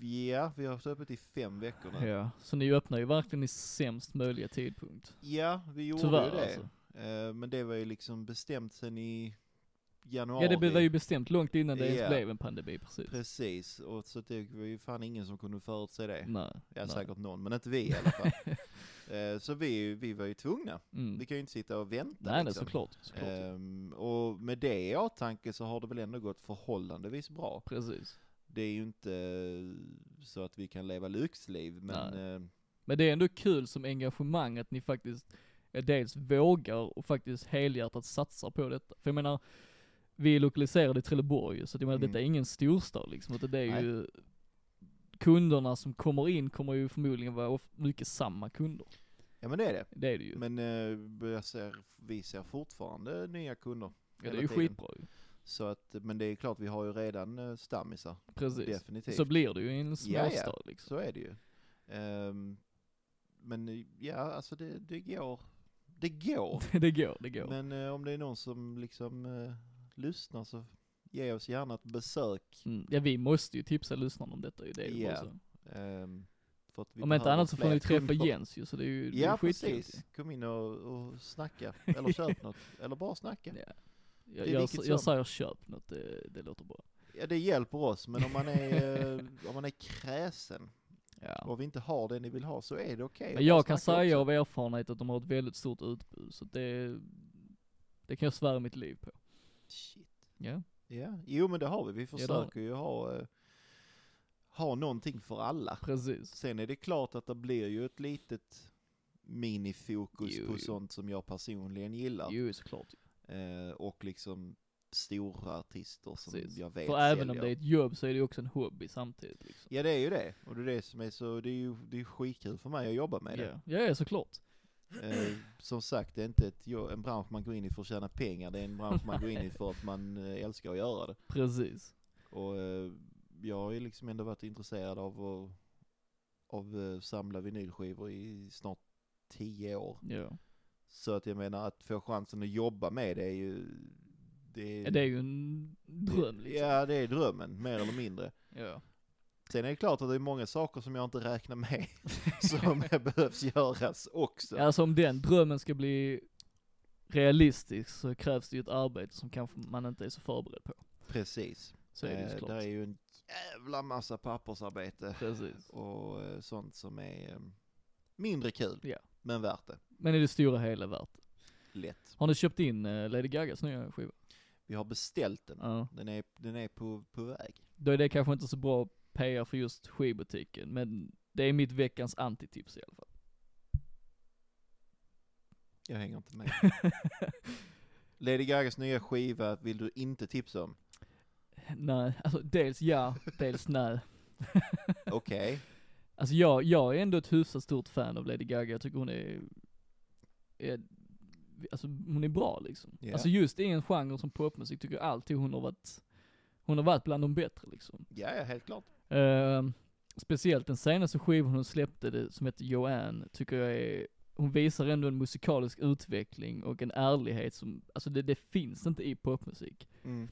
Speaker 2: Ja, vi har haft öppet i fem veckor nu.
Speaker 1: Ja. Så ni öppnar ju verkligen i sämst möjliga tidpunkt.
Speaker 2: Ja, vi gjorde
Speaker 1: Tyvärr
Speaker 2: ju det.
Speaker 1: alltså.
Speaker 2: Eh, men det var ju liksom bestämt sen i januari.
Speaker 1: Ja det var ju bestämt långt innan det
Speaker 2: Ja.
Speaker 1: ens blev en pandemi precis.
Speaker 2: Precis, och så det var ju fan ingen som kunde förutse det.
Speaker 1: Nej.
Speaker 2: Ja,
Speaker 1: nej.
Speaker 2: säkert någon, men inte vi i alla fall. eh, så vi, vi var ju tvungna.
Speaker 1: Mm.
Speaker 2: Vi kan ju inte sitta och vänta
Speaker 1: Nej, nej
Speaker 2: liksom.
Speaker 1: såklart. såklart.
Speaker 2: Ehm, och med det i åtanke så har det väl ändå gått förhållandevis bra.
Speaker 1: Precis.
Speaker 2: Det är ju inte eh, så att vi kan leva lyxliv, men eh,
Speaker 1: Men det är ändå kul som engagemang att ni faktiskt eh, dels vågar och faktiskt helhjärtat satsar på detta. För jag menar, vi är lokaliserade i Trelleborg ju, så att jag menar
Speaker 2: Mm.
Speaker 1: detta är ingen storstad liksom, utan det är
Speaker 2: Nej.
Speaker 1: ju kunderna som kommer in kommer ju förmodligen vara of- mycket samma kunder.
Speaker 2: ja men det är det.
Speaker 1: Det är det ju.
Speaker 2: Men eh, jag ser, vi ser fortfarande nya kunder.
Speaker 1: ja, det är
Speaker 2: hela
Speaker 1: ju
Speaker 2: tiden.
Speaker 1: skitbra ju.
Speaker 2: Så att, men det är klart, vi har ju redan eh, stammisar,
Speaker 1: Precis.
Speaker 2: definitivt.
Speaker 1: Så blir det ju i en
Speaker 2: Ja, ja.
Speaker 1: småstad liksom.
Speaker 2: Så är det ju. Ehm, men eh, ja, alltså det, det går. Det går.
Speaker 1: det går, det går.
Speaker 2: Men eh, om det är någon som liksom eh, lyssnar så ge oss gärna ett besök.
Speaker 1: Mm. Ja vi måste ju tipsa lyssnarna om detta ju, det är ju
Speaker 2: Ja.
Speaker 1: bara så.
Speaker 2: Ehm, för att vi
Speaker 1: Om inte
Speaker 2: behöver
Speaker 1: annat så får
Speaker 2: fler
Speaker 1: ni träffa
Speaker 2: kunder.
Speaker 1: Jens ju, så det är ju det är
Speaker 2: Ja,
Speaker 1: ju skitkul ju.
Speaker 2: precis. Kom in och, och snacka, eller köp något, eller bara snacka.
Speaker 1: Ja. Jag,
Speaker 2: Det är
Speaker 1: jag,
Speaker 2: vilket
Speaker 1: jag
Speaker 2: som.
Speaker 1: säger köp något, det, det låter bra.
Speaker 2: Ja, det hjälper oss, men om man är, eh, om man är kräsen
Speaker 1: Ja.
Speaker 2: och vi inte har det ni vill ha så är det okej. att
Speaker 1: Men jag
Speaker 2: bara
Speaker 1: kan
Speaker 2: snacka
Speaker 1: säga
Speaker 2: också.
Speaker 1: av erfarenhet att de har ett väldigt stort utbud, så det, det kan jag svära mitt liv på.
Speaker 2: Shit.
Speaker 1: Ja,
Speaker 2: Ja, jo men det har vi. Vi
Speaker 1: det har
Speaker 2: försöker ju ha, eh, ha någonting för alla.
Speaker 1: precis.
Speaker 2: Sen är det klart att det blir ju ett litet minifokus
Speaker 1: Jo,
Speaker 2: på
Speaker 1: jo.
Speaker 2: sånt som jag personligen gillar.
Speaker 1: Jo, såklart.
Speaker 2: Eh, och liksom stora artister som
Speaker 1: Precis.
Speaker 2: jag vet
Speaker 1: För även om
Speaker 2: säljer.
Speaker 1: det är ett jobb så är det ju också en hobby samtidigt liksom.
Speaker 2: Ja det är ju det, och det är det som är så, det är ju det är skitkul för mig att jobba med det.
Speaker 1: Ja, ja såklart.
Speaker 2: Eh, som sagt, det är inte ett, jo- en bransch man går in i för att tjäna pengar, det är en bransch man går in i för att man eh, älskar att göra det.
Speaker 1: Precis.
Speaker 2: Och eh, jag har ju liksom ändå varit intresserad av att av eh, samla vinylskivor i snart tio år.
Speaker 1: Ja.
Speaker 2: Så att jag menar att få chansen att jobba med det är ju...
Speaker 1: Ja, Det är ju en dröm liksom.
Speaker 2: Ja, det är drömmen, mer eller mindre.
Speaker 1: Ja.
Speaker 2: Sen är det klart att det är många saker som jag inte räknar med som behövs göras också.
Speaker 1: Alltså om den drömmen ska bli realistisk så krävs det ju ett arbete som kanske man inte är så förberedd på.
Speaker 2: Precis.
Speaker 1: Så är det ju
Speaker 2: Eh, där är
Speaker 1: såklart.
Speaker 2: ju en jävla massa pappersarbete
Speaker 1: Precis.
Speaker 2: och eh, sånt som är... eh, Mindre kul,
Speaker 1: Ja.
Speaker 2: men värt det.
Speaker 1: Men i det stora hela värt det.
Speaker 2: Lätt.
Speaker 1: Har ni köpt in eh, Lady Gagas nya skiva?
Speaker 2: Vi har beställt den.
Speaker 1: Ja.
Speaker 2: Den är, den är på, på väg.
Speaker 1: Då är det kanske inte så bra PR för just skivbutiken, men det är mitt veckans antitips i alla fall.
Speaker 2: Jag hänger inte med. Lady Gagas nya skiva vill du inte tipsa om.
Speaker 1: nej, alltså dels ja, dels nej.
Speaker 2: Okej.
Speaker 1: Alltså jag, jag är ändå ett hyfsat stort fan av Lady Gaga, jag tycker hon är, är alltså hon är bra liksom.
Speaker 2: Ja.
Speaker 1: Alltså just i en genre som popmusik tycker jag alltid hon har varit, hon har varit bland de bättre liksom.
Speaker 2: Ja, ja, helt klart.
Speaker 1: Ehm, speciellt den senaste skivan hon släppte, det, som heter Joanne, tycker jag är, hon visar ändå en musikalisk utveckling och en ärlighet som, alltså det, det finns inte i popmusik.
Speaker 2: Mm.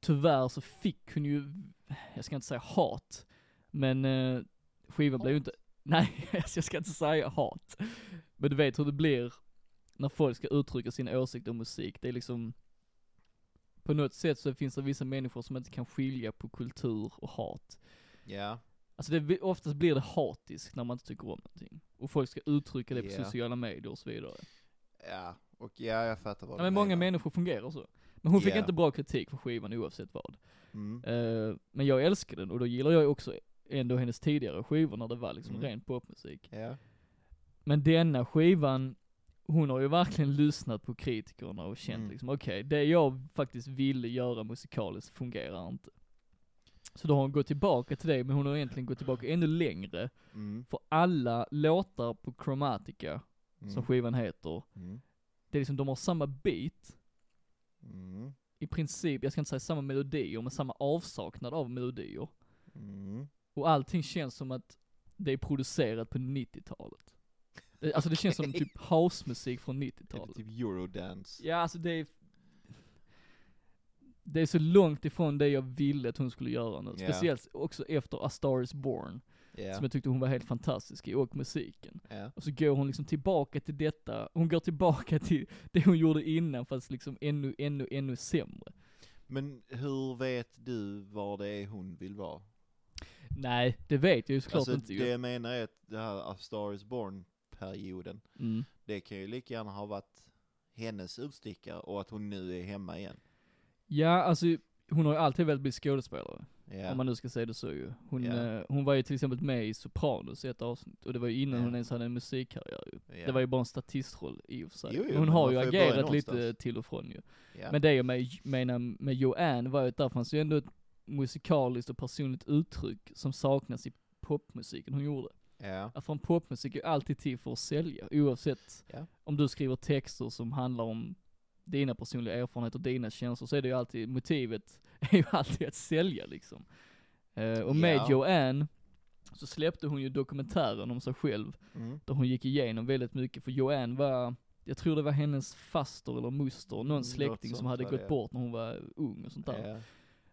Speaker 1: Tyvärr så fick hon ju, jag ska inte säga hat, men eh, skivan blev ju inte, nej alltså jag ska inte säga hat. Men du vet hur det blir när folk ska uttrycka sin åsikt om musik, det är liksom på något sätt så finns det vissa människor som inte kan skilja på kultur och hat.
Speaker 2: Ja,
Speaker 1: Alltså det, oftast blir det hatiskt när man inte tycker om någonting. Och folk ska uttrycka det
Speaker 2: Ja.
Speaker 1: på sociala medier och så vidare.
Speaker 2: ja, och ja, jag fattar vad
Speaker 1: Ja,
Speaker 2: du
Speaker 1: men många
Speaker 2: menar.
Speaker 1: människor fungerar så. Men hon fick
Speaker 2: Ja.
Speaker 1: inte bra kritik för skivan oavsett vad.
Speaker 2: Mm.
Speaker 1: Eh, men jag älskar den och då gillar jag också ändå hennes tidigare skivor när det var liksom
Speaker 2: Mm.
Speaker 1: ren popmusik.
Speaker 2: Ja,
Speaker 1: Men denna skivan, hon har ju verkligen lyssnat på kritikerna och känt
Speaker 2: Mm.
Speaker 1: liksom okej, det jag faktiskt ville göra musikaliskt fungerar inte. Så då har hon gått tillbaka till det, men hon har egentligen gått tillbaka ännu längre
Speaker 2: mm.
Speaker 1: För alla låtar på Chromatica,
Speaker 2: Mm.
Speaker 1: som skivan heter,
Speaker 2: Mm.
Speaker 1: det är liksom, de har samma beat,
Speaker 2: Mm.
Speaker 1: i princip, jag ska inte säga samma melodier, men samma avsaknad av melodier.
Speaker 2: Mm.
Speaker 1: Och allting känns som att det är producerat på 90-talet. Det- Alltså det känns som
Speaker 2: Okej.
Speaker 1: typ housemusik från
Speaker 2: Är det
Speaker 1: 90-talet.
Speaker 2: typ eurodance?
Speaker 1: Ja, alltså det är... Det är så långt ifrån det jag ville att hon skulle göra nu.
Speaker 2: Ja.
Speaker 1: Speciellt också efter A Star Is Born,
Speaker 2: Ja,
Speaker 1: som jag tyckte hon var helt fantastisk i, och musiken.
Speaker 2: ja,
Speaker 1: Och så går hon liksom tillbaka till detta, hon går tillbaka till det hon gjorde innan fast liksom ännu, ännu, ännu sämre.
Speaker 2: Men hur vet du var det är hon vill vara?
Speaker 1: Nej, det vet jag ju såklart
Speaker 2: Alltså
Speaker 1: inte
Speaker 2: det
Speaker 1: ju.
Speaker 2: jag menar är att det här A Star Is Born-perioden,
Speaker 1: Mm.
Speaker 2: det kan ju lika gärna ha varit hennes utstickare och att hon nu är hemma igen.
Speaker 1: Ja, alltså hon har ju alltid velat bli skådespelare,
Speaker 2: Ja,
Speaker 1: om man nu ska säga det så ju. Hon,
Speaker 2: Ja.
Speaker 1: eh, hon var ju till exempel med i Sopranos i ett avsnitt, och det var ju innan
Speaker 2: Ja.
Speaker 1: hon ens hade en musikkarriär ju.
Speaker 2: ja,
Speaker 1: Det var ju bara en statistroll i och för sig.
Speaker 2: Jo, jo,
Speaker 1: Men hon
Speaker 2: men
Speaker 1: har
Speaker 2: man
Speaker 1: ju
Speaker 2: får ju börja
Speaker 1: agerat lite
Speaker 2: någonstans.
Speaker 1: till och från ju.
Speaker 2: ja.
Speaker 1: Men det jag med- menar med Joanne var ju att där fanns ju ändå ett musikaliskt och personligt uttryck som saknas i popmusiken hon gjorde.
Speaker 2: ja.
Speaker 1: Att Från popmusik är ju alltid till för att sälja, oavsett
Speaker 2: Ja.
Speaker 1: om du skriver texter som handlar om dina personliga erfarenheter och dina känslor så är det ju alltid, motivet är ju alltid att sälja liksom. Eh, och med
Speaker 2: Ja.
Speaker 1: Joanne så släppte hon ju dokumentären om sig själv,
Speaker 2: Mm.
Speaker 1: där hon gick igenom väldigt mycket, för Joanne var, jag tror det var hennes faster eller moster, någon
Speaker 2: Mm, Något
Speaker 1: släkting som
Speaker 2: sånt
Speaker 1: hade
Speaker 2: var
Speaker 1: gått
Speaker 2: det.
Speaker 1: bort när hon var ung och sånt där.
Speaker 2: Ja.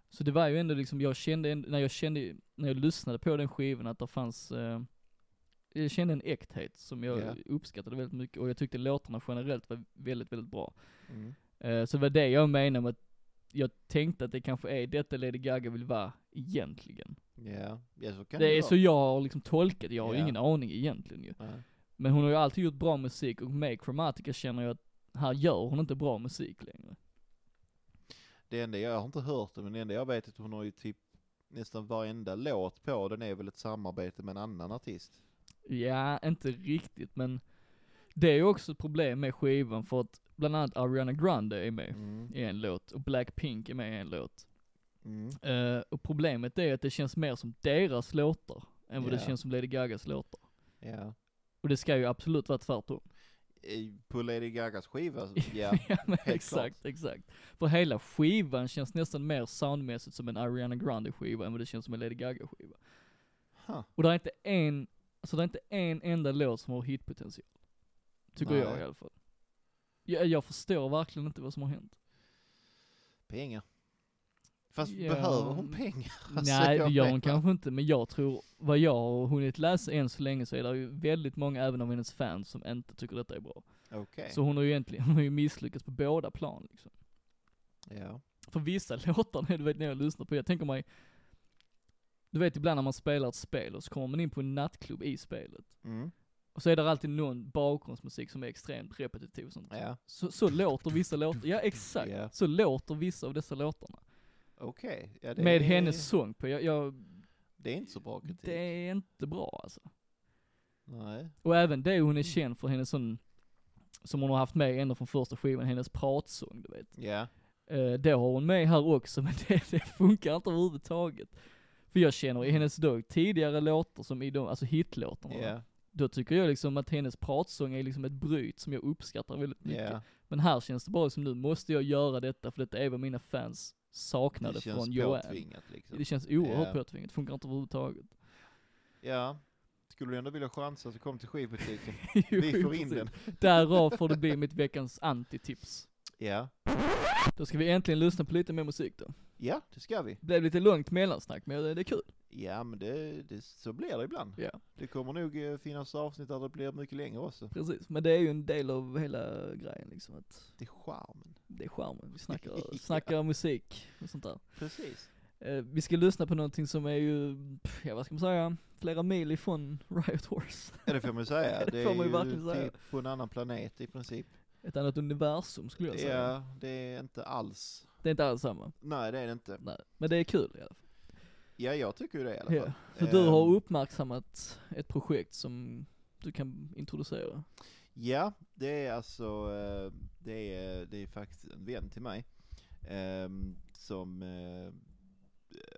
Speaker 1: Så det var ju ändå liksom, jag kände, ändå- när jag kände, när jag lyssnade på den skivan att det fanns, eh, jag kände en äkthet som jag
Speaker 2: Ja.
Speaker 1: uppskattade väldigt mycket och jag tyckte låtarna generellt var väldigt, väldigt bra.
Speaker 2: Mm.
Speaker 1: Eh, så det var det jag menade med att jag tänkte att det kanske är detta Lady Gaga vill vara egentligen.
Speaker 2: Ja, ja så kan det,
Speaker 1: Det är
Speaker 2: vara.
Speaker 1: så jag har liksom tolkat, jag har ju
Speaker 2: Ja.
Speaker 1: ingen aning egentligen ju.
Speaker 2: Nej.
Speaker 1: Men hon har ju alltid gjort bra musik och med Chromatica känner jag att här gör hon inte bra musik längre.
Speaker 2: Det enda jag, jag har inte hört det, men det enda jag vet är att hon har ju typ nästan varenda låt på den är väl ett samarbete med en annan artist.
Speaker 1: Ja, inte riktigt men det är ju också ett problem med skivan för att bland annat Ariana Grande är med
Speaker 2: Mm.
Speaker 1: i en låt och Blackpink är med i en låt.
Speaker 2: Mm.
Speaker 1: Eh, och problemet är att det känns mer som deras låtar än vad det
Speaker 2: Ja.
Speaker 1: känns som Lady Gagas låtar.
Speaker 2: Ja.
Speaker 1: Och det ska ju absolut vara tvärtom.
Speaker 2: I- Eh, På Lady Gagas skiva, så- ja.
Speaker 1: ja men
Speaker 2: klart.
Speaker 1: exakt, exakt. För hela skivan känns nästan mer soundmässigt som en Ariana Grande skiva än vad det känns som en Lady Gaga skiva.
Speaker 2: Huh.
Speaker 1: Och det är inte en, alltså det är inte en enda låt som har hitpotential. Tycker
Speaker 2: Nej.
Speaker 1: jag i alla fall. Jag, jag förstår verkligen inte vad som har hänt.
Speaker 2: Pengar. Fast
Speaker 1: Ja.
Speaker 2: behöver hon pengar? Alltså,
Speaker 1: Nej, det
Speaker 2: jag
Speaker 1: gör hon
Speaker 2: menar-
Speaker 1: kanske inte, men jag tror, vad jag har hunnit läsa än så länge så är det ju väldigt många, även av hennes fans, som inte tycker detta är bra.
Speaker 2: Okej.
Speaker 1: Så hon har ju egentligen, hon har ju misslyckats på båda plan liksom.
Speaker 2: Ja.
Speaker 1: För vissa låtar, du vet när jag lyssnar på det, jag tänker mig, du vet ibland när man spelar ett spel och så kommer man in på en nattklubb i spelet.
Speaker 2: Mm.
Speaker 1: Och så är det alltid någon bakgrundsmusik som är extremt repetitiv och sånt.
Speaker 2: Ja.
Speaker 1: Så, så låter vissa låtar, ja exakt,
Speaker 2: Ja.
Speaker 1: så låter vissa av dessa låtarna.
Speaker 2: Okej. Ja, det
Speaker 1: Med
Speaker 2: är-
Speaker 1: hennes sång på, jag, jag,
Speaker 2: Det är inte så bra kritik.
Speaker 1: det är inte bra alltså.
Speaker 2: Nej.
Speaker 1: Och även det
Speaker 2: Mm.
Speaker 1: hon är känd för, hennes sån, som hon har haft med ända från första skivan, hennes pratsång du vet.
Speaker 2: Ja.
Speaker 1: Eh, det har hon med här också, men det, det funkar inte överhuvudtaget. För jag känner i hennes då tidigare låtar, som i de, alltså hitlåtarna,
Speaker 2: Ja.
Speaker 1: då tycker jag liksom att hennes pratsång är liksom ett bryt som jag uppskattar väldigt mycket.
Speaker 2: Ja.
Speaker 1: Men här känns det bara som nu måste jag göra detta för detta är vad mina fans saknade
Speaker 2: Det känns
Speaker 1: från Joanne.
Speaker 2: påtvingat liksom.
Speaker 1: Det känns oerhört
Speaker 2: Ja.
Speaker 1: påtvingat, funkar inte överhuvudtaget.
Speaker 2: Ja. Skulle du ändå vilja chansa så kom till skivbutiken.
Speaker 1: Jo,
Speaker 2: Vi får in
Speaker 1: precis.
Speaker 2: den.
Speaker 1: Därav får det bli mitt veckans antitips.
Speaker 2: Ja.
Speaker 1: Då ska vi äntligen lyssna på lite mer musik då.
Speaker 2: Ja, det ska vi.
Speaker 1: Det blev lite långt mellansnack men det är kul.
Speaker 2: Ja, men det, det, så blir det ibland.
Speaker 1: Ja.
Speaker 2: Det kommer nog eh, finnas avsnitt där det blir mycket längre också.
Speaker 1: Precis, men det är ju en del av hela grejen liksom att
Speaker 2: Det är charmen.
Speaker 1: det är charmen. Vi
Speaker 2: Ja.
Speaker 1: snackar, snackar musik och sånt där.
Speaker 2: Precis.
Speaker 1: Eh, vi ska lyssna på någonting som är ju, pff, ja vad ska man säga, flera mil ifrån Riot Horse.
Speaker 2: Ja, det får man ju säga.
Speaker 1: Det
Speaker 2: Det
Speaker 1: får
Speaker 2: är
Speaker 1: man ju
Speaker 2: ju
Speaker 1: verkligen säga.
Speaker 2: typ på en annan planet i princip.
Speaker 1: Ett annat universum skulle jag säga.
Speaker 2: Ja, det är inte alls.
Speaker 1: Det är inte alls samma.
Speaker 2: Nej, det är det inte.
Speaker 1: Nej. Men det är kul i alla fall.
Speaker 2: Ja, jag tycker ju det i alla fall.
Speaker 1: Ja. Så du har
Speaker 2: Ehm,
Speaker 1: uppmärksammat ett projekt som du kan introducera.
Speaker 2: Ja, det är alltså, eh, det är, det är faktiskt en vän till mig. ehm, Som, eh,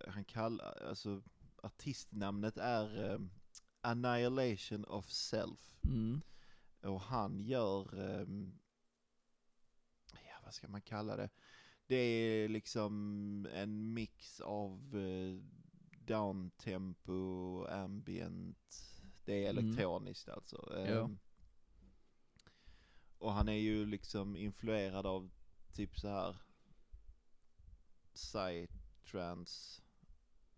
Speaker 2: han kallar, alltså artistnamnet är eh, Annihilation of Self.
Speaker 1: Mm.
Speaker 2: Och han gör, ehm, ja vad ska man kalla det? Det är liksom en mix av eh, downtempo, ambient, det är
Speaker 1: Mm.
Speaker 2: elektroniskt alltså.
Speaker 1: Ja.
Speaker 2: Ehm, Och han är ju liksom influerad av typ så här psytrance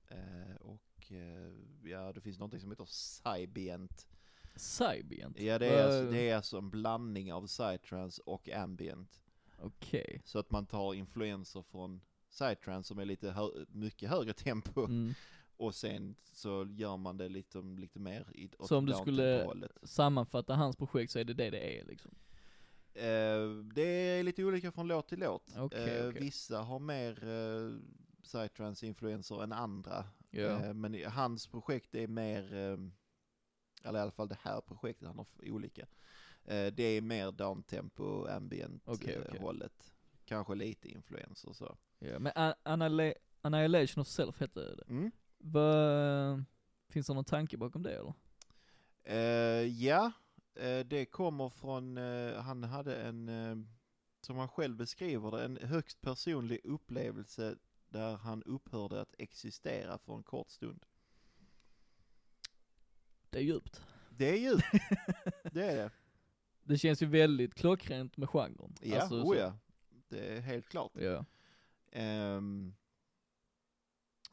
Speaker 2: eh, och eh, ja det finns någonting som heter cybient.
Speaker 1: Cybient?
Speaker 2: Ja det är, alltså,
Speaker 1: Vad-
Speaker 2: det är alltså en blandning av psytrance och ambient.
Speaker 1: Okej.
Speaker 2: Så att man tar influenser från psytrance som är lite hö- mycket högre tempo
Speaker 1: Mm.
Speaker 2: och sen så gör man det lite, lite mer i åt
Speaker 1: Så om du skulle-
Speaker 2: downtempo-hållet.
Speaker 1: Sammanfatta hans projekt så är det det det är liksom.
Speaker 2: Eh, det är lite olika från låt till låt.
Speaker 1: Okej,
Speaker 2: Eh,
Speaker 1: okej.
Speaker 2: Vissa har mer eh, psytrance-influenser än andra.
Speaker 1: Ja.
Speaker 2: Eh, men i- hans projekt är mer, eh, eller i alla fall det här projektet, han har f- olika. Eh, det är mer downtempo, ambient
Speaker 1: Okej,
Speaker 2: eh,
Speaker 1: okej.
Speaker 2: hållet. Kanske lite influenser och så.
Speaker 1: ja. Men An- Annihila- Annihilation of Self hette det.
Speaker 2: Mm.
Speaker 1: Vad Finns det någon tanke bakom det eller?
Speaker 2: Eh, ja, eh, det kommer från, eh, han hade en, eh, som han själv beskriver det, en högst personlig upplevelse där han upphörde att existera för en kort stund.
Speaker 1: Det är djupt.
Speaker 2: Det är djupt, det är det.
Speaker 1: Det känns ju väldigt klockrent med genren.
Speaker 2: Ja,
Speaker 1: Alltså,
Speaker 2: oh
Speaker 1: så-
Speaker 2: ja. Det är helt klart.
Speaker 1: ja.
Speaker 2: Ehm,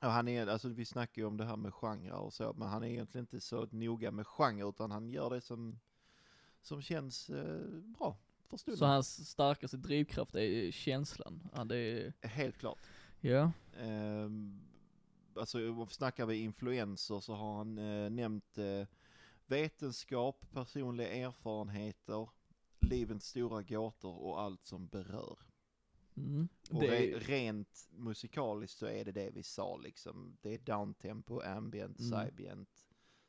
Speaker 2: och han är, alltså vi snackar ju om det här med genrer och så, men han är egentligen inte så noga med genre, utan han gör det som, som känns eh, bra för stunden.
Speaker 1: Så hans starkaste drivkraft är känslan. Ja, det är,
Speaker 2: Helt klart.
Speaker 1: ja.
Speaker 2: Ehm, alltså om vi snackar vi influenser så har han eh, nämnt eh, vetenskap, personliga erfarenheter, livets stora gåtor och allt som berör.
Speaker 1: Mm.
Speaker 2: Och
Speaker 1: Det
Speaker 2: re-
Speaker 1: är,
Speaker 2: rent musikaliskt så är det det vi sa liksom. Det är downtempo, ambient,
Speaker 1: Mm.
Speaker 2: cybient,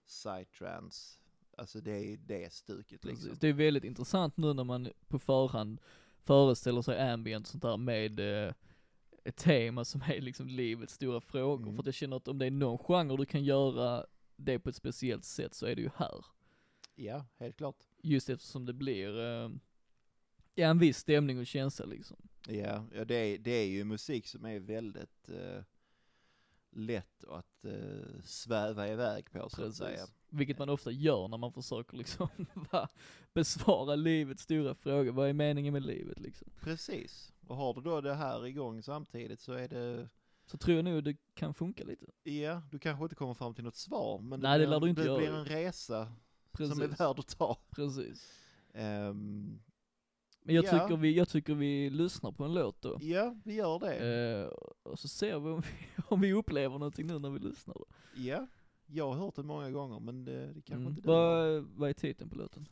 Speaker 2: psytrance. Alltså det är det stuket liksom.
Speaker 1: precis. det är väldigt intressant nu när man på förhand föreställer sig ambient och sånt där med eh, ett tema som är liksom livets stora frågor.
Speaker 2: Mm.
Speaker 1: För att jag känner att om det är någon genre du kan göra det på ett speciellt sätt så är det ju här.
Speaker 2: Ja, helt klart.
Speaker 1: Just eftersom det blir, eh, ja en viss stämning och känsla liksom.
Speaker 2: Ja, ja det, är, det är ju musik som är väldigt eh, lätt att eh, sväva iväg på så att säga.
Speaker 1: Precis. Vilket man ofta gör när man försöker liksom va, besvara livets stora fråga. Vad är meningen med livet liksom?
Speaker 2: Precis. Och har du då det här igång samtidigt så är det
Speaker 1: Så tror jag nog det kan funka lite.
Speaker 2: Ja, du kanske inte kommer fram till något svar, men
Speaker 1: Nej, det
Speaker 2: blir
Speaker 1: lär
Speaker 2: en-
Speaker 1: du inte göra.
Speaker 2: det blir en resa som är
Speaker 1: Precis,
Speaker 2: värd att ta.
Speaker 1: precis.
Speaker 2: Ehm,
Speaker 1: Men jag,
Speaker 2: Ja.
Speaker 1: tycker vi, jag tycker vi lyssnar på en låt då.
Speaker 2: ja, vi gör det.
Speaker 1: Eh, och så ser vi om, vi om vi upplever någonting nu när vi lyssnar. Då.
Speaker 2: Ja, Jag har hört det många gånger, men det, det kanske
Speaker 1: Mm.
Speaker 2: inte du har.
Speaker 1: Vad, vad är titeln på låten?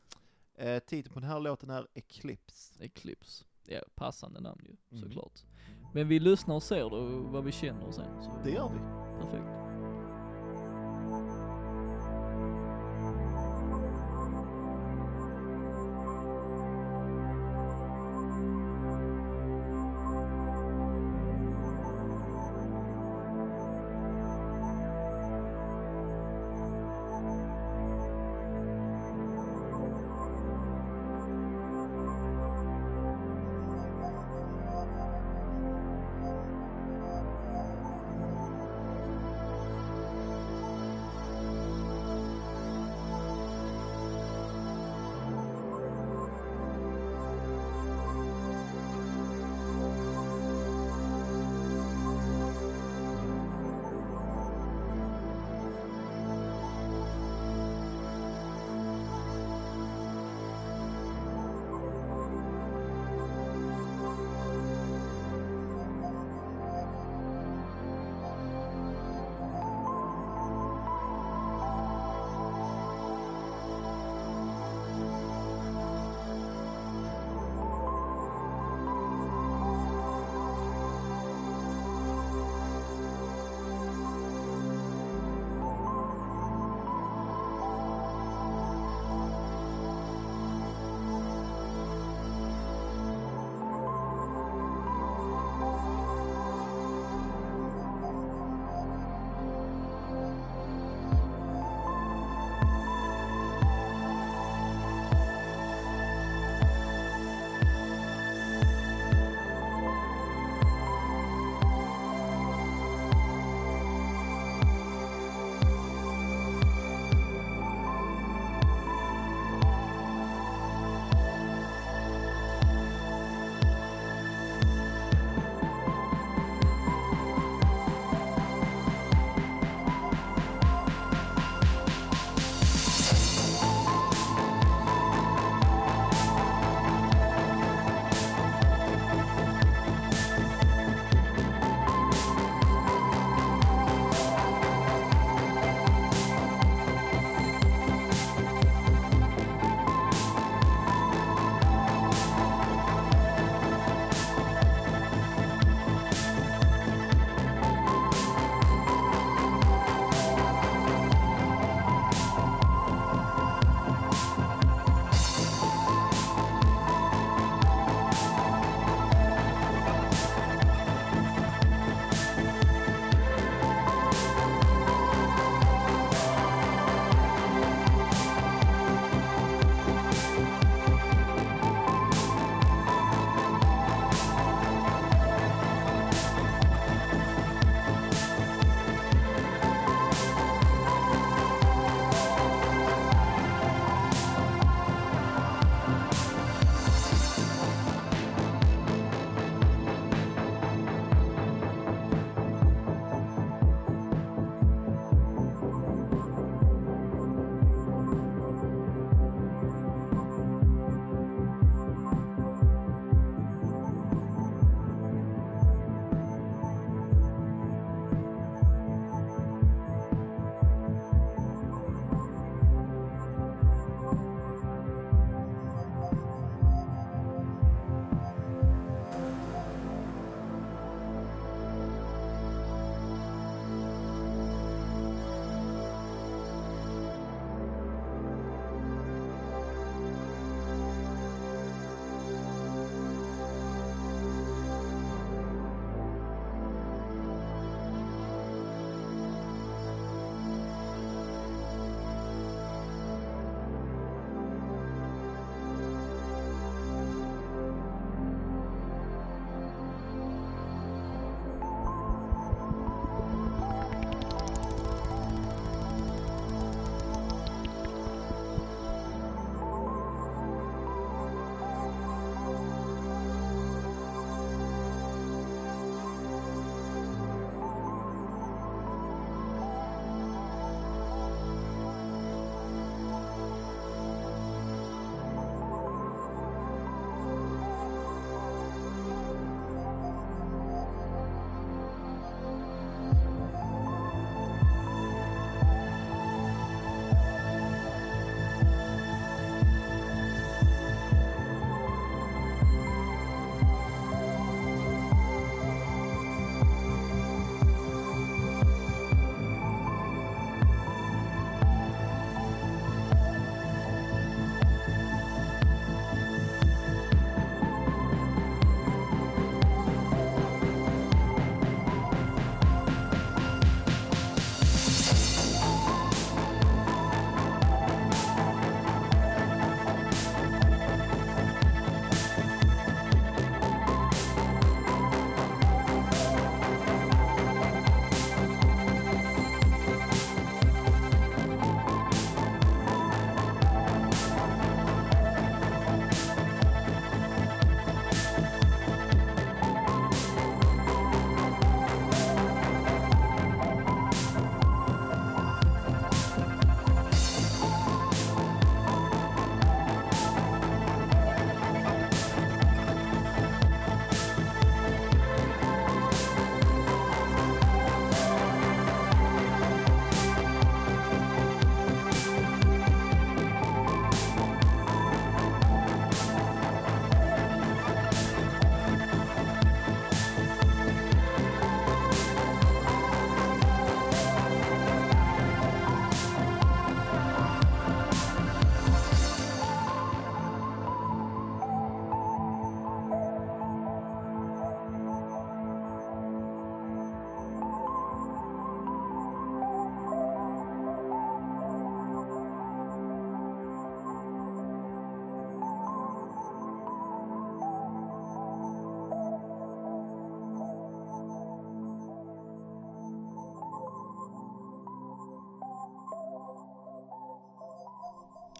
Speaker 2: eh, Titeln på den här låten är Eclipse.
Speaker 1: Eclipse. Ja, passande namn ju,
Speaker 2: Mm.
Speaker 1: såklart. Men vi lyssnar och ser då vad vi känner sen. Så
Speaker 2: Det gör vi.
Speaker 1: perfekt.
Speaker 3: Thank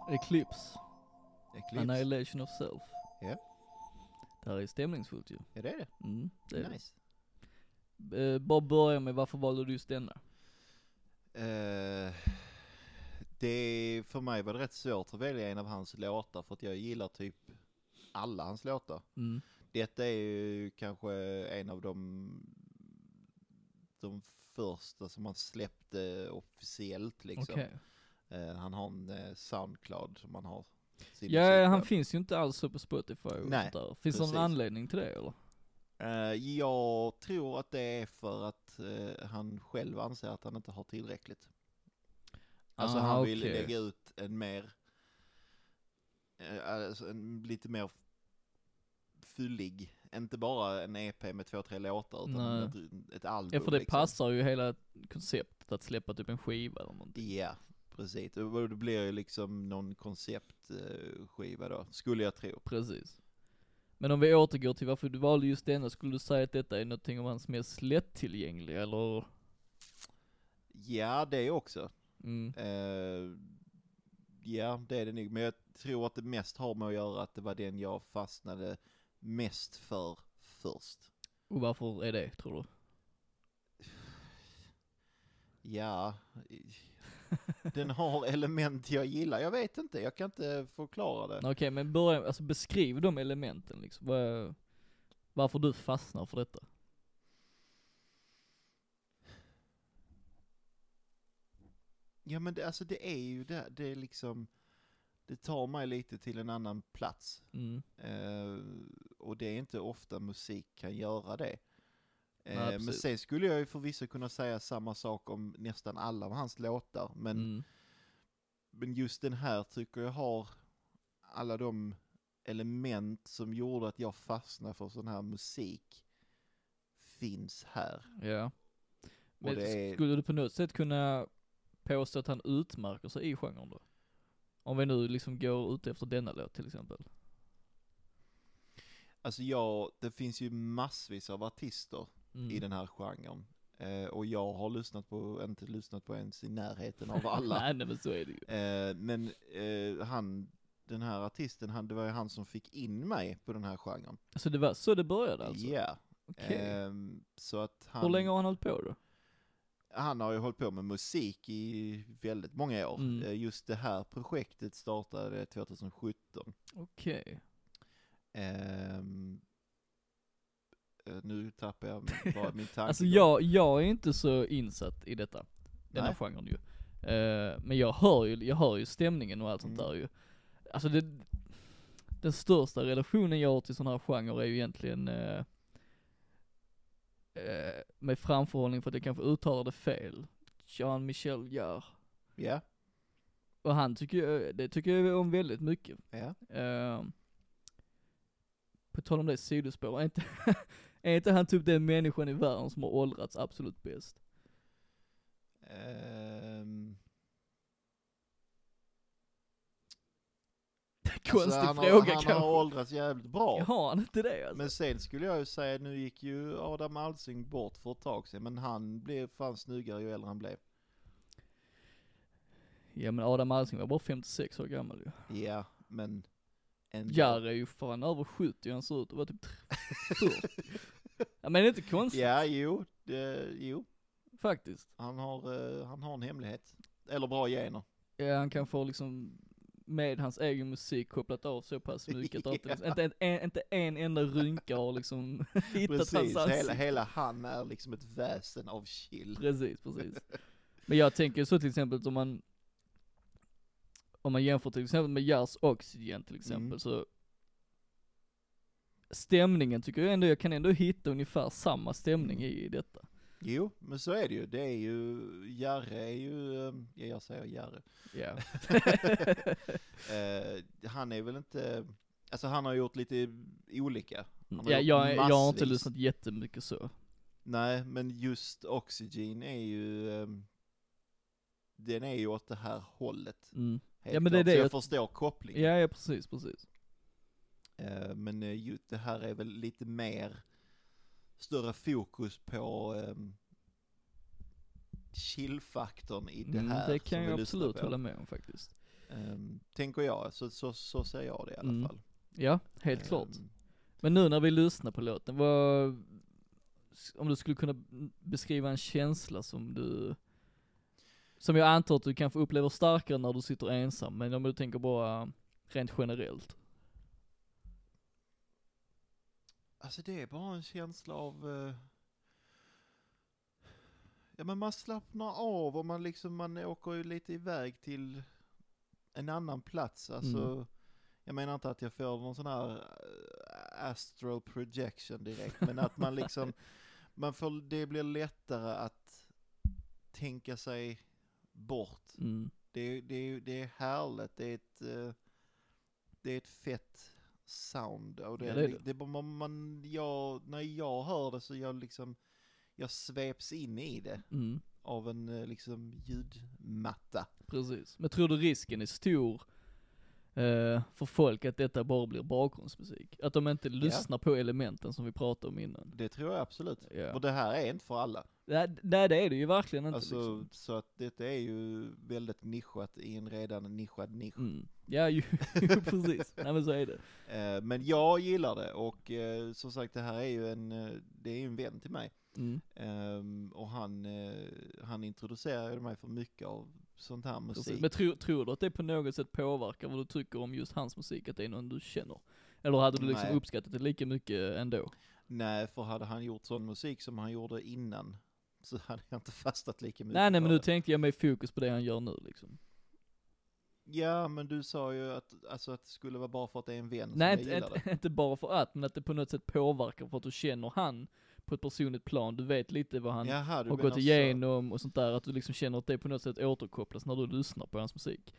Speaker 1: Eclipse.
Speaker 2: Eclipse.
Speaker 1: Annihilation of Self.
Speaker 2: Ja.
Speaker 1: Det här är stämningsfullt ju.
Speaker 2: Ja, det är det.
Speaker 1: Mm, det är det.
Speaker 2: nice.
Speaker 1: Eh, bara börja med varför valde du just denna?
Speaker 2: Eh, det, för mig var det rätt svårt att välja en av hans låtar för att jag gillar typ alla hans låtar.
Speaker 1: Mm.
Speaker 2: Detta är ju kanske en av de, de första som han släppte officiellt liksom.
Speaker 1: Okej.
Speaker 2: Eh, han har en eh, Soundcloud som han har. sin musik
Speaker 1: Ja,
Speaker 2: på.
Speaker 1: han finns ju inte alls på Spotify och
Speaker 2: liksom Nej,
Speaker 1: sånt där. Finns det någon
Speaker 2: precis.
Speaker 1: anledning till det eller?
Speaker 2: Eh, jag tror att det är för att eh, han själv anser att han inte har tillräckligt. Alltså
Speaker 1: Ah,
Speaker 2: han vill
Speaker 1: okej.
Speaker 2: lägga ut en mer, eh, alltså en lite mer fyllig, inte bara en EP med två, tre låtar utan
Speaker 1: Nej.
Speaker 2: ett, ett album.
Speaker 1: Ja för det
Speaker 2: liksom.
Speaker 1: passar ju hela konceptet att släppa typ en skiva eller någonting.
Speaker 2: Ja, precis. Och Det blir ju liksom någon konceptskiva då, skulle jag tro.
Speaker 1: Precis. Men om vi återgår till varför du valde just denna, skulle du säga att detta är någonting av hans mest lättillgängliga eller?
Speaker 2: Ja, det också.
Speaker 1: Mm.
Speaker 2: Eh, ja, det är det nog. Men jag tror att det mest har med att göra att det var den jag fastnade mest för först.
Speaker 1: Och varför är det tror du?
Speaker 2: Ja, i- den har element jag gillar. Jag vet inte, jag kan inte förklara det.
Speaker 1: Okej men börja, alltså beskriv de elementen liksom. Vad- Varför du fastnar för detta?
Speaker 2: Ja men det, alltså det är ju det, det är liksom, det tar mig lite till en annan plats.
Speaker 1: Mm.
Speaker 2: Eh, och det är inte ofta musik kan göra det. Eh,
Speaker 1: Nej,
Speaker 2: men
Speaker 1: precis.
Speaker 2: sen skulle jag ju förvisso kunna säga samma sak om nästan alla av hans låtar, men
Speaker 1: Mm.
Speaker 2: Men just den här tycker jag har alla de element som gjorde att jag fastnade för sån här musik finns här.
Speaker 1: Ja. Men
Speaker 2: det är-
Speaker 1: skulle du på något sätt kunna påstå att han utmärker sig i genren då? Om vi nu liksom går ut efter denna låt till exempel.
Speaker 2: Alltså jag, det finns ju massvis av artister
Speaker 1: Mm.
Speaker 2: i den här genren. Eh, och jag har lyssnat på, inte lyssnat på ens i närheten av alla.
Speaker 1: nej, nej men så är det ju.
Speaker 2: eh, men eh, han, den här artisten, han, det var ju han som fick in mig på den här genren.
Speaker 1: Alltså det var så det började
Speaker 2: Ja.
Speaker 1: alltså? Okej.
Speaker 2: Ehm, så att han...
Speaker 1: Hur länge har han hållit på då?
Speaker 2: han har ju hållit på med musik i väldigt många år.
Speaker 1: Mm.
Speaker 2: Eh, Just det här projektet startade 2017.
Speaker 1: Okej.
Speaker 2: Ehm, eh, nu tappar jag min- bara min tanke.
Speaker 1: Alltså jag, jag är inte så insatt i detta, denna
Speaker 2: Nej.
Speaker 1: genren ju. Eh, men jag hör ju, jag hör ju stämningen och allt sånt
Speaker 2: Mm.
Speaker 1: där ju. Alltså det, den största relationen jag har till sån här genre är ju egentligen eh, eh, med framförhållning för att jag kanske uttalar det fel. Jean-Michel Jarre.
Speaker 2: Ja,
Speaker 1: Och han tycker jag, det tycker jag om väldigt mycket.
Speaker 2: ja.
Speaker 1: Ehm, på tal om det sidospår, är inte, är inte han typ den människan i världen som har åldrats absolut bäst?
Speaker 2: Ehm,
Speaker 1: Konstig
Speaker 2: alltså, han
Speaker 1: fråga
Speaker 2: har,
Speaker 1: kanske.
Speaker 2: Han har åldrats jävligt bra.
Speaker 1: Har han inte det alltså?
Speaker 2: Men sen skulle jag ju säga, nu gick ju Adam Alsing bort för ett tag sedan, men han blev fan snyggare ju äldre han blev.
Speaker 1: Ja men Adam Alsing var bara 56 år gammal ju.
Speaker 2: Ja, men... ändå.
Speaker 1: Jarre är ju fan över 70, han ser ut att vara typ 40. ja men det är inte konstigt
Speaker 2: Ja, jo, det, jo.
Speaker 1: faktiskt.
Speaker 2: Han har, eh, han har en hemlighet. Eller bra gener.
Speaker 1: Ja, han kan få liksom med hans egen musik kopplat av så pass mycket att inte,
Speaker 2: Ja.
Speaker 1: liksom, inte, en, inte en enda rynka har liksom hittat hans
Speaker 2: Precis,
Speaker 1: ansikte.
Speaker 2: hela, hela han är liksom ett väsen av chill.
Speaker 1: Precis, precis. Men jag tänker så till exempel att om man, om man jämför till exempel med Jazz Oxygen till exempel
Speaker 2: Mm.
Speaker 1: så Stämningen tycker jag ändå, jag kan ändå hitta ungefär samma stämning
Speaker 2: Mm.
Speaker 1: i detta.
Speaker 2: Jo, men så är det ju. Det är ju, Jarre är ju, eh, ja jag säger Jarre.
Speaker 1: Ja.
Speaker 2: Eh, han är väl inte, alltså han har gjort lite olika. Han har
Speaker 1: ja,
Speaker 2: gjort
Speaker 1: jag, jag har inte
Speaker 2: massvis.
Speaker 1: lyssnat jättemycket så.
Speaker 2: Nej, men just Oxygen är ju, eh, den är ju åt det här hållet.
Speaker 1: Mm.
Speaker 2: helt
Speaker 1: Ja, men det är
Speaker 2: klart.
Speaker 1: det
Speaker 2: så jag,
Speaker 1: jag-
Speaker 2: förstår kopplingen.
Speaker 1: Ja, ja precis, precis.
Speaker 2: Eh, Men eh, ju- det här är väl lite mer större fokus på ehm, chill-faktorn i det
Speaker 1: Mm,
Speaker 2: här.
Speaker 1: det
Speaker 2: som
Speaker 1: kan jag Mm,
Speaker 2: vi lyssnar
Speaker 1: absolut
Speaker 2: på.
Speaker 1: hålla med om faktiskt.
Speaker 2: Ehm, tänker jag, så, så, så ser jag det i alla
Speaker 1: Mm,
Speaker 2: fall.
Speaker 1: Ja, helt klart.
Speaker 2: Ehm,
Speaker 1: Men nu när vi lyssnar på låten, vad, om du skulle kunna beskriva en känsla som du, som jag antar att du kanske upplever starkare när du sitter ensam, men om du tänker bara rent generellt.
Speaker 2: Alltså det är bara en känsla av... eh, Ja men man slappnar av och man liksom, man åker ju lite iväg till en annan plats. Alltså,
Speaker 1: Mm.
Speaker 2: jag menar inte att jag får någon sån här eh, astral projection direkt, men att man liksom, man får, det blir lättare att tänka sig bort.
Speaker 1: Mm.
Speaker 2: Det är, det är, det är härligt, det är ett, eh, det är ett fett sound. Och det,
Speaker 1: Ja,
Speaker 2: är
Speaker 1: det är
Speaker 2: li-
Speaker 1: det.
Speaker 2: det är bara- man, man, jag, när jag hör det så jag liksom, jag sveps in i det
Speaker 1: Mm.
Speaker 2: av en eh, liksom ljudmatta.
Speaker 1: Precis. Men tror du risken är stor eh, för folk att detta bara blir bakgrundsmusik? Att de inte lyssnar på elementen som vi pratade om innan?
Speaker 2: Det tror jag absolut.
Speaker 1: Ja.
Speaker 2: Och det här är inte för alla.
Speaker 1: Nej, nej det är det ju verkligen inte
Speaker 2: Alltså,
Speaker 1: liksom.
Speaker 2: Så att detta är ju väldigt nischat i en redan nischad nisch.
Speaker 1: Mm. Ja ju, jo, precis. Nej men så är det.
Speaker 2: Eh, men jag gillar det och eh, som sagt det här är ju en, eh, det är ju en vän till mig.
Speaker 1: Mm.
Speaker 2: Ehm, och han, eh, han introducerade mig för mycket av sånt här
Speaker 1: Precis.
Speaker 2: musik.
Speaker 1: Men tror, tror du att det på något sätt påverkar vad du tycker om just hans musik, att det är någon du känner? Eller hade du liksom
Speaker 2: Nej.
Speaker 1: uppskattat det lika mycket ändå?
Speaker 2: Nej, för hade han gjort sån musik som han gjorde innan så hade jag inte fastnat lika mycket
Speaker 1: Nej nej men
Speaker 2: för
Speaker 1: nu
Speaker 2: det.
Speaker 1: tänkte jag mig fokus på det han gör nu liksom.
Speaker 2: Ja, men du sa ju att, alltså, att det skulle vara bara för att det är en vän
Speaker 1: Nej
Speaker 2: som
Speaker 1: inte,
Speaker 2: jag gillar det.
Speaker 1: inte, inte bara för att, men att det på något sätt påverkar för att du känner han på ett personligt plan, du vet lite vad han
Speaker 2: Jaha, du
Speaker 1: har
Speaker 2: menar
Speaker 1: gått
Speaker 2: så.
Speaker 1: igenom och sånt där, att du liksom känner att det på något sätt återkopplas när du lyssnar på hans musik.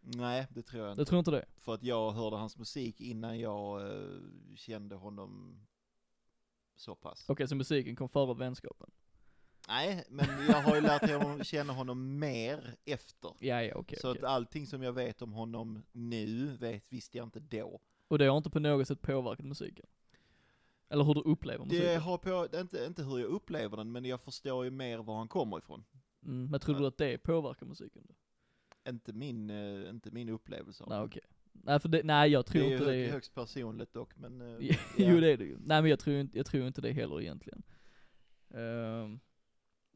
Speaker 2: Nej, det tror jag inte.
Speaker 1: Jag tror inte det.
Speaker 2: För att jag hörde hans musik innan jag eh, kände honom så pass.
Speaker 1: Okej, så musiken kom före vänskapen?
Speaker 2: Nej, men jag har ju lärt honom- känna honom mer efter.
Speaker 1: Ja, ja, okej.
Speaker 2: så
Speaker 1: okej.
Speaker 2: att allting som jag vet om honom nu vet, visste jag inte då.
Speaker 1: Och det har inte på något sätt påverkat musiken? Eller hur du upplever musiken?
Speaker 2: Det har på, det är inte, inte hur jag upplever den, men jag förstår ju mer var han kommer ifrån.
Speaker 1: Mm, men tror du att det påverkar musiken? Då?
Speaker 2: Inte min, eh, inte min upplevelse av
Speaker 1: Nej
Speaker 2: den.
Speaker 1: okej. Nej för det, nej jag tror
Speaker 2: Det är ju
Speaker 1: inte det.
Speaker 2: hög,
Speaker 1: Är...
Speaker 2: högst personligt dock, men... eh,
Speaker 1: jo det är det ju. Nej men jag tror inte, jag tror inte det heller egentligen. Ehm,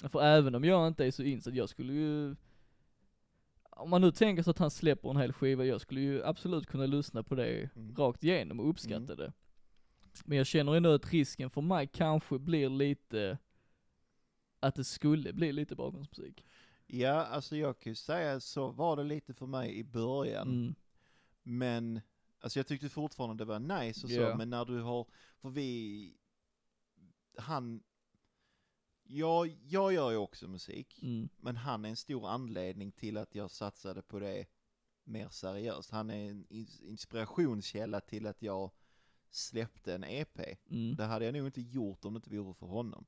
Speaker 1: för även om jag inte är så insatt, jag skulle ju om man nu tänker sig att han släpper en hel skiva, jag skulle ju absolut kunna lyssna på det
Speaker 2: Mm.
Speaker 1: rakt igenom och uppskatta
Speaker 2: Mm.
Speaker 1: det. Men jag känner ändå att risken för mig kanske blir lite, att det skulle bli lite bakgrundsmusik.
Speaker 2: Ja, alltså jag kan ju säga så var det lite för mig i början,
Speaker 1: Mm.
Speaker 2: men... Alltså jag tyckte fortfarande det var nice och
Speaker 1: Ja.
Speaker 2: så, men när du har... För vi... Han... Jag, jag gör ju också musik.
Speaker 1: Mm.
Speaker 2: Men han är en stor anledning till att jag satsade på det mer seriöst. Han är en ins- inspirationskälla till att jag släppte en EP.
Speaker 1: Mm.
Speaker 2: Det hade jag nog inte gjort om det inte vore för honom.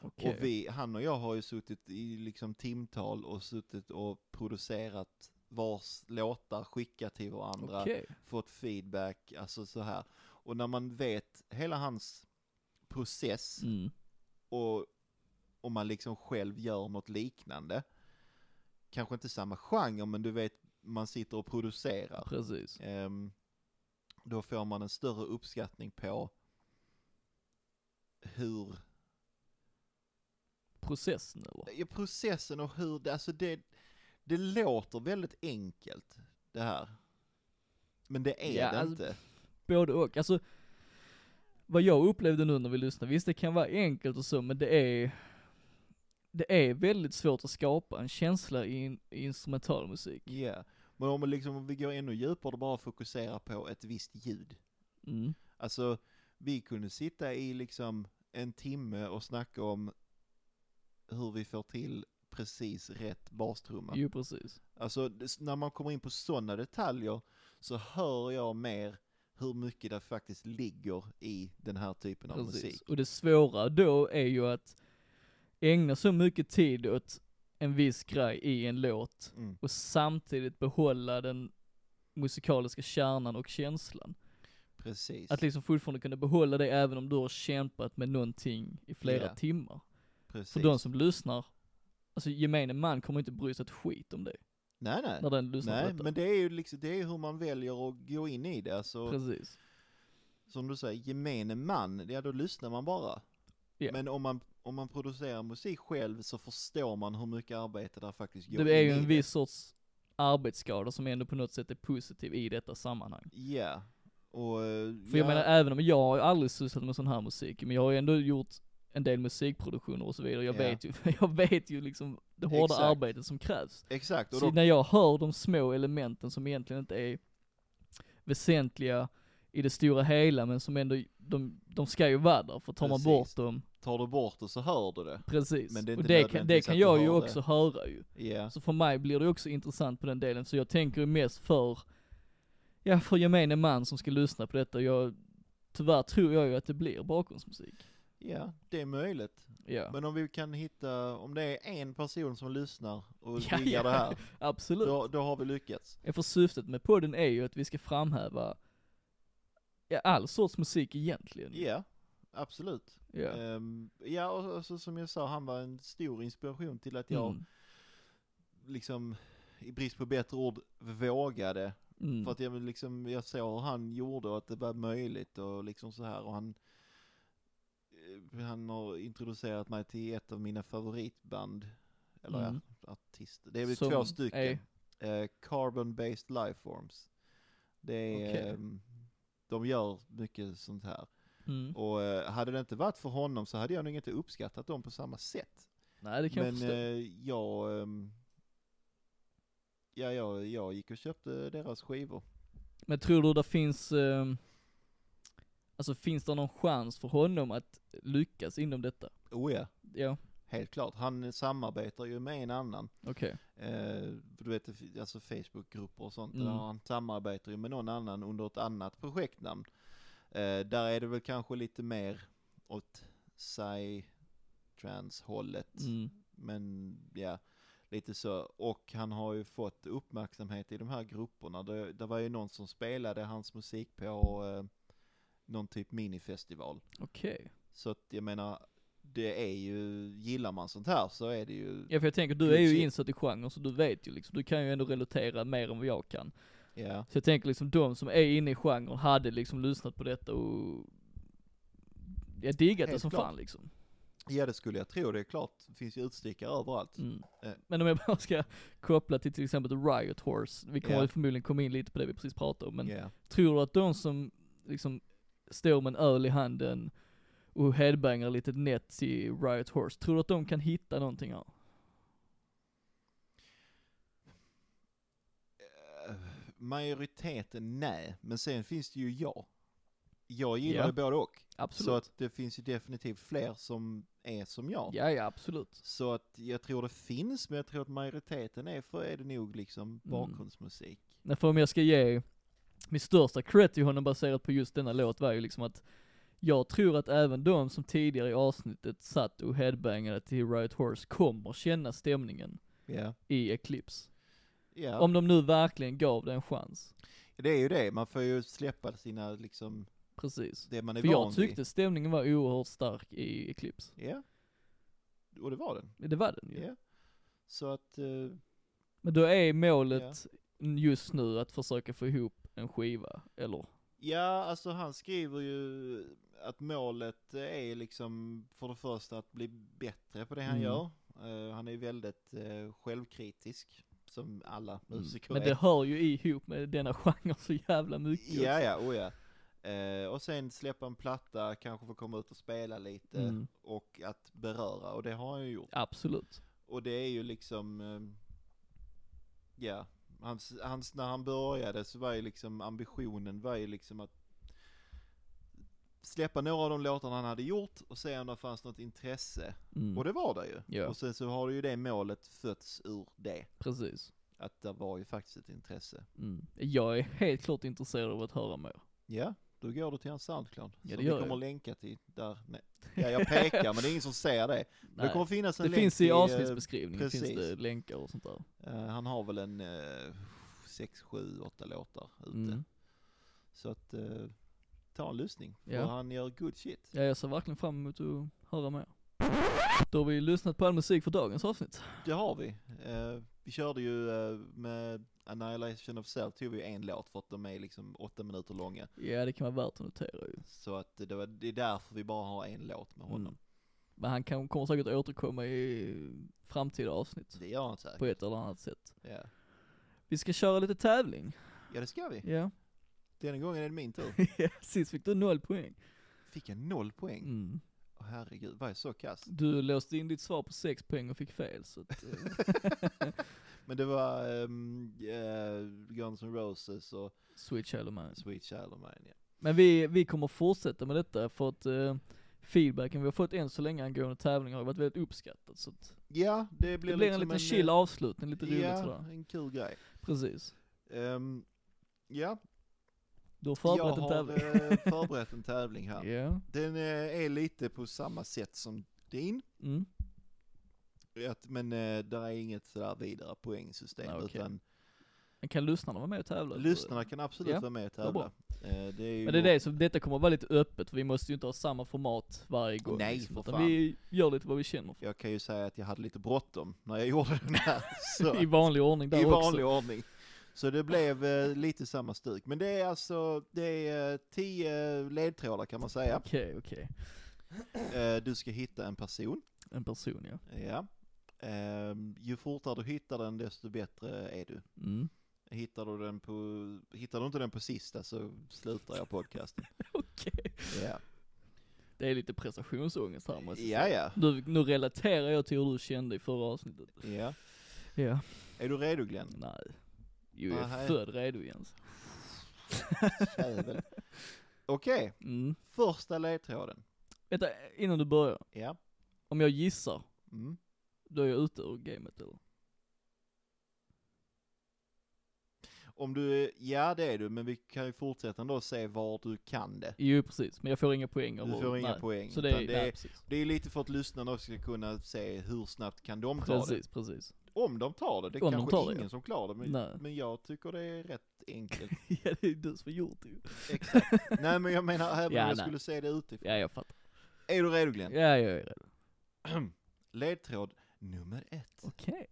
Speaker 1: Okej.
Speaker 2: Och vi, han och jag har ju suttit i liksom timtal och suttit och producerat vars låtar, skickat till varandra,
Speaker 1: Okej.
Speaker 2: fått feedback, alltså så här. Och när man vet hela hans process
Speaker 1: Mm.
Speaker 2: och om man liksom själv gör något liknande. Kanske inte samma genre, men du vet, man sitter och producerar.
Speaker 1: Precis.
Speaker 2: Ehm, då får man en större uppskattning på hur,
Speaker 1: Processen eller?
Speaker 2: ja, processen och hur, det, alltså det, det låter väldigt enkelt det här. Men det är
Speaker 1: Ja,
Speaker 2: det
Speaker 1: alltså-
Speaker 2: inte.
Speaker 1: Både och. Alltså, vad jag upplevde nu när vi lyssnade, visst det kan vara enkelt och så, men det är det är väldigt svårt att skapa en känsla i, in, i instrumentalmusik.
Speaker 2: Ja. Men om man liksom, om vi går ännu djupare och bara fokuserar på ett visst ljud.
Speaker 1: Mm.
Speaker 2: Alltså, vi kunde sitta i liksom en timme och snacka om hur vi får till precis rätt bastrumma.
Speaker 1: Jo precis.
Speaker 2: Alltså, det- när man kommer in på sådana detaljer så hör jag mer hur mycket det faktiskt ligger i den här typen av
Speaker 1: precis.
Speaker 2: musik.
Speaker 1: Och det svåra då är ju att ägna så mycket tid åt en viss grej i en låt
Speaker 2: Mm.
Speaker 1: och samtidigt behålla den musikaliska kärnan och känslan.
Speaker 2: Precis.
Speaker 1: Att liksom fortfarande kunna behålla det även om du har kämpat med någonting i flera
Speaker 2: Ja.
Speaker 1: timmar. För
Speaker 2: precis.
Speaker 1: de som lyssnar, alltså gemene man kommer inte bry sig ett skit om det.
Speaker 2: Nej, nej.
Speaker 1: när den lyssnar
Speaker 2: Nej,
Speaker 1: på detta.
Speaker 2: men det är ju liksom, det är ju hur man väljer att gå in i det. Alltså,
Speaker 1: Precis.
Speaker 2: som du säger, gemene man, ja då lyssnar man bara.
Speaker 1: Ja.
Speaker 2: Men om man, om man producerar musik själv så förstår man hur mycket arbete där faktiskt går
Speaker 1: Det är
Speaker 2: in
Speaker 1: ju
Speaker 2: i
Speaker 1: en
Speaker 2: det.
Speaker 1: viss sorts arbetsskada som ändå på något sätt är positiv i detta sammanhang.
Speaker 2: Ja. Och, eh,
Speaker 1: För jag
Speaker 2: ja,
Speaker 1: menar, även om jag har ju aldrig sysslat med sån här musik, men jag har ju ändå gjort en del musikproduktioner och så vidare. Jag,
Speaker 2: Ja.
Speaker 1: vet, ju, jag vet ju liksom det hårda
Speaker 2: Exakt.
Speaker 1: arbetet som krävs.
Speaker 2: Exakt, och
Speaker 1: Så
Speaker 2: då,
Speaker 1: när jag hör de små elementen som egentligen inte är väsentliga i det stora hela, men som ändå, de, de ska ju vara där, för tar man
Speaker 2: Precis.
Speaker 1: bort dem,
Speaker 2: tar du bort det så hör du det.
Speaker 1: precis.
Speaker 2: Men det är
Speaker 1: och
Speaker 2: inte
Speaker 1: det kan, det
Speaker 2: nödvändigtvis
Speaker 1: kan
Speaker 2: att
Speaker 1: jag
Speaker 2: du
Speaker 1: ju
Speaker 2: har
Speaker 1: också höra ju.
Speaker 2: Ja,
Speaker 1: Så för mig blir det också intressant på den delen, så jag tänker ju mest för, ja för gemene man som ska lyssna på detta. Jag, tyvärr tror jag ju att det blir bakgrundsmusik.
Speaker 2: ja, det är möjligt.
Speaker 1: Ja,
Speaker 2: Men om vi kan hitta, om det är en person som lyssnar och
Speaker 1: Ja,
Speaker 2: diggar det
Speaker 1: ja.
Speaker 2: här,
Speaker 1: absolut.
Speaker 2: då, då har vi lyckats.
Speaker 1: Ja, För syftet med podden är ju att vi ska framhäva, ja all sorts musik egentligen.
Speaker 2: Ja, absolut.
Speaker 1: Mm. Ja.
Speaker 2: Ehm, ja, och, och så, som jag sa, han var en stor inspiration till att jag
Speaker 1: Mm.
Speaker 2: liksom, i brist på bättre ord, vågade.
Speaker 1: Mm.
Speaker 2: För att jag vill liksom, jag såg hur han gjorde och att det var möjligt och liksom så här och han eh, han har introducerat mig till ett av mina favoritband, eller
Speaker 1: Mm.
Speaker 2: ja, artister. Det är väl
Speaker 1: Som
Speaker 2: två stycken.
Speaker 1: är-
Speaker 2: Eh, Carbon-based lifeforms. Det är,
Speaker 1: Okej.
Speaker 2: ehm, de gör mycket sånt här.
Speaker 1: Mm.
Speaker 2: Och eh, hade det inte varit för honom så hade jag nog inte uppskattat dem på samma sätt.
Speaker 1: Nej det kan jag
Speaker 2: Men
Speaker 1: förstå.
Speaker 2: eh, jag, ehm, ja, jag, jag gick och köpte deras skivor.
Speaker 1: Men tror du det finns, ehm, alltså finns det någon chans för honom att lyckas inom detta?
Speaker 2: Oh ja,
Speaker 1: Ja,
Speaker 2: helt klart. Han samarbetar ju med en annan.
Speaker 1: okej.
Speaker 2: Eh, du vet, det fi- alltså Facebookgrupper och sånt,
Speaker 1: Mm.
Speaker 2: där han samarbetar ju med någon annan under ett annat projektnamn. Eh, där är det väl kanske lite mer åt psy-trans-hållet.
Speaker 1: Mm.
Speaker 2: Men ja, lite så. Och han har ju fått uppmärksamhet i de här grupperna. Det, det var ju någon som spelade hans musik på eh, någon typ minifestival.
Speaker 1: Okej.
Speaker 2: Så att jag menar, det är ju, gillar man sånt här så är det ju,
Speaker 1: Ja för jag tänker,
Speaker 2: Good
Speaker 1: du är ju
Speaker 2: shit.
Speaker 1: insatt i genren så du vet ju liksom, du kan ju ändå relatera mer än vad jag kan.
Speaker 2: ja,
Speaker 1: Så jag tänker liksom de som är inne i genren hade liksom lyssnat på detta och jag diggat det
Speaker 2: Helt
Speaker 1: som
Speaker 2: klart.
Speaker 1: fan liksom.
Speaker 2: ja det skulle jag tro, det är klart, det finns ju utstickare överallt.
Speaker 1: Mm.
Speaker 2: Eh.
Speaker 1: Men om jag bara ska koppla till till exempel The Riot Horse, vi kommer
Speaker 2: Ja.
Speaker 1: väl förmodligen komma in lite på det vi precis pratade om, men
Speaker 2: Ja.
Speaker 1: tror du att de som liksom står med en öl i handen och headbangar lite nätt till Riot Horse, tror du att de kan hitta någonting här?
Speaker 2: Eh, Majoriteten nej, men sen finns det ju jag. Jag gillar
Speaker 1: Ja.
Speaker 2: ju både och.
Speaker 1: Absolut.
Speaker 2: Så att det finns ju definitivt fler som är som jag.
Speaker 1: Ja, ja absolut.
Speaker 2: Så att jag tror det finns, men jag tror att majoriteten är, för är det nog
Speaker 1: Mm.
Speaker 2: liksom bakgrundsmusik.
Speaker 1: Nej, för om jag ska ge min största cred till honom baserat på just denna låt var ju liksom att jag tror att även de som tidigare i avsnittet satt och headbangade till Riot Horse kommer känna stämningen
Speaker 2: Ja.
Speaker 1: i Eclipse.
Speaker 2: ja.
Speaker 1: Om de nu verkligen gav det en chans.
Speaker 2: Det är ju det, man får ju släppa sina liksom,
Speaker 1: Precis.
Speaker 2: det man är
Speaker 1: För
Speaker 2: van
Speaker 1: jag tyckte stämningen var oerhört stark i Eclipse.
Speaker 2: vid. Ja. Och det var den.
Speaker 1: Det var den
Speaker 2: Ja.
Speaker 1: ju.
Speaker 2: Så att, eh,
Speaker 1: Men då är målet just nu att försöka få ihop en skiva, eller?
Speaker 2: ja alltså han skriver ju att målet är liksom för det första att bli bättre på det han
Speaker 1: Mm.
Speaker 2: gör. Eh, han är ju väldigt eh, självkritisk, som alla musiker
Speaker 1: Mm. Men
Speaker 2: är.
Speaker 1: det hör ju ihop med denna genre så jävla mycket.
Speaker 2: Ja, ja, oh ja. Eh, och sen släppa en platta, kanske få komma ut och spela lite
Speaker 1: Mm.
Speaker 2: och att beröra och det har han ju gjort.
Speaker 1: Absolut.
Speaker 2: Och det är ju liksom, ehm, ja, hans, hans, när han började så var ju liksom ambitionen var ju liksom att släppa några av de låtarna han hade gjort och se om det fanns något intresse.
Speaker 1: Mm.
Speaker 2: Och det var det ju.
Speaker 1: Ja.
Speaker 2: Och sen så har ju det målet fötts ur det.
Speaker 1: Precis.
Speaker 2: Att det var ju faktiskt ett intresse.
Speaker 1: Mm. Jag är helt klart intresserad av att höra mer.
Speaker 2: Ja, då går du till hans Soundcloud.
Speaker 1: Ja,
Speaker 2: som
Speaker 1: det
Speaker 2: vi
Speaker 1: gör
Speaker 2: kommer
Speaker 1: jag.
Speaker 2: länka till där. Nej. Ja, jag pekar men det är ingen som ser det. Det
Speaker 1: Nej.
Speaker 2: kommer finnas en
Speaker 1: Det
Speaker 2: länk
Speaker 1: finns i
Speaker 2: eh,
Speaker 1: avsnittsbeskrivningen,
Speaker 2: precis.
Speaker 1: finns det länkar och sånt där.
Speaker 2: eh, han har väl en eh, sex, sju, åtta låtar ute.
Speaker 1: Mm.
Speaker 2: Så att eh, ta en lyssning. För
Speaker 1: Ja.
Speaker 2: han gör good shit.
Speaker 1: Ja, jag ser verkligen fram emot att höra mer. Då har vi lyssnat på all musik för dagens avsnitt.
Speaker 2: Det har vi. Eh, vi körde ju eh, med Annihilation of Self, tog vi en låt för att de är liksom åtta minuter långa.
Speaker 1: Ja, det kan vara värt att notera ju.
Speaker 2: Så att det, var, det är därför vi bara har en låt med honom.
Speaker 1: Mm. Men han kan, kommer säkert återkomma i framtida avsnitt.
Speaker 2: Det gör han
Speaker 1: På
Speaker 2: säkert.
Speaker 1: ett eller annat sätt.
Speaker 2: Ja.
Speaker 1: Vi ska köra lite tävling.
Speaker 2: ja, det ska vi.
Speaker 1: Ja.
Speaker 2: Denna gången är det min tur.
Speaker 1: Sist fick du noll poäng.
Speaker 2: Fick jag noll poäng?
Speaker 1: Mm.
Speaker 2: Åh, herregud, var jag så kass?
Speaker 1: Du låste in ditt svar på sex poäng och fick fel, så att, eh,
Speaker 2: Men det var ehm, eh, Guns N' Roses och
Speaker 1: Sweet Child of Mine.
Speaker 2: Sweet Child of Mine. Ja.
Speaker 1: Men vi, vi kommer fortsätta med detta för att eh, feedbacken vi har fått än så länge angående tävlingar har varit väldigt uppskattat. Så att
Speaker 2: ja, det
Speaker 1: det
Speaker 2: blir,
Speaker 1: blir en
Speaker 2: liksom
Speaker 1: liten chill
Speaker 2: eh,
Speaker 1: avslutning, lite roligt
Speaker 2: Ja,
Speaker 1: sådär.
Speaker 2: en kul grej.
Speaker 1: Precis.
Speaker 2: Ehm, ja,
Speaker 1: Du har förberett
Speaker 2: jag
Speaker 1: en
Speaker 2: har
Speaker 1: tävling.
Speaker 2: eh, förberett en tävling här.
Speaker 1: Ja.
Speaker 2: Den eh, är lite på samma sätt som din,
Speaker 1: Mm.
Speaker 2: att, men eh, där är inget sådär vidare poängsystem.
Speaker 1: Ah, okej.
Speaker 2: Utan
Speaker 1: Men kan lyssnarna vara med och tävla?
Speaker 2: lyssnarna kan absolut
Speaker 1: Ja,
Speaker 2: vara med och
Speaker 1: vad
Speaker 2: tävla.
Speaker 1: bra.
Speaker 2: Eh, det är ju
Speaker 1: Men det är det, så detta kommer vara lite öppet, för vi måste ju inte ha samma format varje gång.
Speaker 2: Nej,
Speaker 1: liksom,
Speaker 2: för
Speaker 1: utan
Speaker 2: fan.
Speaker 1: vi gör lite vad vi känner för.
Speaker 2: Jag kan ju säga att jag hade lite bråttom när jag gjorde den här. Så,
Speaker 1: I vanlig ordning där
Speaker 2: I
Speaker 1: också.
Speaker 2: vanlig ordning. Så det blev eh, lite samma stuk. Men det är alltså, det är eh, tio ledtrådar kan man säga.
Speaker 1: Okej, okej.
Speaker 2: Eh, du ska hitta en person.
Speaker 1: En person ja.
Speaker 2: Ja. Eh, ju fortare du hittar den desto bättre är du.
Speaker 1: Mm.
Speaker 2: Hittar du, den på, hittar du inte den på sista så slutar jag podcasten.
Speaker 1: Okej.
Speaker 2: Ja,
Speaker 1: Det är lite prestationsångest här måste jag
Speaker 2: ja.
Speaker 1: säga.
Speaker 2: ja.
Speaker 1: Nu, nu relaterar jag till hur du kände i förra avsnittet.
Speaker 2: ja.
Speaker 1: Ja.
Speaker 2: Är du redo Glenn?
Speaker 1: Nej. Jo, jag
Speaker 2: Nej.
Speaker 1: är född redo Jens.
Speaker 2: Jävel. Okej,
Speaker 1: Mm.
Speaker 2: första ledtråden.
Speaker 1: Vänta, innan du börjar.
Speaker 2: Ja.
Speaker 1: Om jag gissar,
Speaker 2: Mm.
Speaker 1: då är jag ute ur gamet eller?
Speaker 2: Om du, ja det är du, men vi kan ju fortsätta ändå och se var du kan det.
Speaker 1: Jo precis, men jag får inga poäng av
Speaker 2: Du får
Speaker 1: ordet.
Speaker 2: inga
Speaker 1: nej.
Speaker 2: poäng.
Speaker 1: Så det
Speaker 2: utan
Speaker 1: är, nej, precis.
Speaker 2: det är lite för att lyssnarna också ska kunna se hur snabbt kan de ta
Speaker 1: Precis, precis.
Speaker 2: det. Om de tar det, det är
Speaker 1: Om de
Speaker 2: kanske
Speaker 1: tar det,
Speaker 2: ingen
Speaker 1: ja.
Speaker 2: som klarar det,
Speaker 1: Nej.
Speaker 2: men, men jag tycker det är rätt enkelt.
Speaker 1: ja det är du som har gjort det ju.
Speaker 2: Exakt. Nej men jag menar, även
Speaker 1: Ja,
Speaker 2: om jag
Speaker 1: nej.
Speaker 2: skulle se det utifrån.
Speaker 1: Ja jag fattar.
Speaker 2: Är du redo
Speaker 1: Ja
Speaker 2: Glenn?
Speaker 1: jag är redo.
Speaker 2: Ledtråd nummer ett.
Speaker 1: Okej.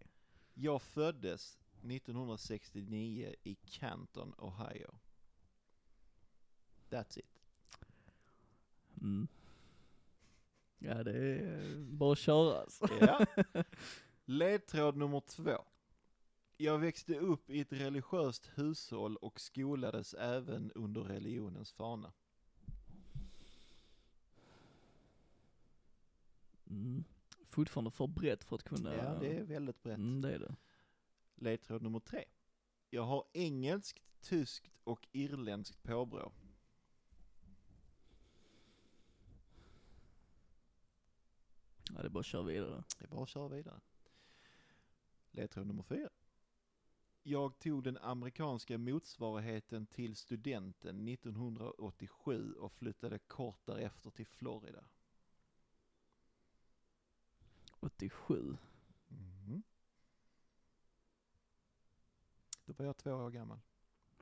Speaker 2: Jag föddes 1969 i Canton, Ohio. That's it.
Speaker 1: Mm. Ja det är eh, bara att köra alltså.
Speaker 2: Ja. Ledtråd nummer två. Jag växte upp i ett religiöst hushåll och skolades även under religionens fana.
Speaker 1: Mm. Fortfarande för brett för att kunna...
Speaker 2: Ja, det är väldigt brett.
Speaker 1: Mm, det är det.
Speaker 2: Ledtråd nummer tre. Jag har engelskt, tyskt och irländskt påbrå.
Speaker 1: Ja det är bara att köra vidare.
Speaker 2: Det är bara att köra vidare. Ledtråd nummer fyra. Jag tog den amerikanska motsvarigheten till studenten 1987 och flyttade kort därefter till Florida.
Speaker 1: 87.
Speaker 2: Mhm. Då var jag två år gammal.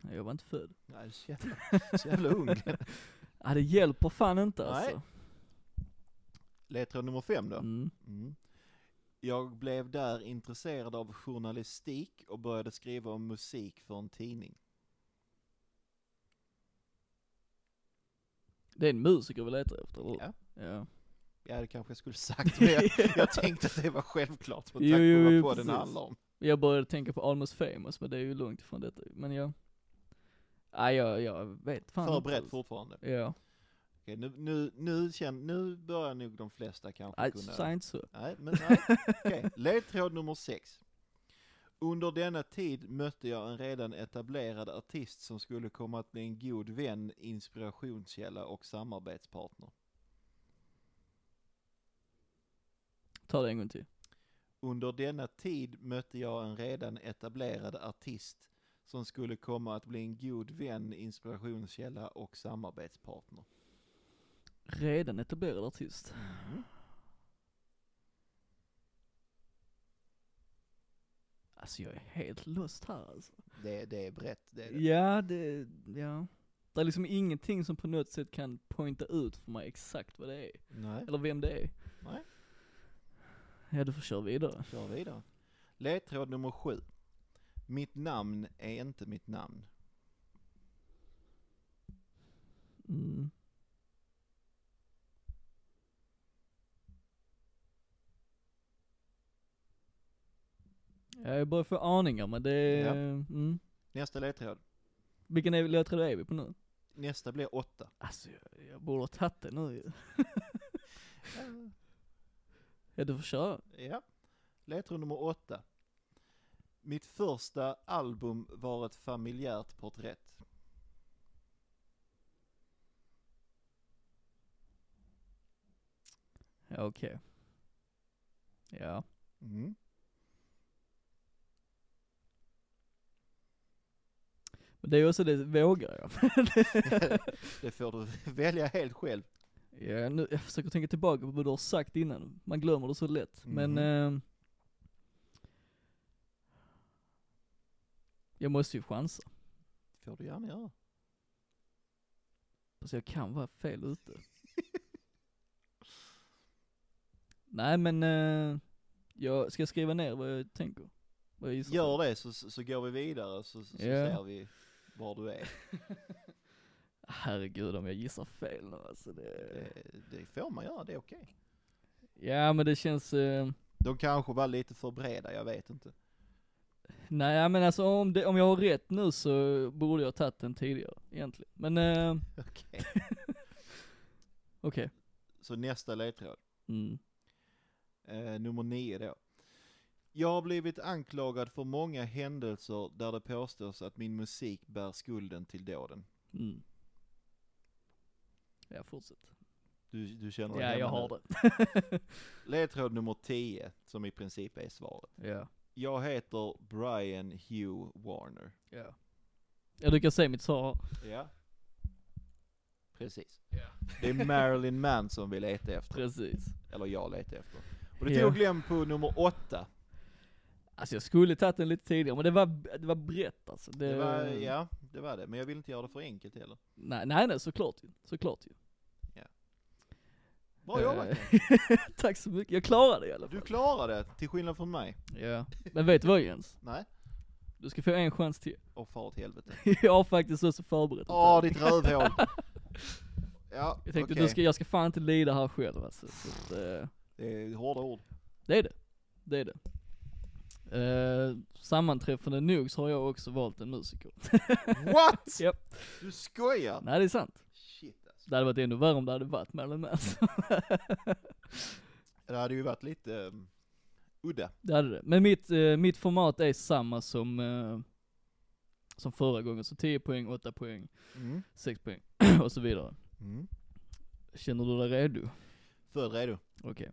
Speaker 1: Nej, Jag var inte född.
Speaker 2: Nej, så jävla, så jävla ung.
Speaker 1: Ja det hjälper fan inte
Speaker 2: Nej.
Speaker 1: alltså.
Speaker 2: Ledtråd nummer fem då.
Speaker 1: Mm.
Speaker 2: Mm. Jag blev där intresserad av journalistik och började skriva om musik för en tidning.
Speaker 1: Det är en musiker vi letar efter, eller
Speaker 2: Ja.
Speaker 1: ja.
Speaker 2: Ja, det kanske jag skulle sagt, men jag, jag tänkte att det var självklart med
Speaker 1: Jo,
Speaker 2: tanke
Speaker 1: jo,
Speaker 2: på
Speaker 1: jo,
Speaker 2: vad podden
Speaker 1: precis.
Speaker 2: handlar om.
Speaker 1: Jag började tänka på Almost famous, men det är ju långt ifrån detta. Men ja. Nej jag, jag vet fan
Speaker 2: För
Speaker 1: inte
Speaker 2: brett
Speaker 1: alls.
Speaker 2: fortfarande.
Speaker 1: Ja.
Speaker 2: Okej, nu, nu, nu, känn, nu börjar nog de flesta kanske
Speaker 1: Nej,
Speaker 2: kunna...
Speaker 1: ah, säg inte så.
Speaker 2: Nej, men nej. Okej, ledtråd nummer sex. Under denna tid mötte jag en redan etablerad artist som skulle komma att bli en god vän, inspirationskälla och samarbetspartner.
Speaker 1: Ta det en gång till.
Speaker 2: Under denna tid mötte jag en redan etablerad artist som skulle komma att bli en god vän, inspirationskälla och samarbetspartner.
Speaker 1: Redan etablerad artist.
Speaker 2: Mhm.
Speaker 1: Alltså jag är helt lost här alltså.
Speaker 2: Det, det är brett, det är det.
Speaker 1: Ja, det, ja. Det är liksom ingenting som på något sätt kan pointa ut för mig exakt vad det är.
Speaker 2: Nej.
Speaker 1: Eller vem det är.
Speaker 2: Nej.
Speaker 1: Ja, du får köra vidare.
Speaker 2: Kör vidare. Ledtråd nummer sju. Mitt namn är inte mitt namn.
Speaker 1: Mm. Jag börjar få aningar men det är,
Speaker 2: Ja.
Speaker 1: mm.
Speaker 2: Nästa ledtråd.
Speaker 1: Vilken är, låt tror du är vi på nu?
Speaker 2: Nästa blir åtta.
Speaker 1: Alltså jag, jag borde ha tagit det nu ju. Ja du får köra.
Speaker 2: Ja. Ledtråd nummer åtta. Mitt första album var ett familjärt porträtt.
Speaker 1: Ja okej. Ja.
Speaker 2: Mm.
Speaker 1: Men det är också det, vågar jag?
Speaker 2: Det får du välja helt själv.
Speaker 1: Ja, nu, jag försöker tänka tillbaka på vad du har sagt innan, man glömmer det så lätt. Men eh, jag måste ju chansa.
Speaker 2: Det får du gärna göra.
Speaker 1: Alltså jag kan vara fel ute. Nej men, eh, jag ska jag skriva ner vad jag tänker? Vad jag gissar på?
Speaker 2: Gör det så, så går vi vidare så, så
Speaker 1: Ja.
Speaker 2: ser vi var du är.
Speaker 1: Herregud om jag gissar fel nu alltså det...
Speaker 2: Det, Eh, det får man göra, det är okej.
Speaker 1: Ja men det känns, eh,
Speaker 2: De kanske var lite för breda, jag vet inte.
Speaker 1: nej men alltså om, det, om jag har rätt nu så borde jag ha tagit den tidigare egentligen. Men eh,
Speaker 2: Okej.
Speaker 1: okej.
Speaker 2: Så nästa ledtråd.
Speaker 1: Mm.
Speaker 2: Eh, nummer nio då. Jag har blivit anklagad för många händelser där det påstås att min musik bär skulden till dåden.
Speaker 1: Mm. Ja, fortsätt.
Speaker 2: Du, du känner dig
Speaker 1: Ja, jag
Speaker 2: hemma
Speaker 1: har
Speaker 2: nu.
Speaker 1: det.
Speaker 2: Ledtråd nummer 10, som i princip är svaret.
Speaker 1: Ja.
Speaker 2: Jag heter Brian Hugh Warner.
Speaker 1: ja. Ja, du kan säga mitt svar.
Speaker 2: Ja. Precis. Det är Marilyn Manson vi letar efter.
Speaker 1: Precis.
Speaker 2: Eller jag letar efter. Och det
Speaker 1: Ja.
Speaker 2: tog Glenn på nummer åtta.
Speaker 1: Alltså jag skulle tagit den lite tidigare, men det var, det var brett alltså. Det,
Speaker 2: Det var, ja, det var det. Men jag vill inte göra det för enkelt heller.
Speaker 1: Nej, nej, nej, såklart ju. Såklart ju.
Speaker 2: Bra jobbat
Speaker 1: Eh,
Speaker 2: Glenn.
Speaker 1: Tack så mycket. Jag klarade det i alla
Speaker 2: Du
Speaker 1: fall.
Speaker 2: klarade det, till skillnad från mig.
Speaker 1: Ja. Men vet du vad Jens?
Speaker 2: Nej.
Speaker 1: Du ska få en chans till.
Speaker 2: Åh far åt helvete.
Speaker 1: Jag har faktiskt också förberett en
Speaker 2: Åh
Speaker 1: tävling.
Speaker 2: ditt rövhål. Ja,
Speaker 1: Jag tänkte
Speaker 2: okej.
Speaker 1: du ska, jag ska fan inte lida här själv alltså. Så att, eh,
Speaker 2: Det är hårda ord.
Speaker 1: Det är det. Det är det. Eh, sammanträffande nog så har jag också valt en musiker.
Speaker 2: What?
Speaker 1: Japp.
Speaker 2: Du skojar?
Speaker 1: Nej det är sant.
Speaker 2: Shit alltså.
Speaker 1: Det hade varit ännu värre om det hade varit Marilyn Manson.
Speaker 2: Det hade ju varit lite ehm, udda.
Speaker 1: det hade det. Men mitt, eh, mitt format är samma som, eh, som förra gången. Så 10 poäng, 8 poäng, 6 poäng och så vidare.
Speaker 2: Mm.
Speaker 1: Känner du dig redo?
Speaker 2: Född redo.
Speaker 1: Okej.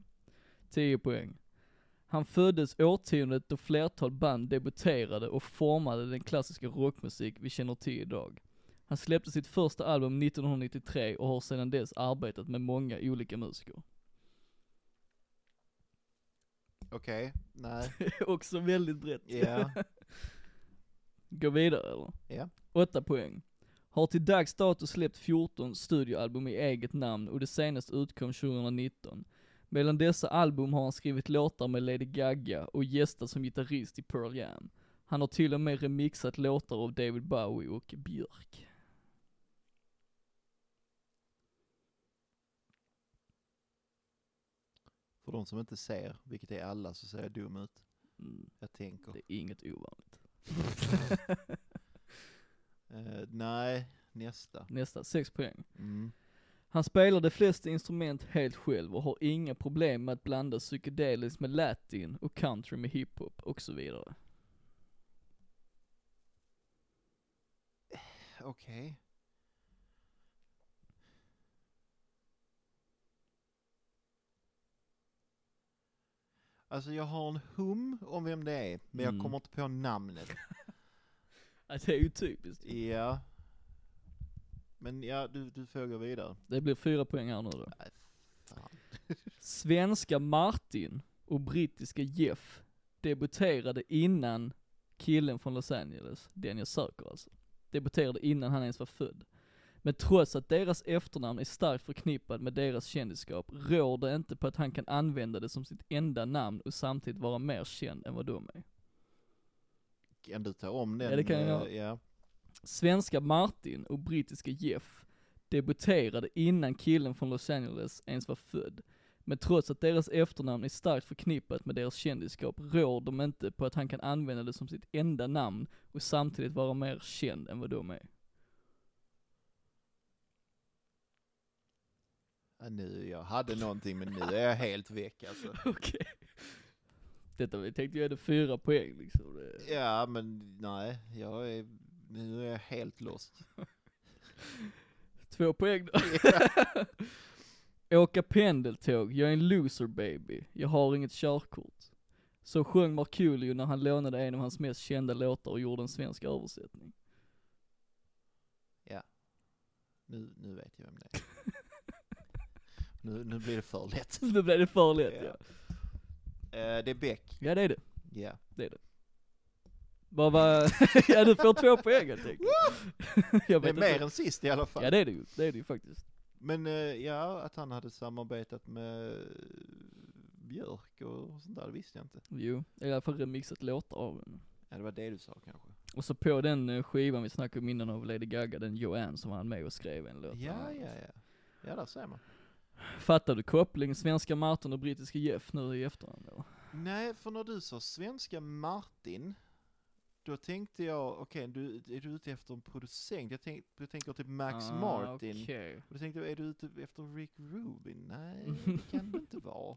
Speaker 1: 10 poäng. Han föddes årtiondet då flertal band debuterade och formade den klassiska rockmusik vi känner till idag. Han släppte sitt första album 1993 och har sedan dess arbetat med många olika musiker.
Speaker 2: Okej, nej.
Speaker 1: Också väldigt brett.
Speaker 2: Ja.
Speaker 1: Gå vidare eller?
Speaker 2: Ja.
Speaker 1: 8 poäng. Har till dags dato släppt 14 studioalbum i eget namn och det senaste utkom 2019. Mellan dessa album har han skrivit låtar med Lady Gaga och gästat som gitarrist i Pearl Jam. Han har till och med remixat låtar av David Bowie och Björk.
Speaker 2: För de som inte ser, vilket är alla, så ser jag dum ut.
Speaker 1: Mm,
Speaker 2: Jag tänker.
Speaker 1: det är inget ovanligt.
Speaker 2: Eh, nej, nästa.
Speaker 1: Nästa, 6 poäng.
Speaker 2: Mm.
Speaker 1: Han spelar de flesta instrument helt själv och har inga problem med att blanda psykedeliskt med latin och country med hiphop och så vidare.
Speaker 2: Okej. Alltså jag har en hum om vem det är, men
Speaker 1: Mm.
Speaker 2: jag kommer inte på namnet.
Speaker 1: Ja, Det är ju typiskt.
Speaker 2: ja. Men ja, du, du får gå vidare.
Speaker 1: Det blir fyra poäng här nu då.
Speaker 2: Nej, fan.
Speaker 1: Svenska Martin och brittiska Jeff debuterade innan killen från Los Angeles, den jag söker alltså, debuterade innan han ens var född. Men trots att deras efternamn är starkt förknippat med deras kändisskap rår det inte på att han kan använda det som sitt enda namn och samtidigt vara mer känd än vad de är.
Speaker 2: Kan du ta om den?
Speaker 1: Ja, det kan jag
Speaker 2: eh,
Speaker 1: göra.
Speaker 2: Ja.
Speaker 1: Svenska Martin och brittiska Jeff debuterade innan killen från Los Angeles ens var född. Men trots att deras efternamn är starkt förknippat med deras kändisskap rår de inte på att han kan använda det som sitt enda namn och samtidigt vara mer känd än vad de är.
Speaker 2: Ja, nu, jag hade någonting men nu är jag helt väck alltså.
Speaker 1: Okej. Detta vi tänkte jag hade fyra poäng liksom. Det-
Speaker 2: Ja men nej, jag är, nu är jag helt lost.
Speaker 1: Två poäng då. Åka pendeltåg, jag är en loser baby, jag har inget körkort. Så sjöng Markoolio när han lånade en av hans mest kända låtar och gjorde en svensk översättning.
Speaker 2: Nu, nu vet jag vem det är. Nu, nu blir det för lätt.
Speaker 1: Nu blev det för lätt ja.
Speaker 2: Ja. Eh, det är Beck.
Speaker 1: Ja det är det,
Speaker 2: Ja.
Speaker 1: det är det. Bara, bara ja du får två poäng helt enkelt. jag
Speaker 2: Det är
Speaker 1: vet
Speaker 2: mer
Speaker 1: inte.
Speaker 2: än sist i alla fall.
Speaker 1: Ja det är det ju, det är det ju faktiskt.
Speaker 2: Men eh, ja, att han hade samarbetat med eh, Björk och sånt där, visste jag inte.
Speaker 1: Jo, i alla fall remixat låtar av den.
Speaker 2: Ja, det var det du sa kanske.
Speaker 1: Och så på den eh, skivan vi snackade om innan av Lady Gaga, den Joanne som han med och skrev en låt.
Speaker 2: Ja, ja, ja. Ja, där ser man.
Speaker 1: Fattar du kopplingen svenska Martin och brittiska Jeff nu i efterhand eller?
Speaker 2: Nej, för när du sa svenska Martin, då tänkte jag, okej, du, är du ute efter en producent? Jag, tänk, jag tänker typ Max
Speaker 1: Ah,
Speaker 2: Martin.
Speaker 1: okej.
Speaker 2: Och då tänkte jag, är du ute efter Rick Rubin? Nej, det kan det inte vara.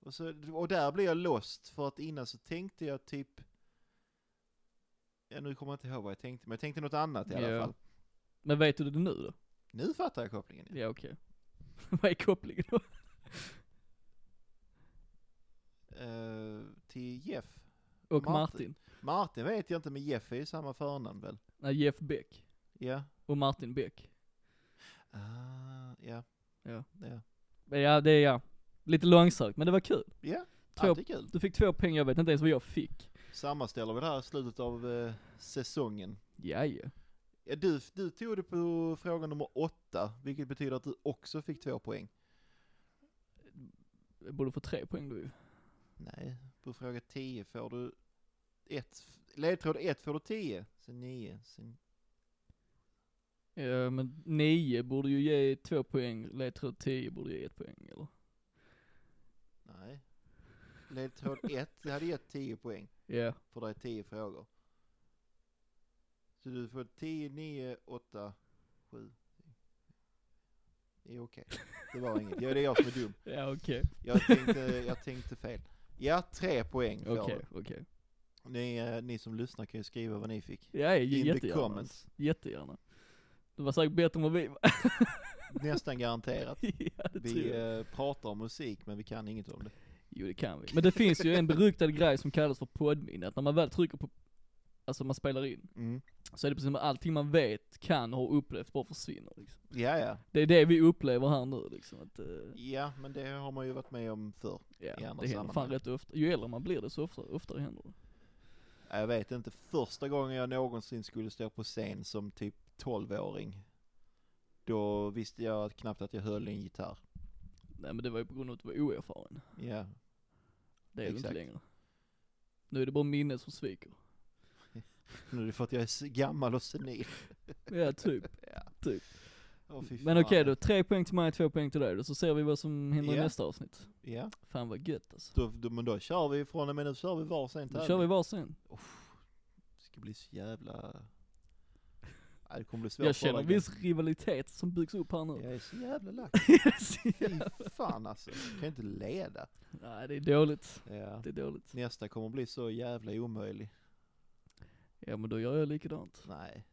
Speaker 2: Och, så, och där blev jag lost, för att innan så tänkte jag typ... Ja, nu kommer jag inte ihåg vad jag tänkte, men jag tänkte något annat i alla
Speaker 1: Ja.
Speaker 2: fall.
Speaker 1: Men vet du det nu då?
Speaker 2: Nu fattar jag kopplingen. Ja.
Speaker 1: Ja okej. Vad är kopplingen då?
Speaker 2: Eh, till Jeff.
Speaker 1: Och
Speaker 2: Martin.
Speaker 1: Martin.
Speaker 2: Martin vet jag inte, men Jeff är ju samma förnamn väl?
Speaker 1: Nej Jeff Beck.
Speaker 2: Ja.
Speaker 1: Och Martin Beck.
Speaker 2: Ah, ja.
Speaker 1: Ja.
Speaker 2: Ja.
Speaker 1: Men Ja det är ja, lite långsökt men det var kul.
Speaker 2: Ja,
Speaker 1: Två-
Speaker 2: alltid kul.
Speaker 1: Du fick två poäng, jag vet inte ens vad jag fick.
Speaker 2: Sammanställer vi det här i slutet av eh, säsongen.
Speaker 1: Ja, ja.
Speaker 2: Ja, du, du tog det på fråga nummer åtta, vilket betyder att du också fick två poäng.
Speaker 1: Jag borde få tre poäng då ju.
Speaker 2: Nej, på fråga 10 får du ett, ledtråd 1 får du 10, sen 9, sen...
Speaker 1: Ja men nio borde ju ge två poäng, ledtråd tio borde ge ett poäng eller?
Speaker 2: Nej. Ledtråd 1, det hade gett 10 poäng,
Speaker 1: Ja,
Speaker 2: för det är 10 frågor. Så du får 10, 9, 8, 7. Det är okej. Det var inget. Ja, det är jag som är dum.
Speaker 1: ja okej.
Speaker 2: Jag tänkte, jag tänkte fel. Ja, tre poäng får
Speaker 1: Okej, okej.
Speaker 2: du. Ni, eh, ni som lyssnar kan ju skriva vad ni fick.
Speaker 1: Ja, ja,
Speaker 2: In the
Speaker 1: jättegärna.
Speaker 2: comments.
Speaker 1: alltså. Jättegärna. Det var säkert bättre än vad vi var.
Speaker 2: Nästan garanterat.
Speaker 1: ja, det tror
Speaker 2: Vi
Speaker 1: jag.
Speaker 2: eh, pratar om musik men vi kan inget om det.
Speaker 1: Jo det kan vi. Men det finns ju en beryktad grej som kallas för podmin, att när man väl trycker på, alltså man spelar in, så är det precis som att allting man vet, kan, har upplevt bara försvinner liksom.
Speaker 2: Ja, ja.
Speaker 1: Det är det vi upplever här nu liksom, att, eh,
Speaker 2: Ja, men det har man ju varit med om förr.
Speaker 1: ja,
Speaker 2: I andra
Speaker 1: det händer fan
Speaker 2: sammanhang.
Speaker 1: rätt ofta. Ju äldre man blir det så ofta, oftare händer det.
Speaker 2: Jag vet inte, första gången jag någonsin skulle stå på scen som typ 12-åring, då visste jag knappt att jag höll i en gitarr.
Speaker 1: Nej men det var ju på grund av att du var oerfaren.
Speaker 2: Ja,
Speaker 1: Det är du inte
Speaker 2: Exakt.
Speaker 1: längre. Nu är det bara minnet som sviker.
Speaker 2: nu är det för att jag är s- gammal och senil.
Speaker 1: Ja typ.
Speaker 2: Åh, fy
Speaker 1: men
Speaker 2: fan.
Speaker 1: okej då, tre poäng till mig, två poäng till dig då, så ser vi vad som händer
Speaker 2: Ja.
Speaker 1: i nästa avsnitt.
Speaker 2: Ja,
Speaker 1: Fan vad gött alltså.
Speaker 2: då, då, men då kör vi från och med nu kör vi varsin
Speaker 1: Då kör vi varsin.
Speaker 2: Det ska bli så jävla... Ja, det kommer bli svårt
Speaker 1: Jag
Speaker 2: för
Speaker 1: känner
Speaker 2: dig.
Speaker 1: en viss rivalitet som byggs upp här nu.
Speaker 2: Jag är så jävla lack. Fy
Speaker 1: Yes.
Speaker 2: fan alltså, kan inte leda.
Speaker 1: Nej det är dåligt.
Speaker 2: Ja.
Speaker 1: Det är dåligt.
Speaker 2: Nästa kommer bli så jävla omöjlig.
Speaker 1: Ja men då gör jag likadant.
Speaker 2: Nej.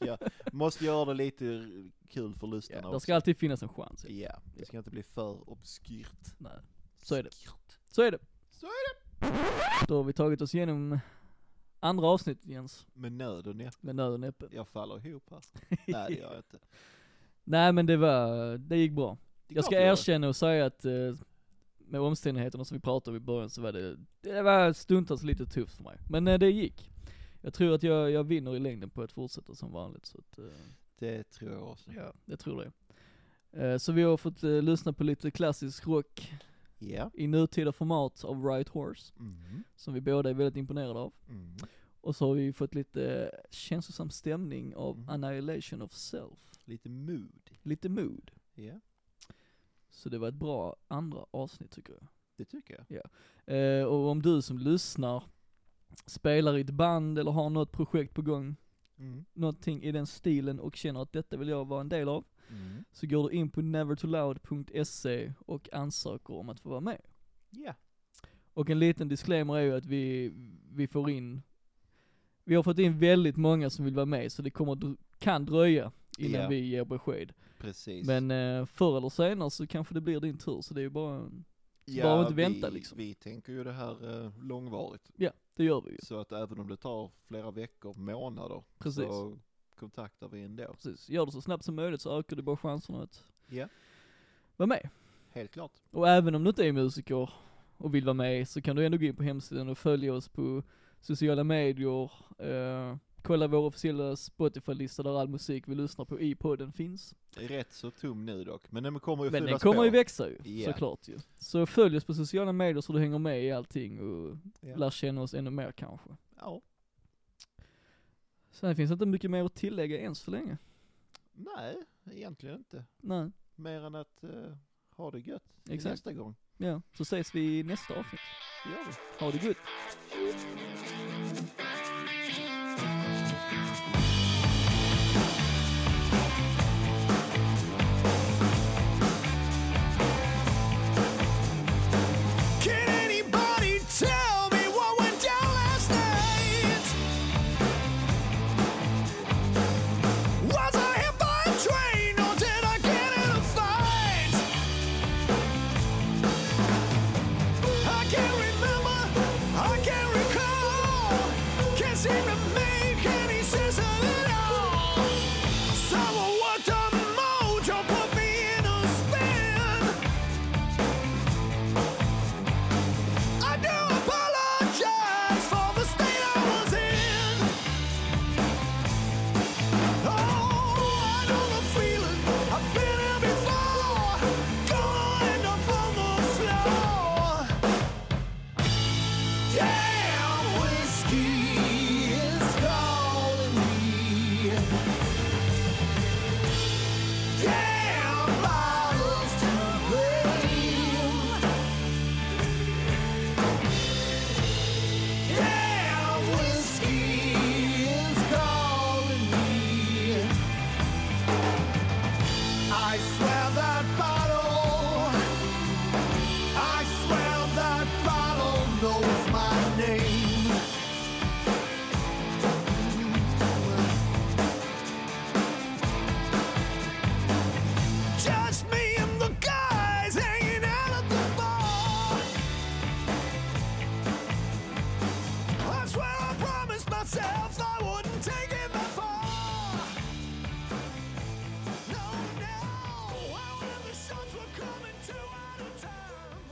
Speaker 2: Jag ska, måste göra det lite r- kul för lyssnarna
Speaker 1: Ja,
Speaker 2: också.
Speaker 1: det ska alltid finnas en chans. ja.
Speaker 2: Ja, det ska inte bli för obskyrt.
Speaker 1: Nej, så är det.
Speaker 2: Skyrt.
Speaker 1: Så är det.
Speaker 2: Så är
Speaker 1: Då har vi tagit oss igenom andra avsnittet Jens,
Speaker 2: det. Med nöd och näppe.
Speaker 1: med nöden öppen.
Speaker 2: Jag faller ihop här. Nej, det gör jag inte.
Speaker 1: Nej men det var, det gick bra.
Speaker 2: Det är
Speaker 1: Jag
Speaker 2: klart
Speaker 1: ska
Speaker 2: jag gör.
Speaker 1: erkänna och säga att eh, med omständigheterna som vi pratade om i början så var det, det var stundtals lite tufft för mig. Men eh, det gick. Jag tror att jag, jag vinner i längden på att fortsätta som vanligt så att, eh,
Speaker 2: Det tror jag också.
Speaker 1: Ja, jag tror det. Eh, Så vi har fått eh, lyssna på lite klassisk rock
Speaker 2: Ja.
Speaker 1: i nutida format av Right Horse,
Speaker 2: Mm.
Speaker 1: som vi båda är väldigt imponerade av.
Speaker 2: Mm.
Speaker 1: Och så har vi fått lite eh, känslosam stämning av
Speaker 2: Mm.
Speaker 1: Annihilation of Self,
Speaker 2: Lite mood.
Speaker 1: lite mood.
Speaker 2: Ja,
Speaker 1: Så det var ett bra andra avsnitt tycker jag.
Speaker 2: det tycker jag.
Speaker 1: Eh, och om du som lyssnar spelar i ett band eller har något projekt på gång,
Speaker 2: Mm.
Speaker 1: någonting i den stilen och känner att detta vill jag vara en del av,
Speaker 2: Mm.
Speaker 1: så går du in på nevertoloud.se E och ansöker om att få vara med.
Speaker 2: Ja.
Speaker 1: Och en liten disclaimer är ju att vi, vi får in, vi har fått in väldigt många som vill vara med, så det kommer, dr- kan dröja innan
Speaker 2: Ja.
Speaker 1: vi ger besked.
Speaker 2: Precis.
Speaker 1: Men eh, förr eller senare så kanske det blir din tur, så det är ju bara, en- bara inte vänta,
Speaker 2: vi,
Speaker 1: liksom.
Speaker 2: Vi tänker ju det här eh, långvarigt.
Speaker 1: det gör vi ju.
Speaker 2: Så att även om det tar flera veckor, månader,
Speaker 1: Precis.
Speaker 2: så kontaktar vi ändå.
Speaker 1: Precis, gör det så snabbt som möjligt så ökar du bara chanserna att
Speaker 2: Ja.
Speaker 1: vara med.
Speaker 2: Helt klart.
Speaker 1: Och även om du inte är musiker och vill vara med så kan du ändå gå in på hemsidan och följa oss på sociala medier, eh, kolla vår officiella Spotify-lista där all musik vi lyssnar på i podden finns.
Speaker 2: Rätt så tom nu dock, men den kommer ju
Speaker 1: Men den
Speaker 2: fyllas
Speaker 1: kommer
Speaker 2: på.
Speaker 1: ju växa ju,
Speaker 2: Ja.
Speaker 1: såklart ju. Så följ oss på sociala medier så du hänger med i allting och
Speaker 2: Ja.
Speaker 1: lär känna oss ännu mer kanske.
Speaker 2: Ja.
Speaker 1: Sen finns det inte mycket mer att tillägga än så länge.
Speaker 2: Nej, egentligen inte.
Speaker 1: Nej,
Speaker 2: Mer än att eh, ha det gött till
Speaker 1: Exakt.
Speaker 2: nästa gång.
Speaker 1: ja. Så ses vi i nästa avsnitt.
Speaker 2: Det gör vi.
Speaker 1: Ha det gott!
Speaker 3: Can anybody tell me what went down last night? Was I hit by a train or did I get in a fight? I can't remember, I can't recall. Can't seem to make any sense of it all. Someone worked on mojo, put me in a spin. I do apologize for the state I was in. Oh, I know the feeling. I've been here before. Gonna end up on the floor. Damn, whiskey is calling me. Damn, I was to blame. Yeah, whiskey is calling me. I swear that bottle, I swear that bottle knows my name. Just me and the guys hanging out at the bar. I swear I promised myself I wouldn't take it that far. No, no, I remember shots were coming two at a time.